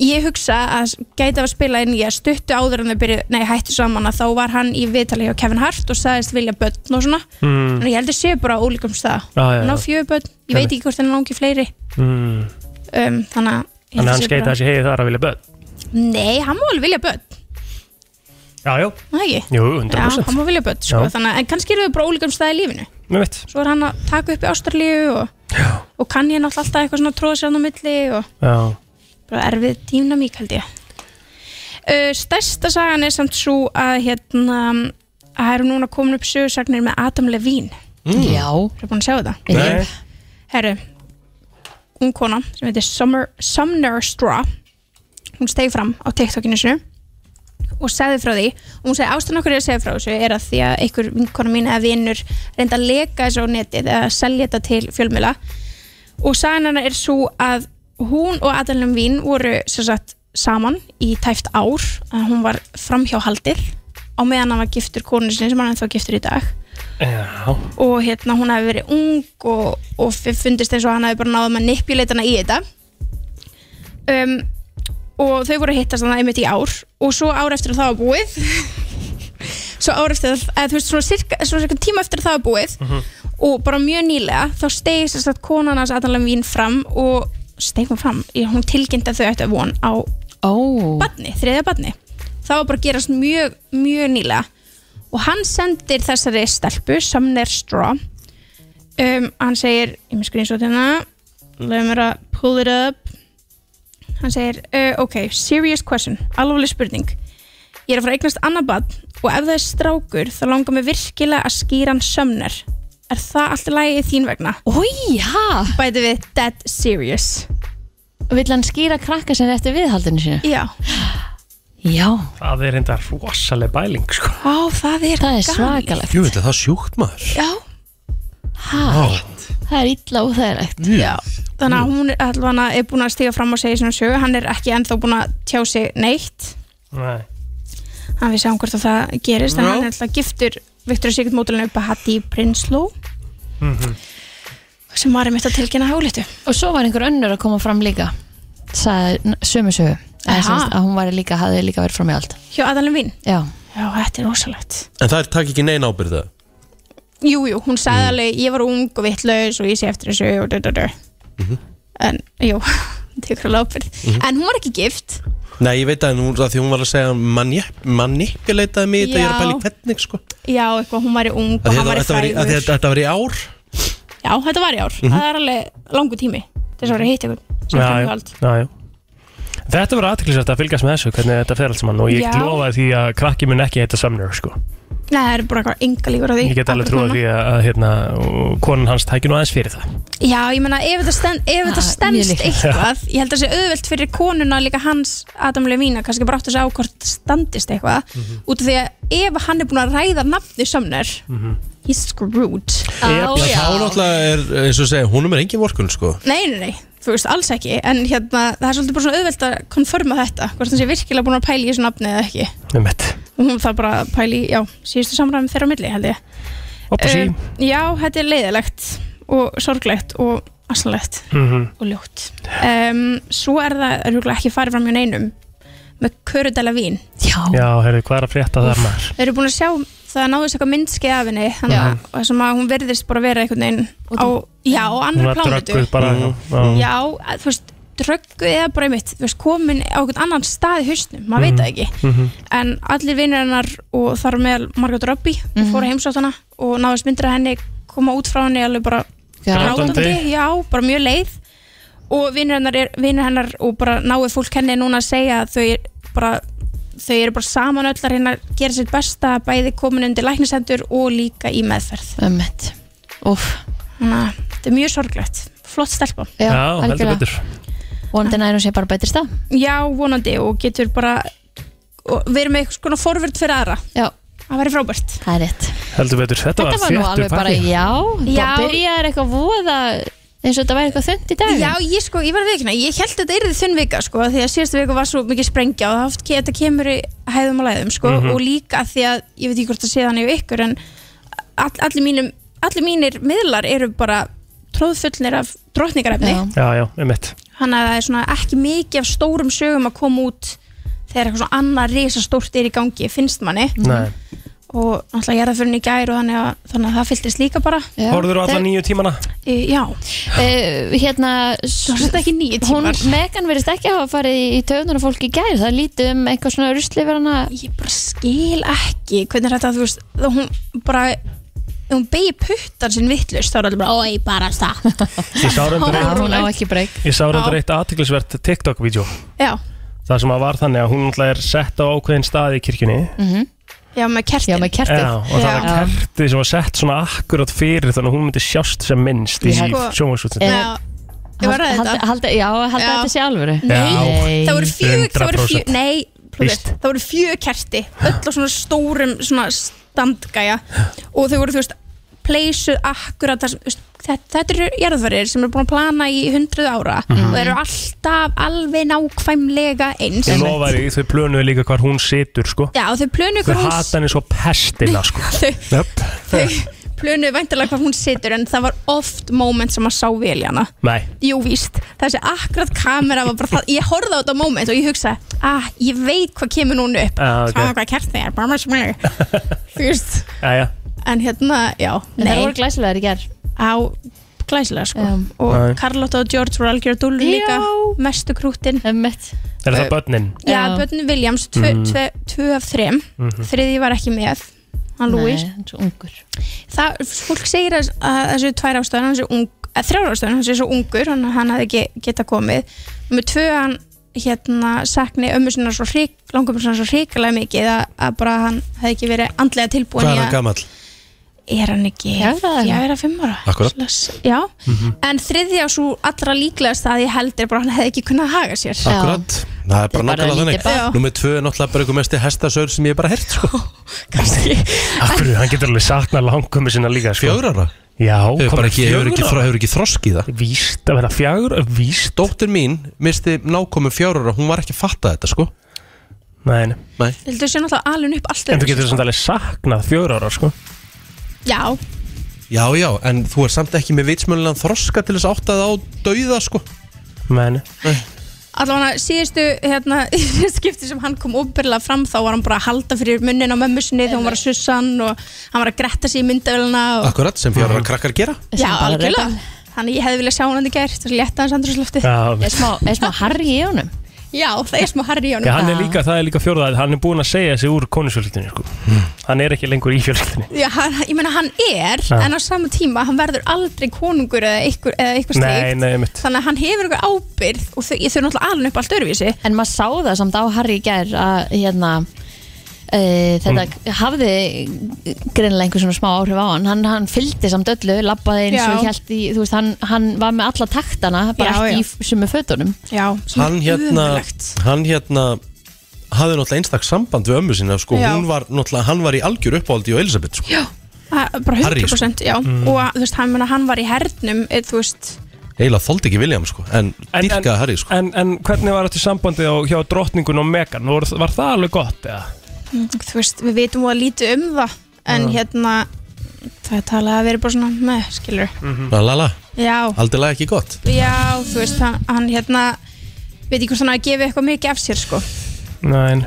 K: Ég hugsa að gæti að spila inn í að stuttu áður en þau byrju, nei hættu saman að þá var hann í viðtali hjá Kevin Hart og sagðist vilja börn og svona
D: Mhm.
K: en ég heldur séu bara á ólíkum stað
D: Mm. Já, já,
K: hann á
D: já.
K: fjögur börn, ég veit ekki hvort hann langi fleiri
D: Mm.
K: um, þannig að ég held
D: Þannig að hann
K: sé
D: skeita
K: bara-
D: þessi heiði þar að vilja börn
K: Nei, hann má alveg vilja börn,
D: Já, já
K: það ekki?
D: Jú,
K: Já, hann
D: 100%
K: má vilja börn, sko,
D: Já.
K: þannig að en kannski eru þau bara á ólíkum stað í lífinu
D: Mér veit
K: svo er hann að taka upp í Ástralíu og, og kann ég náttúrulega alltaf eitthvað svona tróða sér hann á milli og
D: Já
K: bara erfið dýnamík held ég uh, stærsta sagan er samt svo að hérna að það eru núna komin upp sögursagnir með Adam Levine
C: Mm. Já.
K: Þú er búin að sjá þetta?
C: Nei.
K: Herru, hún kona sem heitir Summer, Sumner Straw hún stegi fram á TikTokinu sinu og sagði frá því og hún segi ástæðan okkur er að segja frá þessu er að því að einhver vinkona mín eða vinnur reynda að leka þessu á netið eða selja þetta til fjölmjöla og sagan hennar er svo að hún og Adam Levine voru sem sagt saman í tæft ár að hún var framhjáhaldir á meðan hann var giftur konu sinni sem hann er þá giftur í dag
D: Já,
K: og hérna hún hefði verið ung og, og fundist eins og hann hefði bara náðum að nipjuleita hana í þetta um, og þau voru að hittast þannig einmitt í ár og svo ár eftir að það var búið svo ár eftir að, eða, þú veist, svona cirka, svona cirka tíma eftir að það var búið og bara mjög nýlega þá stegi sérst að konan hans Adam Levine fram og stegi hún fram Ég- hún tilkynnti að þau ættu að von á
C: oh.
K: badni, þriðja badni það var bara að gerast mjög, mjög nýlega og hann sendir þessari stelpu Sumner Straw um, hann segir, ég með screenshot hérna leiðum mér að pull it up hann segir uh, ok, serious question, alveg spurning ég er að fara að eignast annað badn og ef það er strákur þá langar mér virkilega að skýra hann sömner er það allt í lagi þín vegna?
C: Új, ha?
K: Bæti við dead serious
C: Vill hann skýra krakka sem eftir viðhaldinu sinu?
K: Já
C: Já
D: það er enda rosaleg bæling sko.
K: Ó, það er
C: Það er svakalegt
A: Jú, þetta er það sjúkt maður
K: Já
C: ha, Það er illa og það er ekt
K: Já Þannig að hún er, allavega er búin að stiga fram og segja svona sögu, hann er ekki ennþá búin að tjá sig neitt
D: Nei.
K: hann við sjáum hvort að það gerist en
D: Já.
K: hann er alltaf giftur Viktor Sigurd mótulinn upp að Hatti Prinsló sem var einmitt að tilkynna hálítu
C: Og svo var einhver önnur að koma fram líka Sæði sömu sögu
K: Aha.
C: Eða sem sagt að hún var líka, hafði líka verið fram í allt
K: hjá Adalinn Vín
C: Já
K: Já, þetta er rosalegt
A: En það er takk ekki neina ábyrða
K: Jú, jú, hún sagði alveg, ég var ung og vittlaus og ég sé eftir þessu og dö, dö, dö. en jú, þetta er ykkur ábyrð
A: Mhm.
K: en hún var ekki gift
A: Nei, ég veit að hún, að því hún var að segja manip- manipuleitaði mig í þetta, ég er að pæli hvernig sko
K: Já, eitthvað, hún var í ung og
A: Að því
K: hann
A: þetta-
K: var í
A: þetta var í-
K: frægur
A: að því þetta- Þetta var í ár
K: Já, þetta var í ár,
A: Mhm.
K: það er alveg langu tími þess að vera hitt ykkur sem
D: Já,
K: kemur
D: já,
K: vald
D: já, já. Þetta verður aðtiklisvægt að fylgjast með þessu hvernig þetta fer allt saman og ég
K: Já.
D: lofa því að krakki mun ekki heita Sumner sko.
K: Nei, það er bara eitthvað enga líkur á því
D: ég get alveg
K: Akkurat
D: trúið
K: núna.
D: því að, að hérna, og konan hans tækir nú aðeins fyrir það
K: Já, ég meina, ef þetta, stend, ef þetta
D: mjög
K: stendst
D: líklegt.
K: eitthvað ég held að það sé auðvelt fyrir konuna líka hans Adam Levine að kannski bara áttu sig á hvort þetta standist eitthvað
D: Mhm.
K: út af því að ef hann er búin að ræða nafni sömner
D: Mhm.
K: he's screwed
A: Já, Þá náttúrulega er, eins og segja, húnum er engin vorkun sko
K: Nei, nei, nei, þú veist, alls ekki en hérna, það er svolítið bara svona auðvelt að konfirma þetta, hvort hann sé virkilega búin að pæla í þessu nafni eða ekki
D: um mitt
K: og hún þarf bara að pæla í, já, síðustu samræðum þeirra á milli held ég
D: Oppa sí.
K: Eh, Já, þetta er leiðilegt og sorglegt og asalegt
D: Mhm.
K: og ljótt um, Svo er það rúglega ekki farið fram hjá neinum með Körudela vín
C: Já,
D: já heyrðu, hvað er að frétta þar maður
K: Þeir eru búin að sjá, það náðist eitthvað myndski af henni þannig
D: Já.
K: að og sem að hún verðist bara vera einhvern veginn á, já, á
D: Hún
K: annari
D: var
K: plánutu
D: drögguð bara, já. Mhm.
K: Já, að, þú veist, dröggu eða bara einmitt, þú veist, komin á einhvern annan stað í hausnum, maður veit það ekki
D: Mhm.
K: en allir vinnir hennar og þar á meðal Margot Robbie mm
C: Mhm.
K: fóru heimsótt hana og náðist myndir að henni koma út frá henni alveg bara
C: Grátandi.
K: grátandi, já, bara mjög leið og vinnir hennar, er, vinnir hennar og bara náið fólk henni núna að segja að þau er bara þau eru bara saman öllar hérna að gera sitt besta bæði komin undir læknisendur og líka í meðferð
C: Ömmett Úf
K: Þannig að þetta er mjög sorglegt flott stelpa
C: Já, Já, heldur algjörlega. betur. Vonandi nær hún sé bara betri stað
K: Já, vonandi og getur bara og verið með eitthvað svona forvörd fyrir aðra
C: Já
K: Það væri frábært
C: Það er rétt
D: heldur betur, þetta,
C: Þetta var nú
D: þéttur
C: alveg bara,
D: pakki.
C: já,
K: Já.
C: Það byrjaði eitthvað voða eins og þetta væri eitthvað þund í dag
K: Já, ég sko, ég var að veikna, ég held að þetta yrði þunn vika sko, því að síðustu vika var svo mikið sprengja og það oft ke- þetta kemur í hæðum og læðum sko,
C: Mhm.
K: og líka því að, ég veit ekki hvort það sé þannig á ykkur, en all, allir, mínum, allir mínir miðlar eru bara tróðfullnir af drottningarefni
D: já, já, um mitt
K: þannig að það er svona ekki mikið af stórum sögum að koma út þegar eitthvað svona annað risastórt er í gangi, finnst manni
C: Mhm.
D: Nei.
K: og náttúrulega ég er það fyrir henni í gær og þannig að, þannig að það fylltist líka bara
D: Hóruður á alla nýju tímana?
K: Eh, Já
C: uh, hérna
K: þetta ekki nýju tímar.
C: hún, Megan verðist ekki hafa farið í- í töfnur og fólki í gær, það er lítið um eitthvað svona rusli verið hana
K: ég bara skil ekki hvernig er þetta þú veist þá hún bara ef hún beigir puttan sinn vittlust þá er allir bara oi bara stað
D: Ég sá reyndar
K: Já, hún á
C: ekki breyk
D: Ég sá
K: Já.
D: reyndar eitt aðtiklisvert TikTok-vídeó
K: já,
D: Það sem að var þannig að hún náttúrulega er sett á ákveðin stað í kirkjunni
C: Mhm.
K: já með kertin já með
D: Já, og það var kertið sem var sett svona akkurat fyrir þannig að hún myndi sjást sem minnst í
C: Ég-
D: sjómasútinu
K: já, ég var að
C: Halda-
K: þetta
C: halda- já, halda
K: Já.
C: þetta sé alvöru
K: Nei, það voru fjög, það voru fjög,
D: 100%.
K: nei,
D: Víst.
K: plúðist, það voru fjög kerti, öll á svona stórum svona standgæja og þau voru, þú veist, pleysuð akkurat þar sem, þú veist, þetta, þetta eru jarðverðir sem eru búin að plana í hundruð ára
D: Mhm.
K: og eru alltaf alveg nákvæmlega eins.
D: Ég lofa því, þau plönuðu líka hvar hún situr sko
K: Já, þau plönu
D: Þau
K: ykkur hún,
D: hata henni svo pestina sko
K: Þau-
D: Jöp.
K: þau plönuðu væntalega hvað hún situr en það var oft moment sem að sá vel í hana
D: Nei
K: Jú, víst, þessi akkurat kamera var bara það, ég horfði á þetta moment og ég hugsaði, ah, ég veit hvað kemur núna upp
D: Ah, ok.
K: Sama hvað kertni er, bara maður sem er Þú veist,
D: Jæja
K: en hérna, já
C: En þær voru
K: glæsilegar í ger Á, glæsilegar sko Og
D: Já.
K: Carlotta og George voru algjör dúllur líka Mestu krútin Mett
D: Er það börnin?
K: Já, Bönni Williams, tvö,
D: Mhm.
K: tvö, tvö af þrem
D: Mhm.
K: Þriði var ekki með Hann
C: Nei,
K: Louis
C: hann
K: er svo ungur Það, fólk segir að, að þessu tvær ástöðan Hann er svo ung, að þrjár ástöðan Hann er svo ungur, hann, hann hefði ekki geta komið Númer tvö, hann hérna sakni ömmu sinna svo hrík langum sinna svo hríkalega mikið að, að bara hann hefði ekki verið andlega tilbúin
A: Hvað
K: í
A: er hann
K: að-
A: gamall?
K: er hann ekki
C: það er
K: já,
C: hann.
K: er að fimm ára
A: Akkurat.
K: Svoleiðis, já,
A: Mhm.
K: en þriðja svo allra líklegast að ég held er bara að hann hefði ekki kunnað að haga sér
A: Akkurat Það er bara
K: bara
A: nákvæmlega
K: lítið barn.
A: þannig Númer tvö er náttúrulega bara einhver mesti hestasaur sem ég hef bara hert sko.
K: Kanski
D: Akkur, hann getur alveg saknað langkomi sinna líka sko.
A: Fjögur ára?
D: Já,
A: Hefur bara
D: komið
A: ekki, hefur ekki,
D: fjögurra.
A: hefur ekki þroski í það
D: Víst að vera fjögur, víst
A: Dóttir mín misti nákomin fjögur ára Hún var ekki að fatta þetta sko
D: Nei,
A: nei
K: Þú sé náttúrulega alveg upp allt
D: En þú
K: öðruvísi,
D: getur
K: sko.
D: samt alveg saknað fjögur ára sko.
K: Já,
A: Já, já, en þú er samt ekki með vitsmjölinlega þroska til þess að átta það á dauða sko
D: Nei,
A: nei
K: allavega síðustu hérna, í síðustu skipti sem hann kom óbyrlega fram þá var hann bara að halda fyrir munnin á mömmu sinni þegar hún var að sussa hann og hann var að gretta sig í myndavélina og...
A: Akkurat, sem fjögur ára krakkar gera
K: Já, algjörlega Þannig ég hefði viljað sjá hann þetta gert og létta hans andrúsloftið
D: Já, Er
K: smá, er smá harri í honum? Já, það er smá harri í honum
D: Já, hann er líka, það er líka fjóruðað, hann er búinn að segja sig úr konusfjöldinni, sko. Hann er ekki lengur í fjöldinni.
K: Já, hann, ég meina hann er,
D: Já.
K: en á sama tíma hann verður aldrei konungur eða eitthvað, eða eitthvað
D: Nei,
K: slíkt
D: nei, mitt.
K: Þannig að hann hefur eitthvað ábyrð og þau, þau er náttúrulega alveg upp allt öðruvísi
C: En maður sá það samt á Harry í gær að hérna Uh, þetta
A: Mm.
C: hafði greinlega einhver svona smá áhrif á hann hann, hann fylgdi samt öllu, labbaði eins og
K: Já.
C: held í, þú veist, hann, hann var með alla taktana bara
K: Já,
C: ekki í sumu fötunum
K: já,
A: hann hérna, hann hérna hafði náttúrulega einstak samband við ömmu sína sko,
K: Já.
A: hún var náttúrulega, hann var í algjör uppáldi og Elisabeth sko,
K: Já, það- bara 100%
A: Harry, sko.
K: já
A: Mm.
K: og að, þú veist, hann, meina, hann var í hernum eh, þú veist,
A: eiginlega þóldi ekki William sko, en, en dýrkaði Harry sko
D: En, en hvernig var þetta sambandið á, hjá drottningun og Megan? Var, var það alveg gott, eða?
K: Mm, þú veist við veitum að lítið um það en hérna það er talað að vera bara svona með, skilur
A: La la la,
K: já,
A: aldrei lag ekki gott
K: já, þú veist hann, hann hérna, veit ekki hvort hann hafi gefið eitthvað mikið af sér, sko
D: Nein.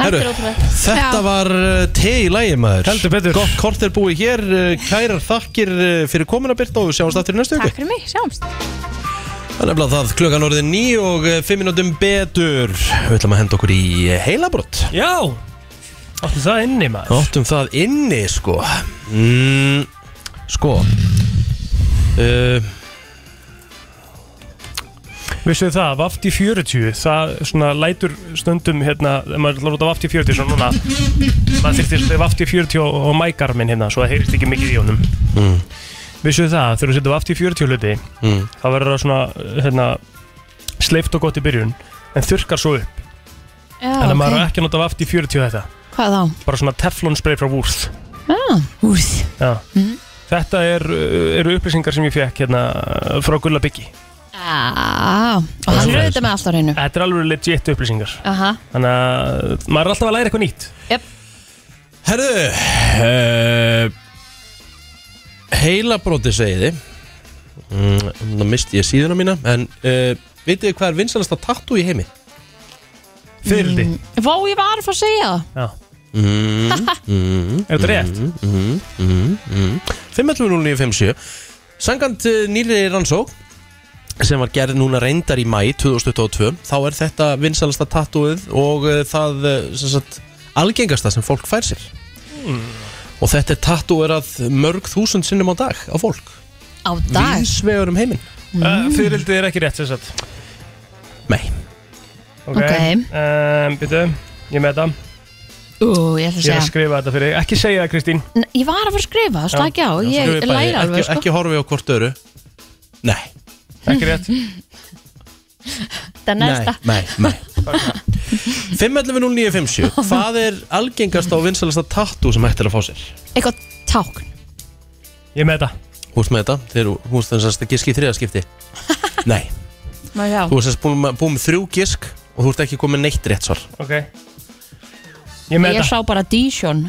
A: Heru, þetta
K: Já.
A: var uh, te í lægi maður
D: Heldur betur
A: Gott kort er búið hér, uh, kærar þakkir uh, fyrir komuna Birta og við sjáumst aftur í næstu viku
K: Takk fyrir mig, sjáumst
A: Það er nefnilega það, klukkan orðið ný og uh, fimm minútum betur Við ætlum að henda okkur í heilabrott
D: Já, áttu það inni, maður.
A: Áttum það inni sko mm, Sko uh,
D: Vissu þið það, Vafti 40, það svona lætur stundum, hérna, ef maður ætlar út á Vafti 40, svona núna, maður þyrftir Vafti 40 og, og mækarminn hérna, svo það heyrist ekki mikið í honum. Hmm.
A: mm,
D: Vissu þið það, þegar þú setur Vafti 40 hluti,
A: mm.
D: það verður það svona hérna, sleift og gott í byrjun en þurkar svo upp
C: Já,
D: þannig að maður
C: ok.
D: er ekki að nota vaft í 40 þetta
C: Hvað þá?
D: bara svona teflon spray frá Wurth
C: Ah, úrð
D: Já. þetta er, uh, eru upplýsingar sem ég fekk hérna, uh, frá Gulla Byggi
C: ah, Og hann er auðvitað með allt á hreinu
D: þetta er alveg legit upplýsingar
C: Aha.
D: þannig að uh, maður er alltaf að læra eitthvað nýtt
A: Herðu uh, Heilabróti segi þið mm, Nú misti ég síðuna mína En uh, vitið þið hvað er vinsalasta tattoo í heimi?
D: Fyrildi
C: Vá, ég var að fara að segja það
D: Já
A: Er
D: Mm-hmm. þetta rétt?
A: Mm-hmm. 512957 Sangant nýri rannsók eh, sem var gerð núna reyndar í mæ 2022, þá er þetta vinsalasta tattooið og uh, það uh, sem sagt, algengasta sem fólk fær sér
D: Mm.
A: og þetta er tattooerað mörg þúsund sinnum á dag á fólk
C: Á dag?
A: Vísvegur um heiminn
D: uh, Fyrildi er ekki rétt sem sagt
A: Nei
D: Ok, okay. Um, byrju, ég er með þetta
C: Ú, ég ætla
D: Ég er að
C: að segja
D: skrifa þetta fyrir þig. Ekki segja það Kristín
C: N- Ég var að fara að skrifa, slagi á Ég læra alveg,
A: ekki,
C: sko
A: ekki horfi á hvort öru Nei
D: Ekki rétt
C: Það er næsta
A: Nei, nei, nei. 5.11.09.50 Hvað er algengast á vinsalasta tattoo sem hægt er að fá sér?
C: Eitthvað tákn
D: Ég er með þetta
A: Húst með þetta, þegar húst þess að giski í þriðaskipti Nei,
C: Má sjá
A: þú veist búin, með- búin með þrjú gisk og þú ert ekki komið neitt rétt svar
D: Ok Ég er með
C: Ég
D: þetta
C: sá bara Dijon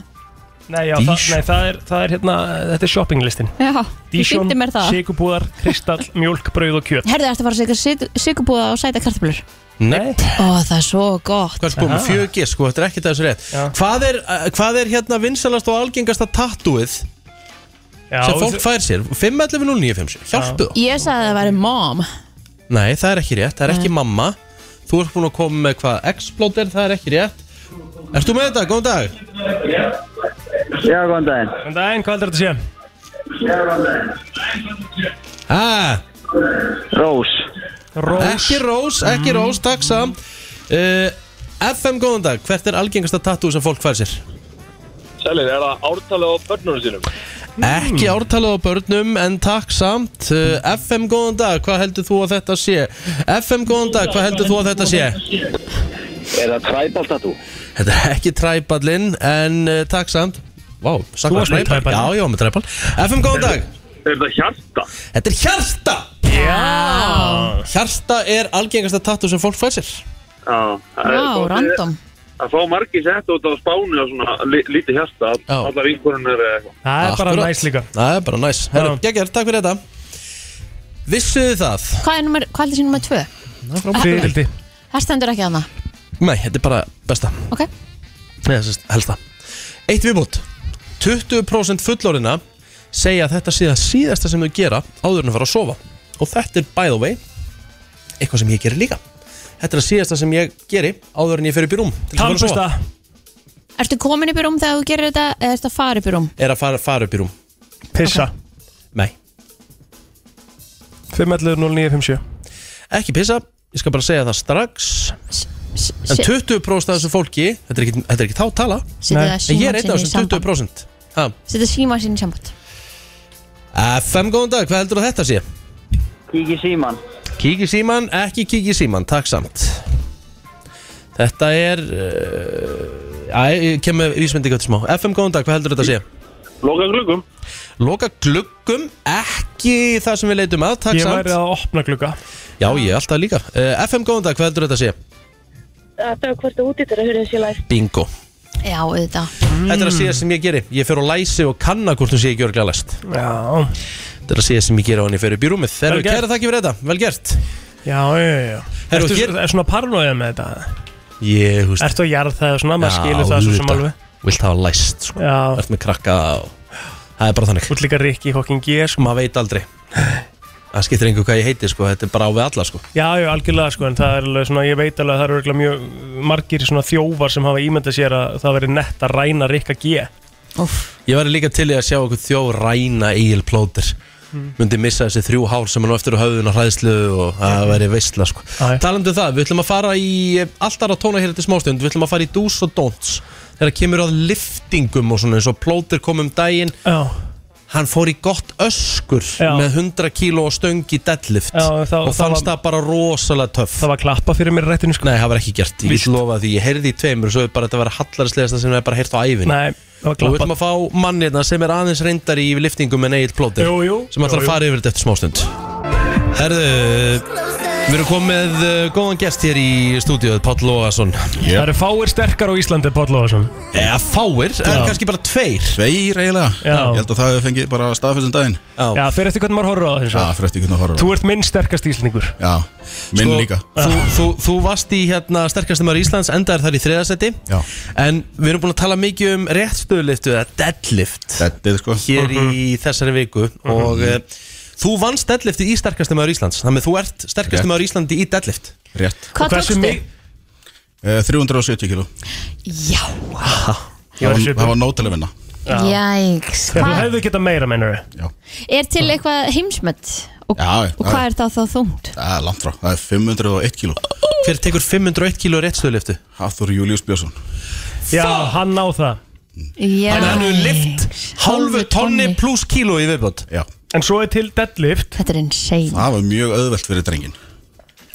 D: Nei, já, það, nei það, er, það er hérna, þetta er shoppinglistin
C: Já, þú
D: Dísjón,
C: fyndi mér það
D: sikurbúðar, kristall, mjólk, brauð og kjöt
C: Herðu, ertu að fara að segja sigurbúða og sæta kartöflur
A: Nei
C: Ó, það er svo gott
A: Hvað er sko með
C: Aha.
A: 4G, sko, þetta er ekkert að þessu rétt hvað er, uh, hvað er hérna vinsalast og algengasta tattúið sem fólk
D: þú-
A: fær sér 511957, hjálpu það
C: Ég sagði að það væri mom
A: Nei, það er ekki rétt, það er ekki mamma Þú ert búin að koma með hvað Explode er, það er ekki rétt Ert þú með þetta, góðan dag
L: Já, góðan daginn
D: Góðan daginn, hvað heldur þetta sé?
A: ah.
L: Rós
A: Ekki rós, ekki
L: Mm.
A: rós, takk samt uh, FM, góðan dag, hvert er algengasta tattúið sem fólk fær sér?
M: Sælir, er það ártalið á börnunum sínum?
A: Mm. Ekki ártalið á börnum en takk samt uh, FM góðan dag, hvað heldur þú að þetta sé? FM góðan dag, hvað heldur þú að þetta sé?
L: Er það træbalt að þú?
A: Þetta er ekki træballinn en uh, takk samt Vá,
L: Þú
A: sagði
L: varst með
A: træball Já, já, með træball FM góðan dag
M: Er það hjarta?
A: Þetta er hjarta Já Hjarta er algengasta tattu sem fólk fær sér
M: Já það er
C: Vá,
M: gott.
C: random
M: Að fá margir sett út á spánu og svona li, lítið hjarta Alla vinkurinn er eitthvað
D: Það er bara
A: Akkurat.
D: næs líka
A: Það er bara næs Herru, geggjör, takk fyrir þetta Vissuð þið það?
C: Hvað er nummer, hvað heldur sé nummer tvö?
A: Fyrildi
C: Það stendur ekki að
A: Nei, þetta er bara besta
C: Ok.
A: Nei, það sést helsta Eitt viðbútt 20% fullorina segja að þetta sé það síðasta sem þau gera áður en að fara að sofa og þetta er by the way eitthvað sem ég gerir líka Þetta er það síðasta sem ég geri áður en ég fer upp í rúm til þess að fara að sofa.
C: Ertu komin upp í rúm þegar þú gerir þetta eða ertu að fara upp í rúm?
A: Er að fara, fara upp í rúm
D: Pissa
A: Nei
D: 5.11.09.57
A: Ekki pissa, ég skal bara segja það strax En 20% af þessu fólki Þetta er ekki, þetta er ekki þá tala
C: Setið það
A: En ég er einn af
C: símann sinn í
A: þessum 20% Ha.
C: Setja síma sín í samband
A: FM, góðan dag, hvað heldur þetta sé?
L: Kík í síman
A: Kík í síman, ekki kík í síman, takk samt Þetta er uh, Æ, kemur vísmyndingar til smá FM, góðan dag, hvað heldur þetta sé?
M: Loka gluggum
A: Loka gluggum, ekki það sem við leitum að, takk
D: Ég
A: samt
D: væri að opna glugga
A: Já, ég alltaf líka uh, FM, góðan dag, hvað heldur þetta sé?
F: Þetta er hvort að úti þetta að höra þessi læf.
A: Bingo
C: Já, auðvitað
A: Þetta er að
D: Mm.
A: síðast sem ég geri Ég fer og læsi og kanna hvort hún sé ekki örglega læst
D: Já
A: Þetta er að síðast sem ég geri á henni fyrir upp í rúmið Þeir
D: Vel
A: eru
D: gert.
A: kæra þakki fyrir þetta, vel gert
D: Já, já, já, já
A: Herru,
D: Ertu
A: hér-
D: er svona paranoið með þetta?
A: Ég, húst
D: Ertu að jarð það og svona, maður skilur það svo sem alveg
A: Vilt hafa læst, sko
D: Já.
A: Ert með krakka og Það er bara þannig
D: Þú ert líka Rikki Hawking G, sko
A: Maður veit aldrei Það skiptir einhver hvað ég heiti, sko Þetta er bara á við alla, sko
D: Já, já, algjörlega sko, en það er alveg svona, ég veit alveg að það eru örugglega mjög margir svona þjófar sem hafa ímyndað sér að það veri nett að ræna Rikka G.
A: Ég væri líka til í að sjá okkur þjó ræna Egil Plóter
D: Mm.
A: Myndi missa þessi þrjú hár sem hann á eftir á höfðun og hræðslu og það væri veistla, sko Talandi um það, við ætlum að fara í Alltaf að tóna hér til smástund, við ætlum að fara í dús og dónts Þegar kemur að liftingum og svona eins og Plóter kom um daginn
D: Já.
A: Hann fór í gott öskur með 100 kíló og stöng í deadlift
D: Já, þá-
A: og
D: þá
A: fannst
D: var-
A: það bara rosalega töff
D: Það var klappa fyrir mér rættinu sko
A: Nei, það var ekki gert, ég get lofa því, ég heyrði í tveimur og svo er bara þetta að vera hallarslegasta sem ég hef bara heyrt á ævinni
D: Nei, það var
A: Og við ætlum
D: klappa
A: að fá mannirna sem er aðeins reyndar í liftingum en Egil Plóter
D: Jú, jú,
A: sem
D: jú,
A: ætlar að fara yfir þetta eftir smástund Herðu, við erum komið með uh, góðan gest hér í stúdíu Páll Lóðarsson
D: Það eru fáir sterkar á Íslandi, Páll Lóðarsson
A: Já, Eh, fáir, en kannski bara tveir
N: Tveir eiginlega Ég held að það hefur fengið bara staðfestum daginn
A: Já,
D: Já, fyrir eftir hvernig maður horfður á það hins
N: Já,
D: vegar.
N: fyrir eftir hvernig horfum
D: Þú ert minn sterkast Íslandingur
N: Já, minn
A: Sko-
N: líka
A: þú, þú, þú varst í hérna sterkastum ára Íslands endaðar þar í þriðasetti
N: Já.
A: en við erum búin að tala mikið um réttstöðliftu eða deadlift
N: Deadlift sko
A: hér
D: Mhm.
A: í þessari viku og uh, þú vannst deadlifti í sterkastum ára Íslands þannig að þú ert sterkastum ára Íslandi í deadlift
N: Rétt
C: Hvað
A: Og hversu
C: tókstu?
A: mi-
N: Eh, 370 kíló
C: Já,
N: Það var- það var nótileg vinna
C: jæks
D: Þegar þú
C: Hvað-
D: hefðu getað meira, mennur þau?
C: Er til eitthvað heimsmet? Og,
N: Já,
C: og hvað er það þá þungt?
N: Það er langt frá, það er 501 kíló
A: Hver tekur 501 kíló réttstöðliftu?
N: Hafþór Július Björnsson
D: Já, hann á það
C: Já
A: Þannig að hann hefur lift hálfu tonni pluss kíló í viðbót
N: Já
D: En svo er til deadlift
C: Þetta er insane
N: Það var mjög auðvelt fyrir drengin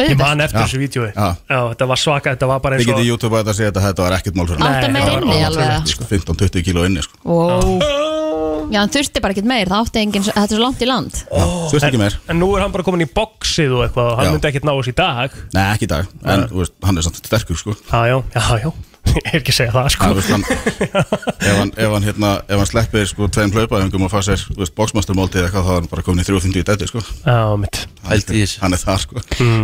D: Ég man eftir
N: Já.
D: þessu vídjói
N: Já.
D: Já, þetta var svaka, þetta var bara
N: Þið
D: eins
N: getið
D: og
N: YouTube að þetta segja þetta, þetta var ekkert mál fyrir
C: Átta
N: mig.
C: meir
N: Það var
C: inni
N: alveg
C: alveg,
N: rétt, sko, 15-20 kíló inni sko. Ah.
C: Wow. Já, hann þurfti bara ekkert meir Það átti engin, þetta er svo langt í land
N: Þú veist ekki meir
D: En nú er hann bara komin í boxið og eitthvað og hann
N: Já.
D: myndi ekkert ná þessu í dag
N: Nei, ekki í dag, en þú veist, hann er samt sterkur sko
D: Já, já, já, já Ég er ekki að segja það sko
N: Já, veist, hann, ef, hann, ef, hann, hérna, ef hann sleppir sko tveim hlaupaðingum og fá sér boksmasturmóldi eða eitthvað þá er hann bara komin í 3.50 í dæti sko
D: Já, mitt
N: Hann er það sko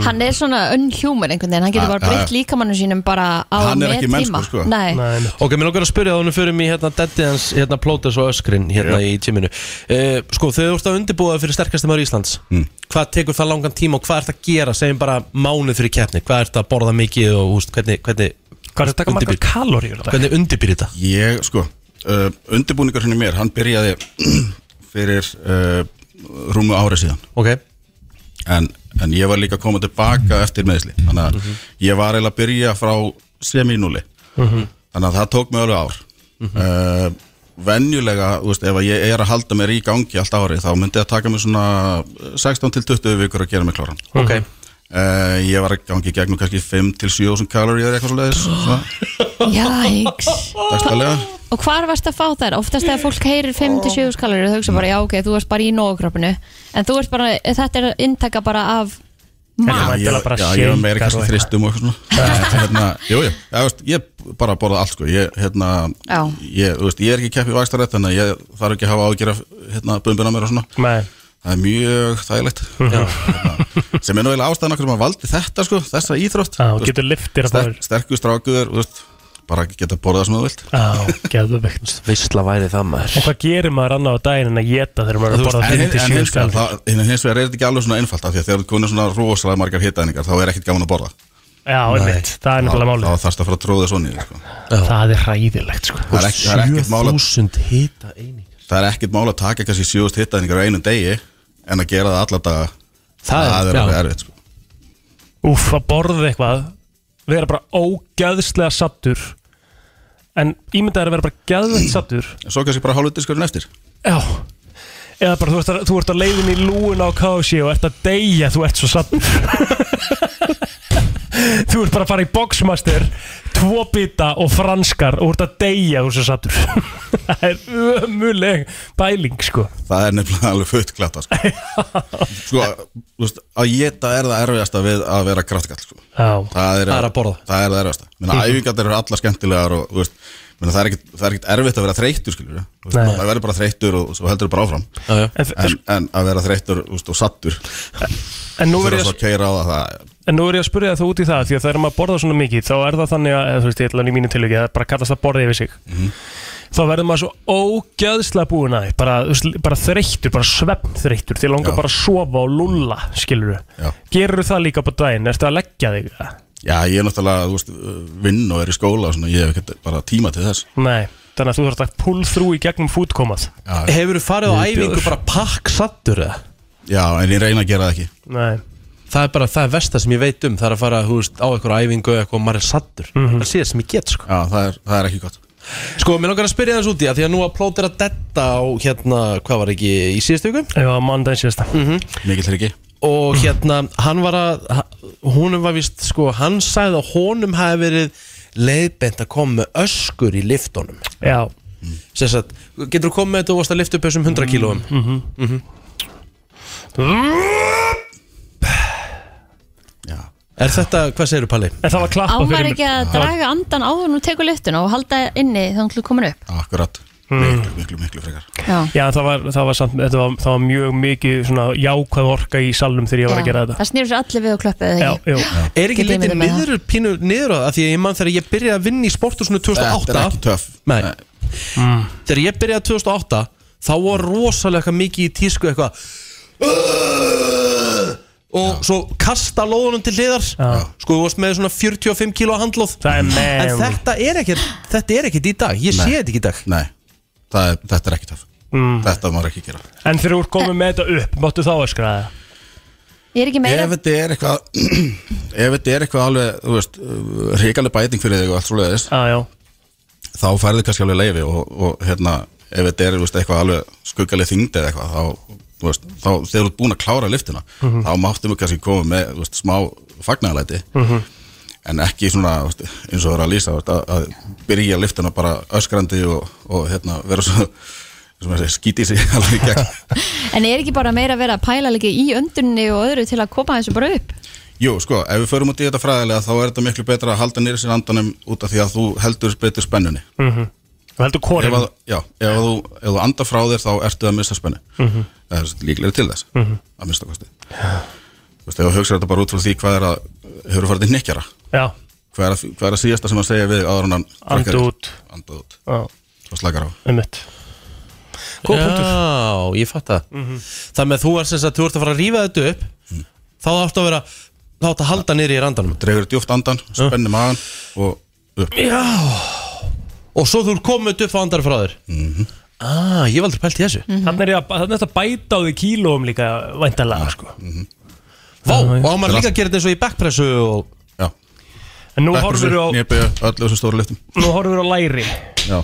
C: Hann er svona unhuman einhvern veginn, hann getur
N: Ah,
C: bara breytt
N: ah.
C: líkamannu sínum bara á með tíma.
N: sko.
C: Nei.
A: Ok, mér langar að spyrja þá, við förum í hérna Detti hans, hérna Plóters og Öskrin hérna í tíminu uh, Sko, þegar þú ert að undirbúa þig fyrir sterkastum maður Íslands Hvað tekur það langan tíma og hvað ert að gera, segjum bara mánuð fyrir keppni Hvað ert að borða mikið og úst, hvernig, hvernig
D: Hvað ert að taka margar kaloríur þetta?
A: Hvernig undirbýr þetta?
N: Ég, sko, uh, undirbúningur henni mér, hann byrjaði fyrir uh, rúmu ári síðan
A: Ok
N: en, en ég var líka að koma tilbaka eftir meðsli Þannig að ég var eiginlega að byrja frá semínúli
B: Mhm.
N: Þannig að það tók mig alveg ár mm Venjulega, þú veist, ef að ég er að halda mér í gangi allt árið Þá myndi það taka mig svona 16 til 20 vikur að gera mig kláran
A: Ok.
N: Uh, ég var að gangi í gegnum kannski 5 til 7000 kalorí eða eitthvað svoleiðis svona,
C: Jæks.
N: dagstælega
C: Og hvar varst að fá þær? Oftast þegar fólk heyrir 5-7 skalur þau hugsa bara, já ok, þú varst bara í nógkroppinu. En þú ert bara, þetta er inntaka bara af
N: Já,
C: mat.
N: ég,
D: bara sko.
N: já, ég var
D: shakar og
N: meira kannski
D: eitthvað.
N: þristum og eitthvað svona hérna, Jú, jú, ég, veist, ég bara borða allt sko Ég, hérna,
C: Já.
N: ég, þú veist, ég er ekki keppi í vakstarætt Þannig að ég þarf ekki að hafa ágjör af hérna, bumbin á mér og svona
D: Nei.
N: Það er mjög þægilegt
D: Mhm.
N: hérna, Sem er nú eiginlega ástæðan okkur sem að valdi þetta sko Þessa íþrótt
D: Já,
N: þú veist,
D: getur lyftir að
N: sterk, Sterku strákuður, þú veist Bara geta borðað sem þú vilt
D: Já, geðveikt.
A: Vistla væri það maður
D: En hvað gerir maður annað á daginn en að geta þegar maður er að
N: Þú
D: borða
N: veist, en,
D: 5 til
N: en
D: 7
N: hins vegar
D: skalur?
N: það- en hins vegar er þetta ekki alveg svona einfalt af því að þegar þú kunir svona rosalega margar hitæningar þá er ekkert gaman að borða
D: Já, einmitt,
N: Nei.
D: það er nefnilega
N: Þá-
D: málið
N: þá þarfst að fara að tróða svo niður sko.
D: Það er hræðilegt sko
N: það er ekki- það er ekkert mál að-
A: 7000 hita eining
N: það er ekkert mál að taka kannski sjóðust hittæðningar á einum degi en að gera það alla daga
D: Það er-
N: er
D: já.
N: alveg erfitt sko.
D: Úf, að borða eitthvað vera bara ógæðslega sattur en ímyndað er að vera bara gæðveikt sattur
N: Svo kannski bara hálfur diskurinn eftir
D: Já Eða bara þú ert, að, þú ert að leiðin í lúuna á kási og ert að deyja, þú ert svo sattur Þú ert bara að fara í boxmaster tvo bita og franskar og ert að deyja þú ert svo sattur Það er ömuleg bæling sko
N: það er nefnilega alveg fullklata sko. sko, þú veist, að geta er það erfiðasta við að vera kraftkall sko.
D: Já.
N: það er,
A: Það er að borða.
N: það er það erfiðasta Minna,
A: Mhm.
N: æfingarnar eru allar skemmtilegar og, þú veist, minna, það, er ekkit, það er ekkit erfitt að vera þreyttur skilur,
D: Nei.
N: það verður bara þreyttur og svo heldur bara áfram
A: já, já.
D: En,
N: en, að vera þreyttur þú veist, og sattur
D: En nú verður
N: þurfa
D: ég
N: svo að keira á það, það
D: En nú er ég að spyrja þú út í það því að þegar maður borðar svona mikið þá er það þannig að, eða þú veist, ég ætla hann í mínu tilviki það bara kallast að borða yfir sig þá verður maður svo ógjöðslega búin að því, bara, þú veist, bara þreyttur, bara svefn þreyttur því langar bara að sofa og lulla skilur
N: Já.
D: þú, gerur það líka upp á daginn ertu að leggja þig eða?
N: Já, ég er náttúrulega, þú veist, vinn og er í skóla og svona, ég hef ekki bara tíma til þess
D: Nei, þannig að þú þarf að pull through í gegnum fútkomað
A: Hefur þú farið á æfingu bara pakk sattur eða?
N: Já, en ég reyna að gera það ekki
D: Nei.
A: Það er bara, það er versta sem ég veit um Það er að fara, þú veist, á eitthvað æfingu eða eitthvað og maður er sattur Það er síðast sem ég get, sko
N: Já, það er, það er ekki gott
A: Sko, mér langar að spyrja þess út í að því að nú að plót er að detta á, hérna, hvað var ekki, í síðustu viku?
D: Já, mandaginn síðasta
A: mm -hmm.
N: Mikið þryggi
A: Og hérna, hann var að, húnum var vist, sko, hann sagði að honum hafi verið leiðbent að koma með öskur í liftunum
D: Já
A: Sess að, getur þú komið með þetta og varst að lifta upp þessum 100 kílóum? Mhm.
D: mm -hmm.
A: Er þetta, hvað segirðu, Palli?
D: En það var klappa
C: Ámar ekki að draga andan áður nú tekur lyftuna og halda inni þannig að komin upp.
N: Akkurat,
A: Hmm.
N: miklu, miklu, miklu frekar
C: Já.
D: Já, það var, það var, samt, þetta var, það var mjög mikið svona jákvæð orka í salnum þegar ég var að gera þetta
C: Það snýrur sér allir við og klöppuðu
D: Já,
C: ekki.
D: já.
A: Er ekki
C: Get ég
A: litið
C: myndað með það?
A: niður, pínu niður á það Af Því að ég mann þegar ég byrjaði að vinna í sporthúsinu 2008
N: Þetta er ekki töff.
A: Nei. Þegar ég byrjaði 2008 Þá var rosalega eitthvað mikið í tísku eitthvað Og svo kasta lóðunum til hliðar Sko þú varst með svona 45 kíló handlóð En
D: meðalið.
A: þetta er ekkert Þetta er ekkert í dag, ég sé þetta ekki í dag
N: Nei, það er, þetta er ekki töff
A: Hmm.
N: Þetta maður ekki gera
D: En þegar þú ert komið með þetta upp, máttu þá öskra það?
C: Ég er ekki meira.
N: Ef þetta er eitthvað Ef þetta er eitthvað alveg, þú veist, ríkali bæting fyrir þig og allt svoleiðis
D: Já, já
N: Þá færðu kannski alveg leifi og, og hérna, ef þetta er þú veist, eitthvað alveg skuggaleg þyngd eða eitthvað þá, þú veist, þá þegar þú ert búin að klára liftina
B: Mhm.
N: þá máttum við kannski koma með þú veist, smá fagnalæti en ekki svona þú veist, eins og það er að lýsa þú veist, að, að byrja liftuna bara öskrandi og, og hérna, vera svo sem að segja, skíti sig alveg í gegn
C: En er ekki bara meira að vera að pæla líka í öndunni og öðru til að koma þessu bara upp?
N: Jú, sko, ef við förum út í þetta fræðilega þá er þetta miklu betra að halda nýri sér andanum út af því að þú heldur betur spennunni
D: Mhm. Þú heldur kórinn.
N: Ef að- Já, ef að þú, ef þú andar frá þér þá ertu að missa spennu
D: Mhm.
N: Það er líklega til þess,
D: Mhm.
N: að mista kosti Þú veist, ef þú hugsar þetta bara út frá því hvað er að hefur farið til nekkjara
D: Já.
N: hvað er, að, hvað er að síðasta sem að segja við áður en hann
D: Anda
N: frekar-
D: út.
N: Anda út
D: Já.
N: og slakar á
D: Einmitt. Góð punktur.
A: Já, ég fatt það
D: Mhm.
A: Þannig að þú er sem sagt, þú ert að fara að rífa þetta upp Þá áttu að vera Þá áttu að halda niður í randanum
N: Dregur djúft andan, spenni magan og upp
A: Já Og svo þú er komið upp á andar frá þér
N: mm
D: Mhm.
N: -hmm.
A: Ah, ég var aldrei pælt í þessu
D: Þannig er þetta að, þarna ertu að bæta á því kílóum líka væntalega sko.
A: Vá, og á maður líka að gera þetta eins og í backpressu og...
N: Já
D: En nú horfir á
N: Nýrbið öllu þessum stóru lyftum
D: Nú horfum við á læri
N: Já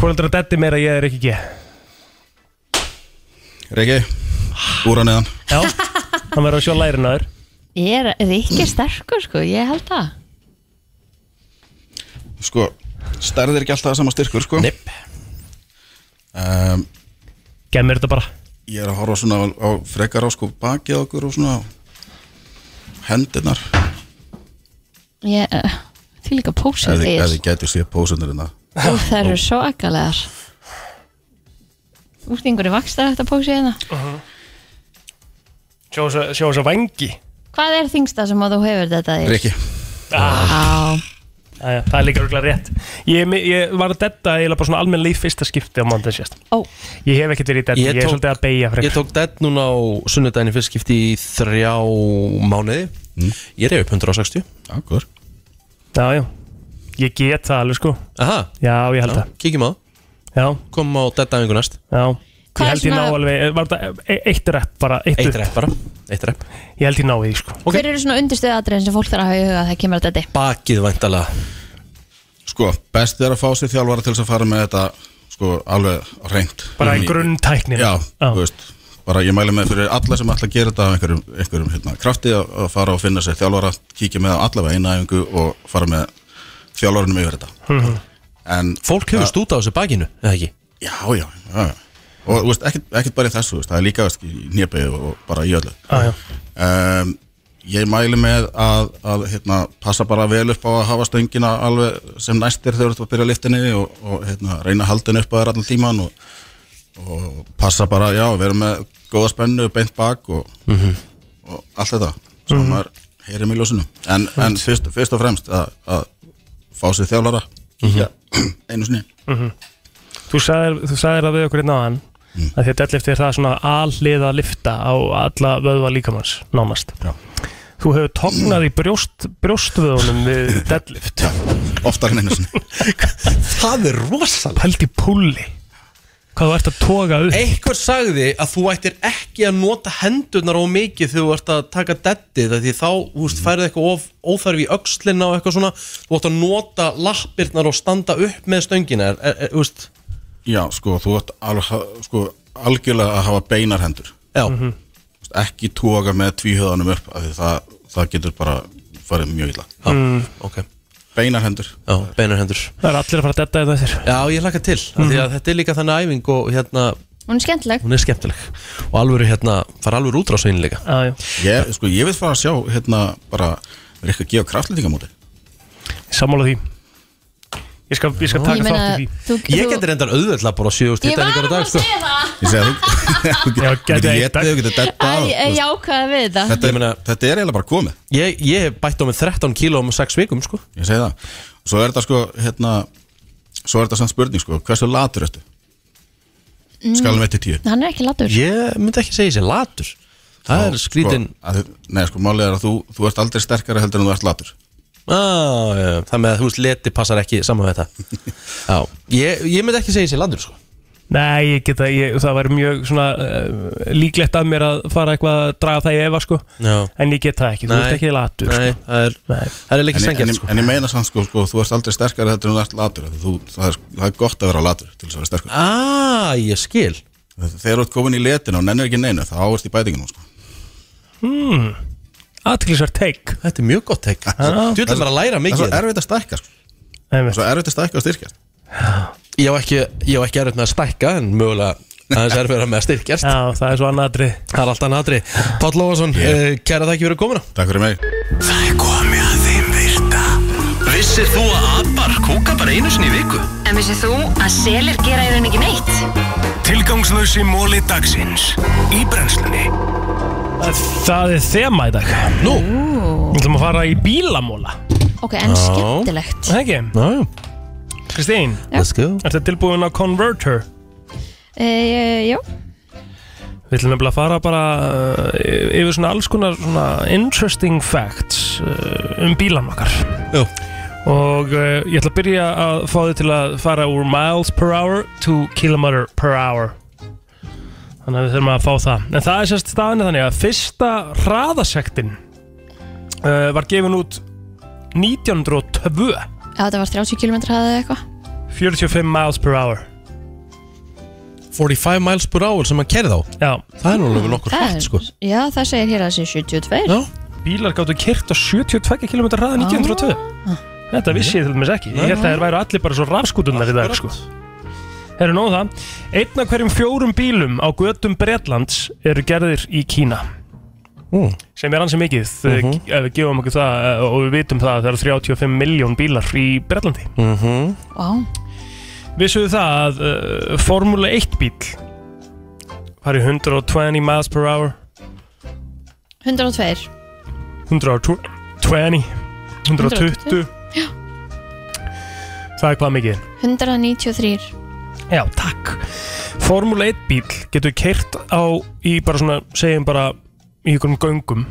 D: Hvor heldur að detti meira ég er ekki ekki
N: Riki, úr að neðan
D: Já, hann verður að sjá lærin að þér
C: Ég er, er ekki sterkur sko, ég held það
N: Sko, stærð er ekki alltaf sama styrkur, sko Nipp um,
D: Gemir þetta bara
N: Ég er að horfa svona á, á frekar á sko bakið á okkur og svona á hendirnar
C: Ég, uh, því líka
N: Ef
C: pósum
N: þið- ef
C: þig
N: þið gætu séð hérna. pósunar innan
C: Ú, það eru svo ekkalegar Úr einhverju vakstar þetta pósi hérna
D: Sjá þess að- sjá þess að vangi
C: Hvað er þingsta sem að þú hefur þetta þér?
N: Riki
C: ah.
D: Æja, Það er líka röglega rétt Ég, er mi- ég var að detta eiginlega bara svona almenn líf fyrsta skipti á mándan sérst
C: Ó.
D: Ég hef ekkert verið í detti, ég, er svolítið að beigja
A: Ég tók dead núna á sunnudaginn í fyrst skipti í þrjá mánuði
D: Mm.
A: Ég reyði upp 160
N: Akkur
D: Já, já, ég get það alveg sko
A: Aha.
D: Já, ég held það
A: Kíkjum á
D: Já
A: Komum á dead aðingu næst
D: Já Ég
A: Hvað er
D: held ég ná
A: svona-
D: alveg, var þetta e- eitt rep bara Eitt,
A: Eitt rep bara, eitt rep
D: Ég held ég ná því sko
C: Hver eru svona undirstöðu atriðin sem fólk þarf að hafa í huga að það kemur að þetta?
A: Bakið væntalega
N: Sko, best er að fá sér þjálfara til þess að fara með þetta sko, alveg reynd
D: Bara í grunntæknina.
N: Já, þú veist bara ég mæli með fyrir alla sem ætla að gera þetta af einhverjum, einhverjum hérna, krafti að að fara og finna sér þjálfara, kíkja með á allavega eina æfingu og fara með þjálfarunum yfir þetta
A: Mhm.
N: en,
A: Fólk hefur stúta á þessu bakinu, eða ekki?
N: Já, já, já já. og þú veist, ekkert, ekkert bara í þessu þú veist, það er líka veist, í nýjabegi og bara í öllu
D: Já, já.
N: um, ég mæli með að, að hérna, passa bara vel upp á að hafa stöngina alveg sem næstir þegar þú ert að byrja liftinni og, og hérna, reyna að halda henni upp á þér allan tíman og, og passa bara, já, vera með góða spennu, beint bak og,
A: Mhm.
N: og allt þetta sem
A: Mhm.
N: maður heyrir í ljósinu en, en fyrst, fyrst og fremst að, að fá sér þjálfara kíkja einu sinni
D: Mhm. Þú sagðir, þú sagðir að við okkur einn aðan mm. að þetta deadlift er það svona alliða lifta á alla vöðva líkamanns nánast
N: Já.
D: Þú hefur tognað í brjóst, brjóstvöðunum við deadlift
N: Oftar en einu sinni
A: Það er rosalega
D: Pælt í púli Hvað þú ert að toga upp
A: Einhver sagði að þú ættir ekki að nota hendurnar of mikið þegar þú ert að taka deadið af því þá þú veist, færið eitthvað of, óþarf í öxlinna og eitthvað svona þú ætti að nota lappirnar og standa upp með stöngina er, er, er, úst,
N: Já, sko, þú ert alveg, sko, algjörlega að hafa beinar hendur
A: Já
N: Ekki toga með tvíhöðanum upp af því það, það getur bara farið mjög illa
A: Já, Mm. okay.
N: Beinar hendur
A: Já, beinar hendur
D: Það er allir að fara að detta hérna þetta þessir
A: Já, ég hlakka til mm því að þetta er líka þannig æfing og hérna,
C: Hún er skemmtileg
A: hún er skemmtileg og alvöru hérna, fara alvöru útrásvein líka
D: Já, já
N: Ég, sko, ég vil fara að sjá, hérna, bara er eitthvað að gefa kraftlýtingamóti
D: Sammála því Ég skal, ég skal
C: Já.
D: taka
C: Ég meina,
D: þátt í því
C: þú-
A: Ég geti reyndar auðvöldlega bara 7.000
C: Ég var
A: hitæningar á
C: að
A: dag sko.
C: segja það
N: Ég segi að þú
D: Já,
N: getur getið, þú getur detta
C: Æ, ég ákvaða við þetta
N: þetta, meina, þetta er eiginlega bara komið
A: Ég, ég hef bætt á mig 13 kíló um 6 vikum sko.
N: Ég segi það Svo er þetta, sko, hérna Svo er þetta samt spurning, sko, hversu latur ertu? um
C: Mm.
N: Skalum 1-10
C: Hann er ekki latur
A: Ég myndi ekki segja sér latur Það er skrítin
N: sko, að, Nei, sko, málið er að þú, þú ert aldrei sterkari heldur en þú ert latur
A: ah, já, Það með að þú veist leti passar ekki saman við þetta Já, ég, ég myndi ekki segja sér latur sko.
D: Nei, ég geta, ég, það væri mjög svona uh, líklegt af mér að fara eitthvað að draga það í efa sko
A: Já.
D: En ég get það ekki, þú
A: Nei.
D: ert ekki latur
A: Nei,
D: sko.
A: það er, það er ekki
N: En-
A: sengjart
N: en,
A: sko.
N: en ég meina samt sko, sko, þú ert aldrei sterkari heldur en þú ert latur af því þú, það, er, það er gott að vera latur til þess að vera sterkur
A: Ah, ég skil
N: Þegar þú ert komin í letina og nennir ekki neina þá ert í bætinginu sko.
D: Hmm, aðtiklisar teik
A: Þetta er mjög gott teik Þú ætlar bara að læra mikið
N: Það er svo erfitt að stækka sko.
D: Það
N: er svo erfitt að stækka og styrkjast
A: Ég á ekki, ég á ekki erfitt með að stækka en mögulega Það er sérfæra með að styrkjast
D: Já, það er svo annað atri
A: Það er allt annað atri Páll Lófason, yeah. kæra þakki fyrir komuna
N: Takk fyrir mig
B: Það er komið að þeim virta Vissir þú að abar kúka bara einu sinni í viku?
O: En vissið þú að selir gera í rauninni ekki neitt?
B: Tilgangslösi móli dagsins Í brennslunni
D: Það er þema í dag Nú Við ætlum að fara í bílamóla
C: Ok, en skemmtilegt
D: Það ekki? Já, já Kristín
A: Let's go
D: Er þetta tilbúin að Converter?
C: e, Jó
D: Við ætlum nefnilega að fara bara uh, yfir svona alls konar svona interesting facts uh, um bílan okkar
A: Jú
D: Og uh, ég ætla að byrja að fá þið til að fara úr miles per hour to kilometer per hour Þannig að við þurfum að fá það En það er sérst staðinni þannig að fyrsta hraðasektin uh, var gefin út 1902
C: Já, þetta var 30 km hraðið eitthvað
D: 45 miles per hour
A: 45 miles per hour sem hann kæri þá
D: Já
A: Það er nú alveg nokkur
C: Það er-
A: hrætt sko
C: Já, það segir hér að það sé 72 Já,
D: Bílar gáttu kyrt á 72 km
A: Ah.
D: hraða 1902 Þetta vissi ég til dæmis ekki Ég held að þeir væru allir bara svo rafskutunar í dag sko. Herru nóg um það Einn af hverjum fjórum bílum á götum Bretlands eru gerðir í Kína
A: Mm.
D: sem er ansi mikið uh
A: Mhm.
D: ef við gefum okkur það eh, og við vitum það að það eru 35 miljón bílar í Bretlandi
A: mm -hmm.
C: Vá
D: Vissuðu það að uh, Formule 1 bíl fari 120 miles per hour
C: 102
D: 120 120
C: Já.
D: Það er hvað mikið
C: 193
D: Já, takk Formule 1 bíl getur keirt á í bara svona, segjum bara í einhverjum göngum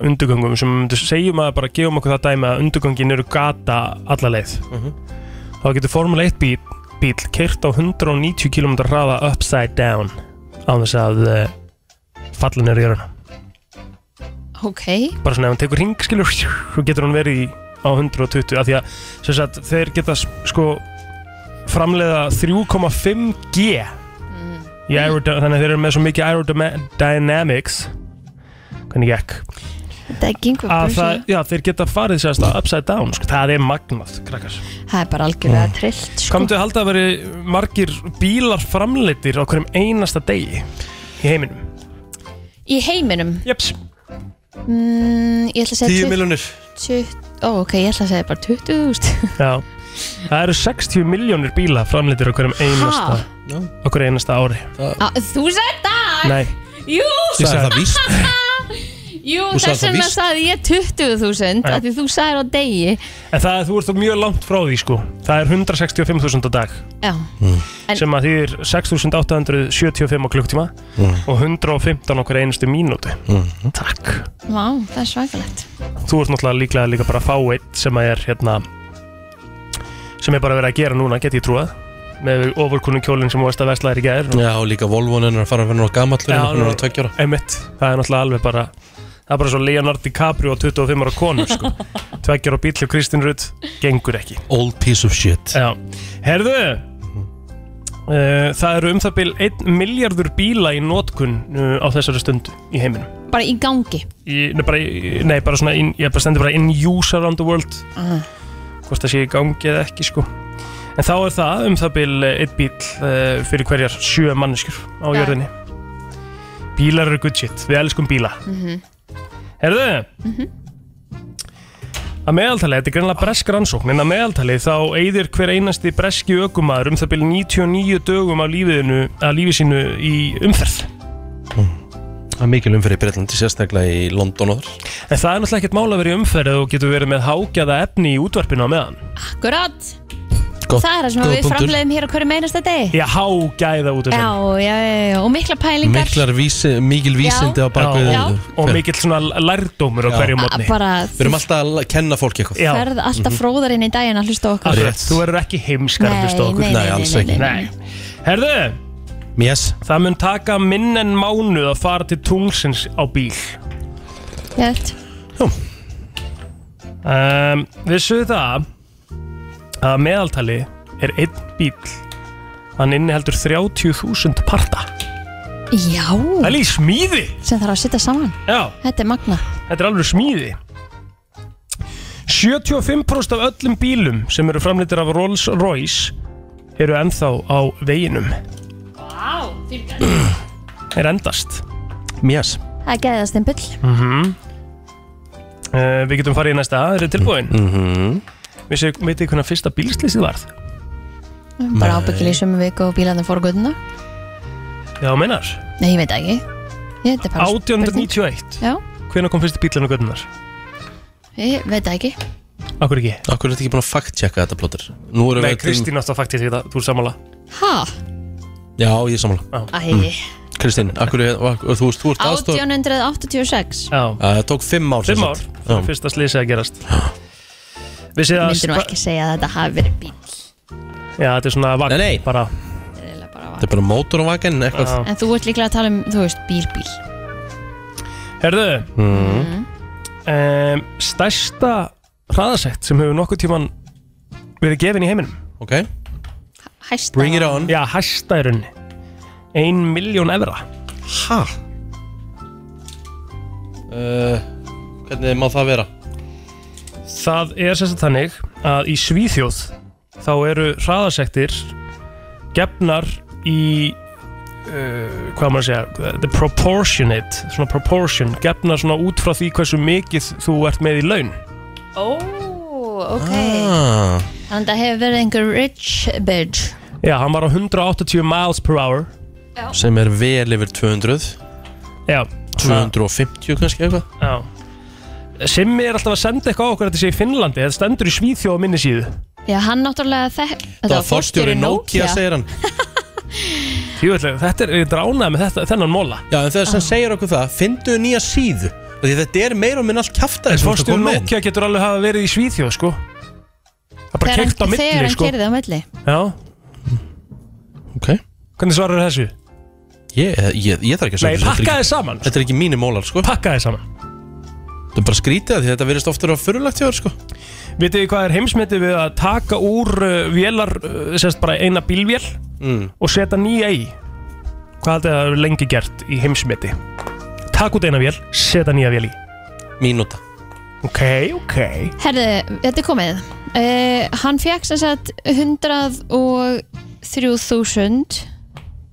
D: undugöngum sem myndi- segjum að bara gefum okkur það dæmi að undugöngin eru gata alla leið þá getur Formule 1 bíl, bíl keirt á 190 km hraða upside down á þess að uh, fallin er í jörðina
C: Ok
D: bara svona ef hann tekur ring skilur svo getur hann verið í- á 120 af því að sem sagt, þeir geta s- sko framleiða 3,5G í aeroda- þannig að þeir eru með svo mikið aerodynamics hvernig gekk
C: Þetta er gengur bara
D: að Ah, það,
C: svo-
D: já, þeir geta farið sérst að upside down sko. það er magnað, krakkars
C: Það er bara algjörlega trillt sko.
D: komdu að halda að veri margir bílar framleittir á hverjum einasta degi í heiminum
C: Í heiminum
D: Jeps
C: mm, Ég ætla að segja
D: 10
C: 20
D: milljónir.
C: 20 Ó, ok, ég ætla að segja bara 20.000
D: Já, það eru 60 miljónir bíla framleitir á hverjum einasta,
C: Já.
D: á hverju einasta ári
C: Á, Ah, Þú sagði það
D: Nei,
C: Jú
D: Ég sagði það víst.
C: Jú,
D: Þú sagðir
C: þess
D: það
C: vegna
D: víst.
C: sagði ég 20.000
D: Já.
C: af Því þú sagðir á degi
D: en það, þú ert þó mjög langt frá því sko Það er 165.000 á dag
C: Já
D: Hmm.
C: En-
D: sem að því er 6.875 á klukktíma
A: Mm.
D: og 115 á hverju einustu mínúti Takk
C: Vá, það er svakalegt
D: Þú ert náttúrulega líklega líka bara að fá eitt sem að er hérna sem er bara verið að gera núna, get ég trúað með ofurkunum kjólinn sem þú varst að vesla þér í gær
A: Já, og líka Volvo hennar að fara að vera náttúrulega gamall
D: Já,
A: hennar að tökja ára
D: einmitt, það er náttúrulega alveg bara það er bara svo Leonardo DiCaprio og 25 ára konur sko. tveggjar á bíl og Kristín Rutt gengur ekki
A: Old piece of shit
D: Já. herðu uh, það eru um það bil 1 miljardur bíla í notkun uh, á þessari stundu í heiminum
C: Bara í gangi
D: í, nei, bara, í- nei, bara svona in, ég bara stendur bara in use around the world
C: Ah.
D: hvort það sé í gangi eða ekki sko en þá er það um það bil eh, einn bíl uh, fyrir hverjar sjö manneskjur á
B: Já.
D: jörðinni bílar eru good shit, við elskum bíla Herðu Að meðaltali, þetta er greinlega bresk rannsókn en að meðaltali þá eyðir hver einasti breski ökumaður um það byrja 99 dögum af lífiðinu, að lífi sínu í umferð
A: Það er mikil umfyrir í Breitlandi, sérstaklega í London og þar
D: En það er náttúrulega ekkert mála að vera í umferð og getur verið með hágjaða efni í útvarpinu á meðan
C: Akkurat
D: Gott-
C: Það er það sem
D: góður
C: við
D: punktur.
C: framleiðum hér á hverju meinasta degi
D: Já, hágæða
C: já,
D: útvarpinu
C: já, já, og mikla pælingar
A: Miklar vísi, mikil vísindi á
D: Já.
A: bakvið
C: Já.
D: Og mikill svona lærdómur á
A: Já.
D: hverju mótni
C: Bara,
A: Við erum alltaf að kenna fólki eitthvað
C: ferð alltaf fróðar inn í daginn að hlusta á
D: Mhm.
C: okkur
D: Akkurat, þú verður ekki heimskar
C: Nei,
D: að hlusta á okkur
C: nei, nei, Nei, alls nei, ekki. nei, nei,
D: Nei. Herðu
A: yes.
D: Það mun taka minn en mánuð að fara til tungsins á bíl
C: Gett.
D: um, Vissu það að að meðaltali er einn bíl Hann inniheldur 30.000 parta
C: Já Það
D: er í smíði
C: Sem þarf að sitta saman
D: Já
C: Þetta er magna
D: Þetta er alveg smíði 75% af öllum bílum sem eru framleitir af Rolls Royce eru ennþá á veginum
C: Vá
D: er endast Mjás
C: Það er gæðast einn byll
D: mm Eh, Við getum farið í næsta, þeir eru tilbúin mm -hmm. Vissu, veitir hvernig fyrsta bílslýsið varð?
C: Bara
D: Hmm. Nei.
C: ábyggilega í sömu viku og bílarnir fór guðuna
D: Já, meinar
C: Nei, ég veit það ekki Ég, þetta er bara spurning.
D: 1891
C: Já,
D: Hvenær kom fyrsti bílun á gödunar?
C: ég veit það ekki
D: Akkur ekki
A: Akkur er þetta ekki búin að fact-checka þetta plótur Nú erum
D: Nei,
A: við- um-
D: Kristín átti að faktið þetta, þú er sammála
C: Ha?
A: Já, ég er sammála
C: Æ.
D: Hmm.
A: Kristín, akkur, er- og- og þú veist, þú ert aðstof
C: 1886
A: Það tók fimm ár sem
D: Fimm ár,
A: sagt.
D: það er fyrsta slýsið að gerast Vissið að
C: Myndir nú ekki segja að þetta hafi verið bíl
D: Já, þetta er svona vagn Nei, nei bara.
A: Þetta er bara mótor og vagen eitthvað
C: En þú ert líklega að tala um, þú veist, bíl, bíl
D: Herðu Mhm. um, Stærsta hraðasett sem hefur nokkuð tíman verið gefin í heiminum
A: Ok
C: Hæsta
D: Bring it on Já, hæsta er unni Ein miljón evra
A: Hæ? Uh, hvernig má það vera?
D: Það er sem sagt þannig að í Svíþjóð þá eru hraðasektir gefnar í uh, hvað á maður að segja the proportionate, svona proportion gefnar svona út frá því hversu mikið þú ert með í laun
C: Ó, ok
D: ah.
C: Þannig að það hefur verið einhver rich bitch
D: Já, hann var á 180 miles per hour
A: Sem er vel yfir 200
D: Já
A: 250 kannski eitthvað
D: Já Sem er alltaf að senda eitthvað á okkur að þetta sé í Finnlandi Þetta stendur í Svíþjóð á minni síðu
C: Já, hann náttúrulega þekk Þetta var forstjóri
A: segir hann
D: Júlega, þetta er, er dránað með þetta, þennan móla
A: Já, en
C: Ah.
A: þess að segir okkur það, fyndu nýja síðu Því þetta er meira og minn allt kjafta
D: En forstjóri Nokia getur alveg hafa verið í Svíþjóð sko Það er bara
C: Þegar hann-
D: keikt á milli
C: Þegar hann
D: sko
C: kerði á milli
D: Já
A: Ok
D: Hvernig svarar þessu?
A: Ég, ég, ég þarf ekki að
D: Nei,
A: þessu, þetta er
D: pakkaði
A: ekki-
D: saman,
A: Þetta er ekki mínir mólar, sko
D: Pakkaði saman
A: Þetta er bara skrítið af því þetta verðist ofta að vera fyrirlagt hjá þér, sko
D: Vitið þið hvað er heimsmetið við að taka úr uh, vélar, uh, sérst bara eina bílvél
A: Mm.
D: og setja nýja í Hvað haldið þið að það er lengi gert í heimsmeti? Takk út eina vél, setja nýja vél í
A: Mínúta
D: Ok, ok
C: Herðu, þetta er komið uh, Hann fekk sem sagt 103.000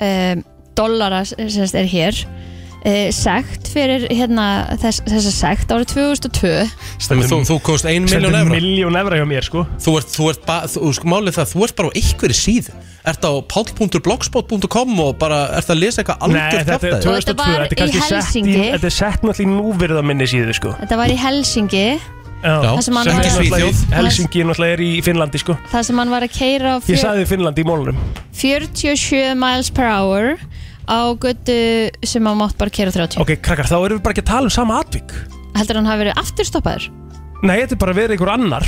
C: uh, dollara sem sagt er hér uh, sekt fyrir hérna þess, þessa sekt árið 2002
A: Stendur, þú, þú komst ein
D: Stendur
A: miljón evra
D: Miljón evra hjá mér, sko
A: Þú ert, þú ert, ba, þú, sko, málið það, þú ert bara á einhverju síðu Ert á pál.blogspot.com og bara, ert að lesa eitthvað
D: Nei,
A: algjör
D: þetta er 2002
C: var
D: er kannski
C: í
D: sett
C: Helsinki.
D: Þetta er sett náttúrulega í núverða minni síðu, sko
C: Þetta var í Helsingi
D: Já,
C: Það sem hann
D: sem
C: var-
D: er náttúrulega í-
C: Svíþjóð.
D: Helsingi er náttúrulega er í Finnlandi, sko
C: þar sem hann var að keira á
D: Ég
C: fjör,
D: sagði Finnlandi í mólunum
C: 47 miles per hour á götu sem hann mátt bara keira 30
D: Ok, krakkar, þá erum við bara ekki að tala um sama atvik
C: Heldur hann hafi verið afturstoppaður?
D: Nei, þetta er bara verið einhver annar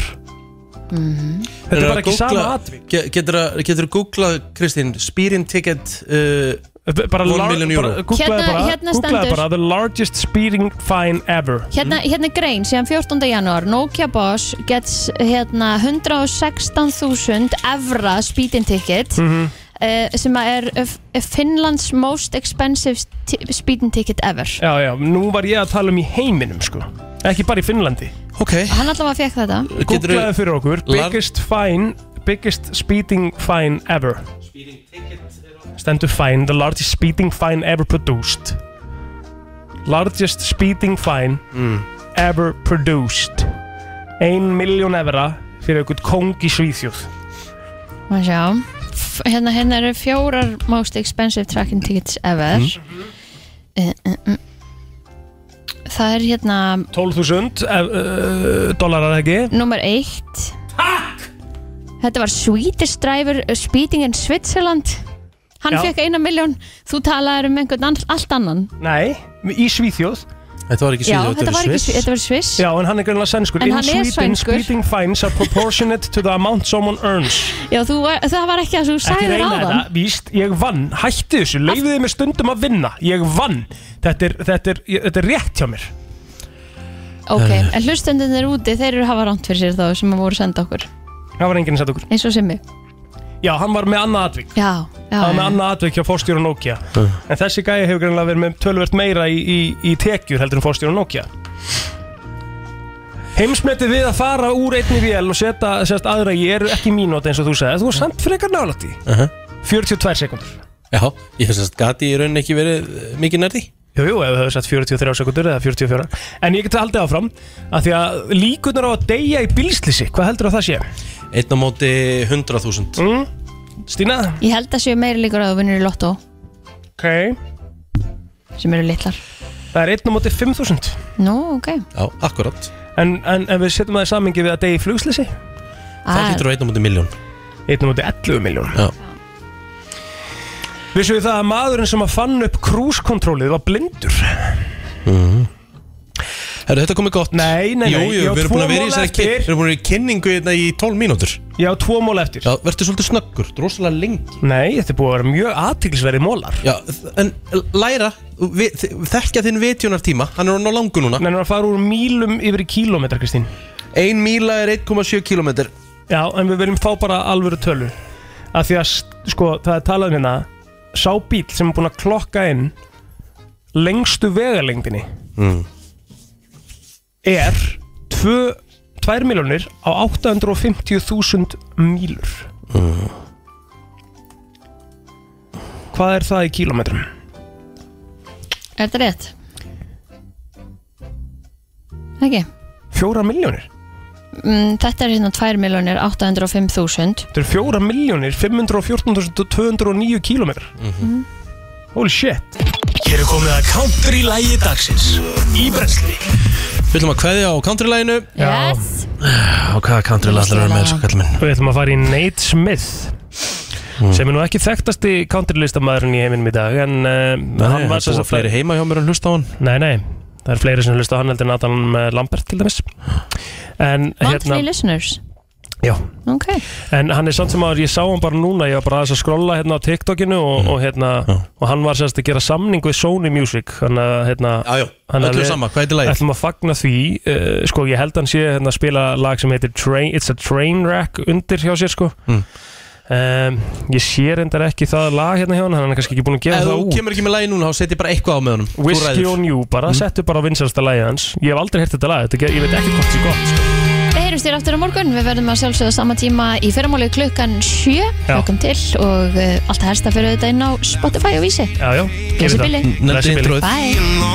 C: Mhm.
D: Þetta er bara ekki sama atvik
A: Getur að, getur að googla, Kristín, Spirin Ticket uh,
D: Bara, lar- bara,
A: bara
D: googlaði
C: Hérna-
D: bara,
C: hérna
D: googlaði
C: stendur-
D: bara The largest speeding fine ever
C: Hérna, hérna er grein, síðan 14. janúar Nokia Boss gets hérna 116.000 evra speeding ticket mm
D: Mhm.
C: sem að er eh, f- Finnlands most expensive ti- speeding ticket ever
D: Já, já, nú var ég að tala um í heiminum, sko Ekki bara í Finnlandi
A: Ok
C: Hann allavega fekk þetta
D: Googlaði fyrir okkur
A: Lar-
D: Biggest fine Biggest speeding fine ever Stendur fine The largest speeding fine ever produced Largest speeding fine Ever produced Ein miljón evra Fyrir einhvern kóng í Svíþjóð
C: Má sjá F- Hérna, hérna eru fjórar most expensive tracking tickets ever
D: Mhm.
C: uh, uh, uh. Það er hérna
D: 12.000 uh, Dólarar ekki
C: Númer eitt Takk Þetta var Swedish driver uh, speeding in Switzerland Hann
D: Já.
C: fekk eina miljón Þú talaðir um einhvern ann, allt annan
D: Nei, í Svíþjóð
A: Þetta var ekki
C: Já, þetta var ekki Svi- þetta var Sviss
D: Já, en hann er greinlega sænskur
C: En
D: In
C: hann er
D: Sweden,
C: sænskur.
D: speeding fines are proportionate to the amount someone earns
C: Já, þú, var- það var ekki að þú
D: Ekki
C: sagðir á
D: reyna þetta,
C: þann
D: víst, ég vann Hætti þessu, leifiði mig stundum að vinna Ég vann, þetta er, þetta er, ég- þetta er rétt hjá mér
C: Ok, en hlustendunir úti, þeir eru að hafa ránt fyrir sér þá sem að voru að senda okkur
D: Það var enginn að setja okkur
C: eins og simmi
D: Já, hann var með annað atvik
C: Já, já,
D: Það var með
C: já.
D: annað atvik hjá fórstjóru Nokia En þessi gæi hefur greinlega verið með tölvert meira í, í, í tekjur heldur en fórstjóru Nokia Heimsmetið við að fara úr einni vél og setja sérst aðra í eru ekki mínúti eins og þú sagði Þú er samt frekar nálætti
A: Uh -huh.
D: 42 sekundur
A: Já, ég hef sérst gati í rauninni ekki verið eh, mikið nærði
D: Jú, jú, ef við höfum sett 43 sekundur eða 44 En ég geti haldið áfram að Því að líkunar á að deyja í bílslýsi Hvað heldur að það sé?
A: Einn á móti 100.000
D: mm. Stína?
C: Ég held að séu meiri líkur að þú vinnur í lottó
D: Ok
C: Sem eru litlar
D: Það er einn á móti 5.000
C: Nú, ok
A: Já, akkurat
D: En, en, en við setjum það í samingi við að deyja í flugslýsi
C: Ah.
A: Það lítur á einn á móti miljón
D: Einn á móti 11 miljón
A: Já
D: Vissu við það að maðurinn sem að fann upp krúskontrólið var blindur
A: mm. Herru, þetta komið gott
D: Nei, nei, nei
A: Jú, jú,
D: ég á
A: við erum
D: tvo
A: búin að vera í
D: mola
A: þessari ki-
D: eftir.
A: Við erum búin að vera í kynningu hérna í 12 mínútur
D: Já, tvo móla eftir
A: Já, verður svolítið snöggur, drosalega lengi
D: Nei, þetta er búin að vera mjög aðtiklisverið mólar
A: Já, en læra, vi, þekkja þinn vitjunar tíma Hann er hann á langu núna
D: Nei, hann er að fara úr mílum yfir í kílómetra, Kristín
A: Ein míla er 1,7 kílómetr
D: Já, en við viljum fá bara alvöru tölu Af því að, sko, það er talað um hérna Sá bíl sem er búin að klokka inn Lengstu vegalengdinni
A: mm.
D: Er 2 miljónir á 850.000 mílur
A: Mm.
D: Hvað er það í kílómetrum?
C: Er þetta rétt? Ekki
D: Fjóra miljónir?
C: mm, Þetta er hérna 2.805.000
D: Þetta eru 4 miljónir 514.209 kílómetrar
A: Mhm.
D: Holy shit
B: Hér er komið að country lægi dagsins Í brensli
A: Við ætlum að kveðja á countrylæginu
C: Yes
A: Og hvaða countrylæg ætlar að vera með, sko kallum minn
D: Við ætlum að fara í Nate Smith
A: Hmm.
D: sem er nú ekki þekktasti countrylistamæðurinn í heiminum í dag en uh,
A: Nei, það er búið að fleiri heima hjá mér að hlusta á hann
D: Nei, nei, það er fleiri sem hlusta á hann heldur en Adam eh, Lambert til dæmis En
C: Monthly listeners
D: Hérna- Já
C: Ok
D: En hann er samt sem að ég sá hann bara núna Ég var bara aðeins að skrolla hérna á TikTokinu og,
A: Hmm.
D: og, hérna, og hann var sérst að gera samning við Sony Music Þannig að hérna,
A: Já, já,
D: þannig að
A: öllu
D: við
A: sama, hvað heitir lagið?
D: Ætlum að fagna því uh, Sko, ég held hann sé hérna, að spila lag sem heitir Train, It's a Train Wreck undir hjá sér sko
A: Mm.
D: um, Ég sé reyndar ekki það lag hérna hjá hann Hann er kannski ekki búin að gefa
A: Ef
D: það
A: þú
D: út
A: kemur ekki með lægi núna, þá setjum ég bara eitthvað á með honum Þú
D: Whiskey
A: ræður.
D: on You, bara
A: Mm.
D: settu bara á vinsalsta lagi hans Ég hef aldrei hert þetta lag, þetta, ég veit ekki hvort þetta er gott sko.
C: Við heyrumst þér aftur á morgun, við verðum að sjálfsögða sama tíma í fyrramáli klukkan 7, klukkum til og eh, uh, allt að hersta fyrir þetta inn á Spotify og Vísi.
D: Já, já,
C: Blessi
D: gerum það.
C: Billy.
D: Blessi
C: Bye!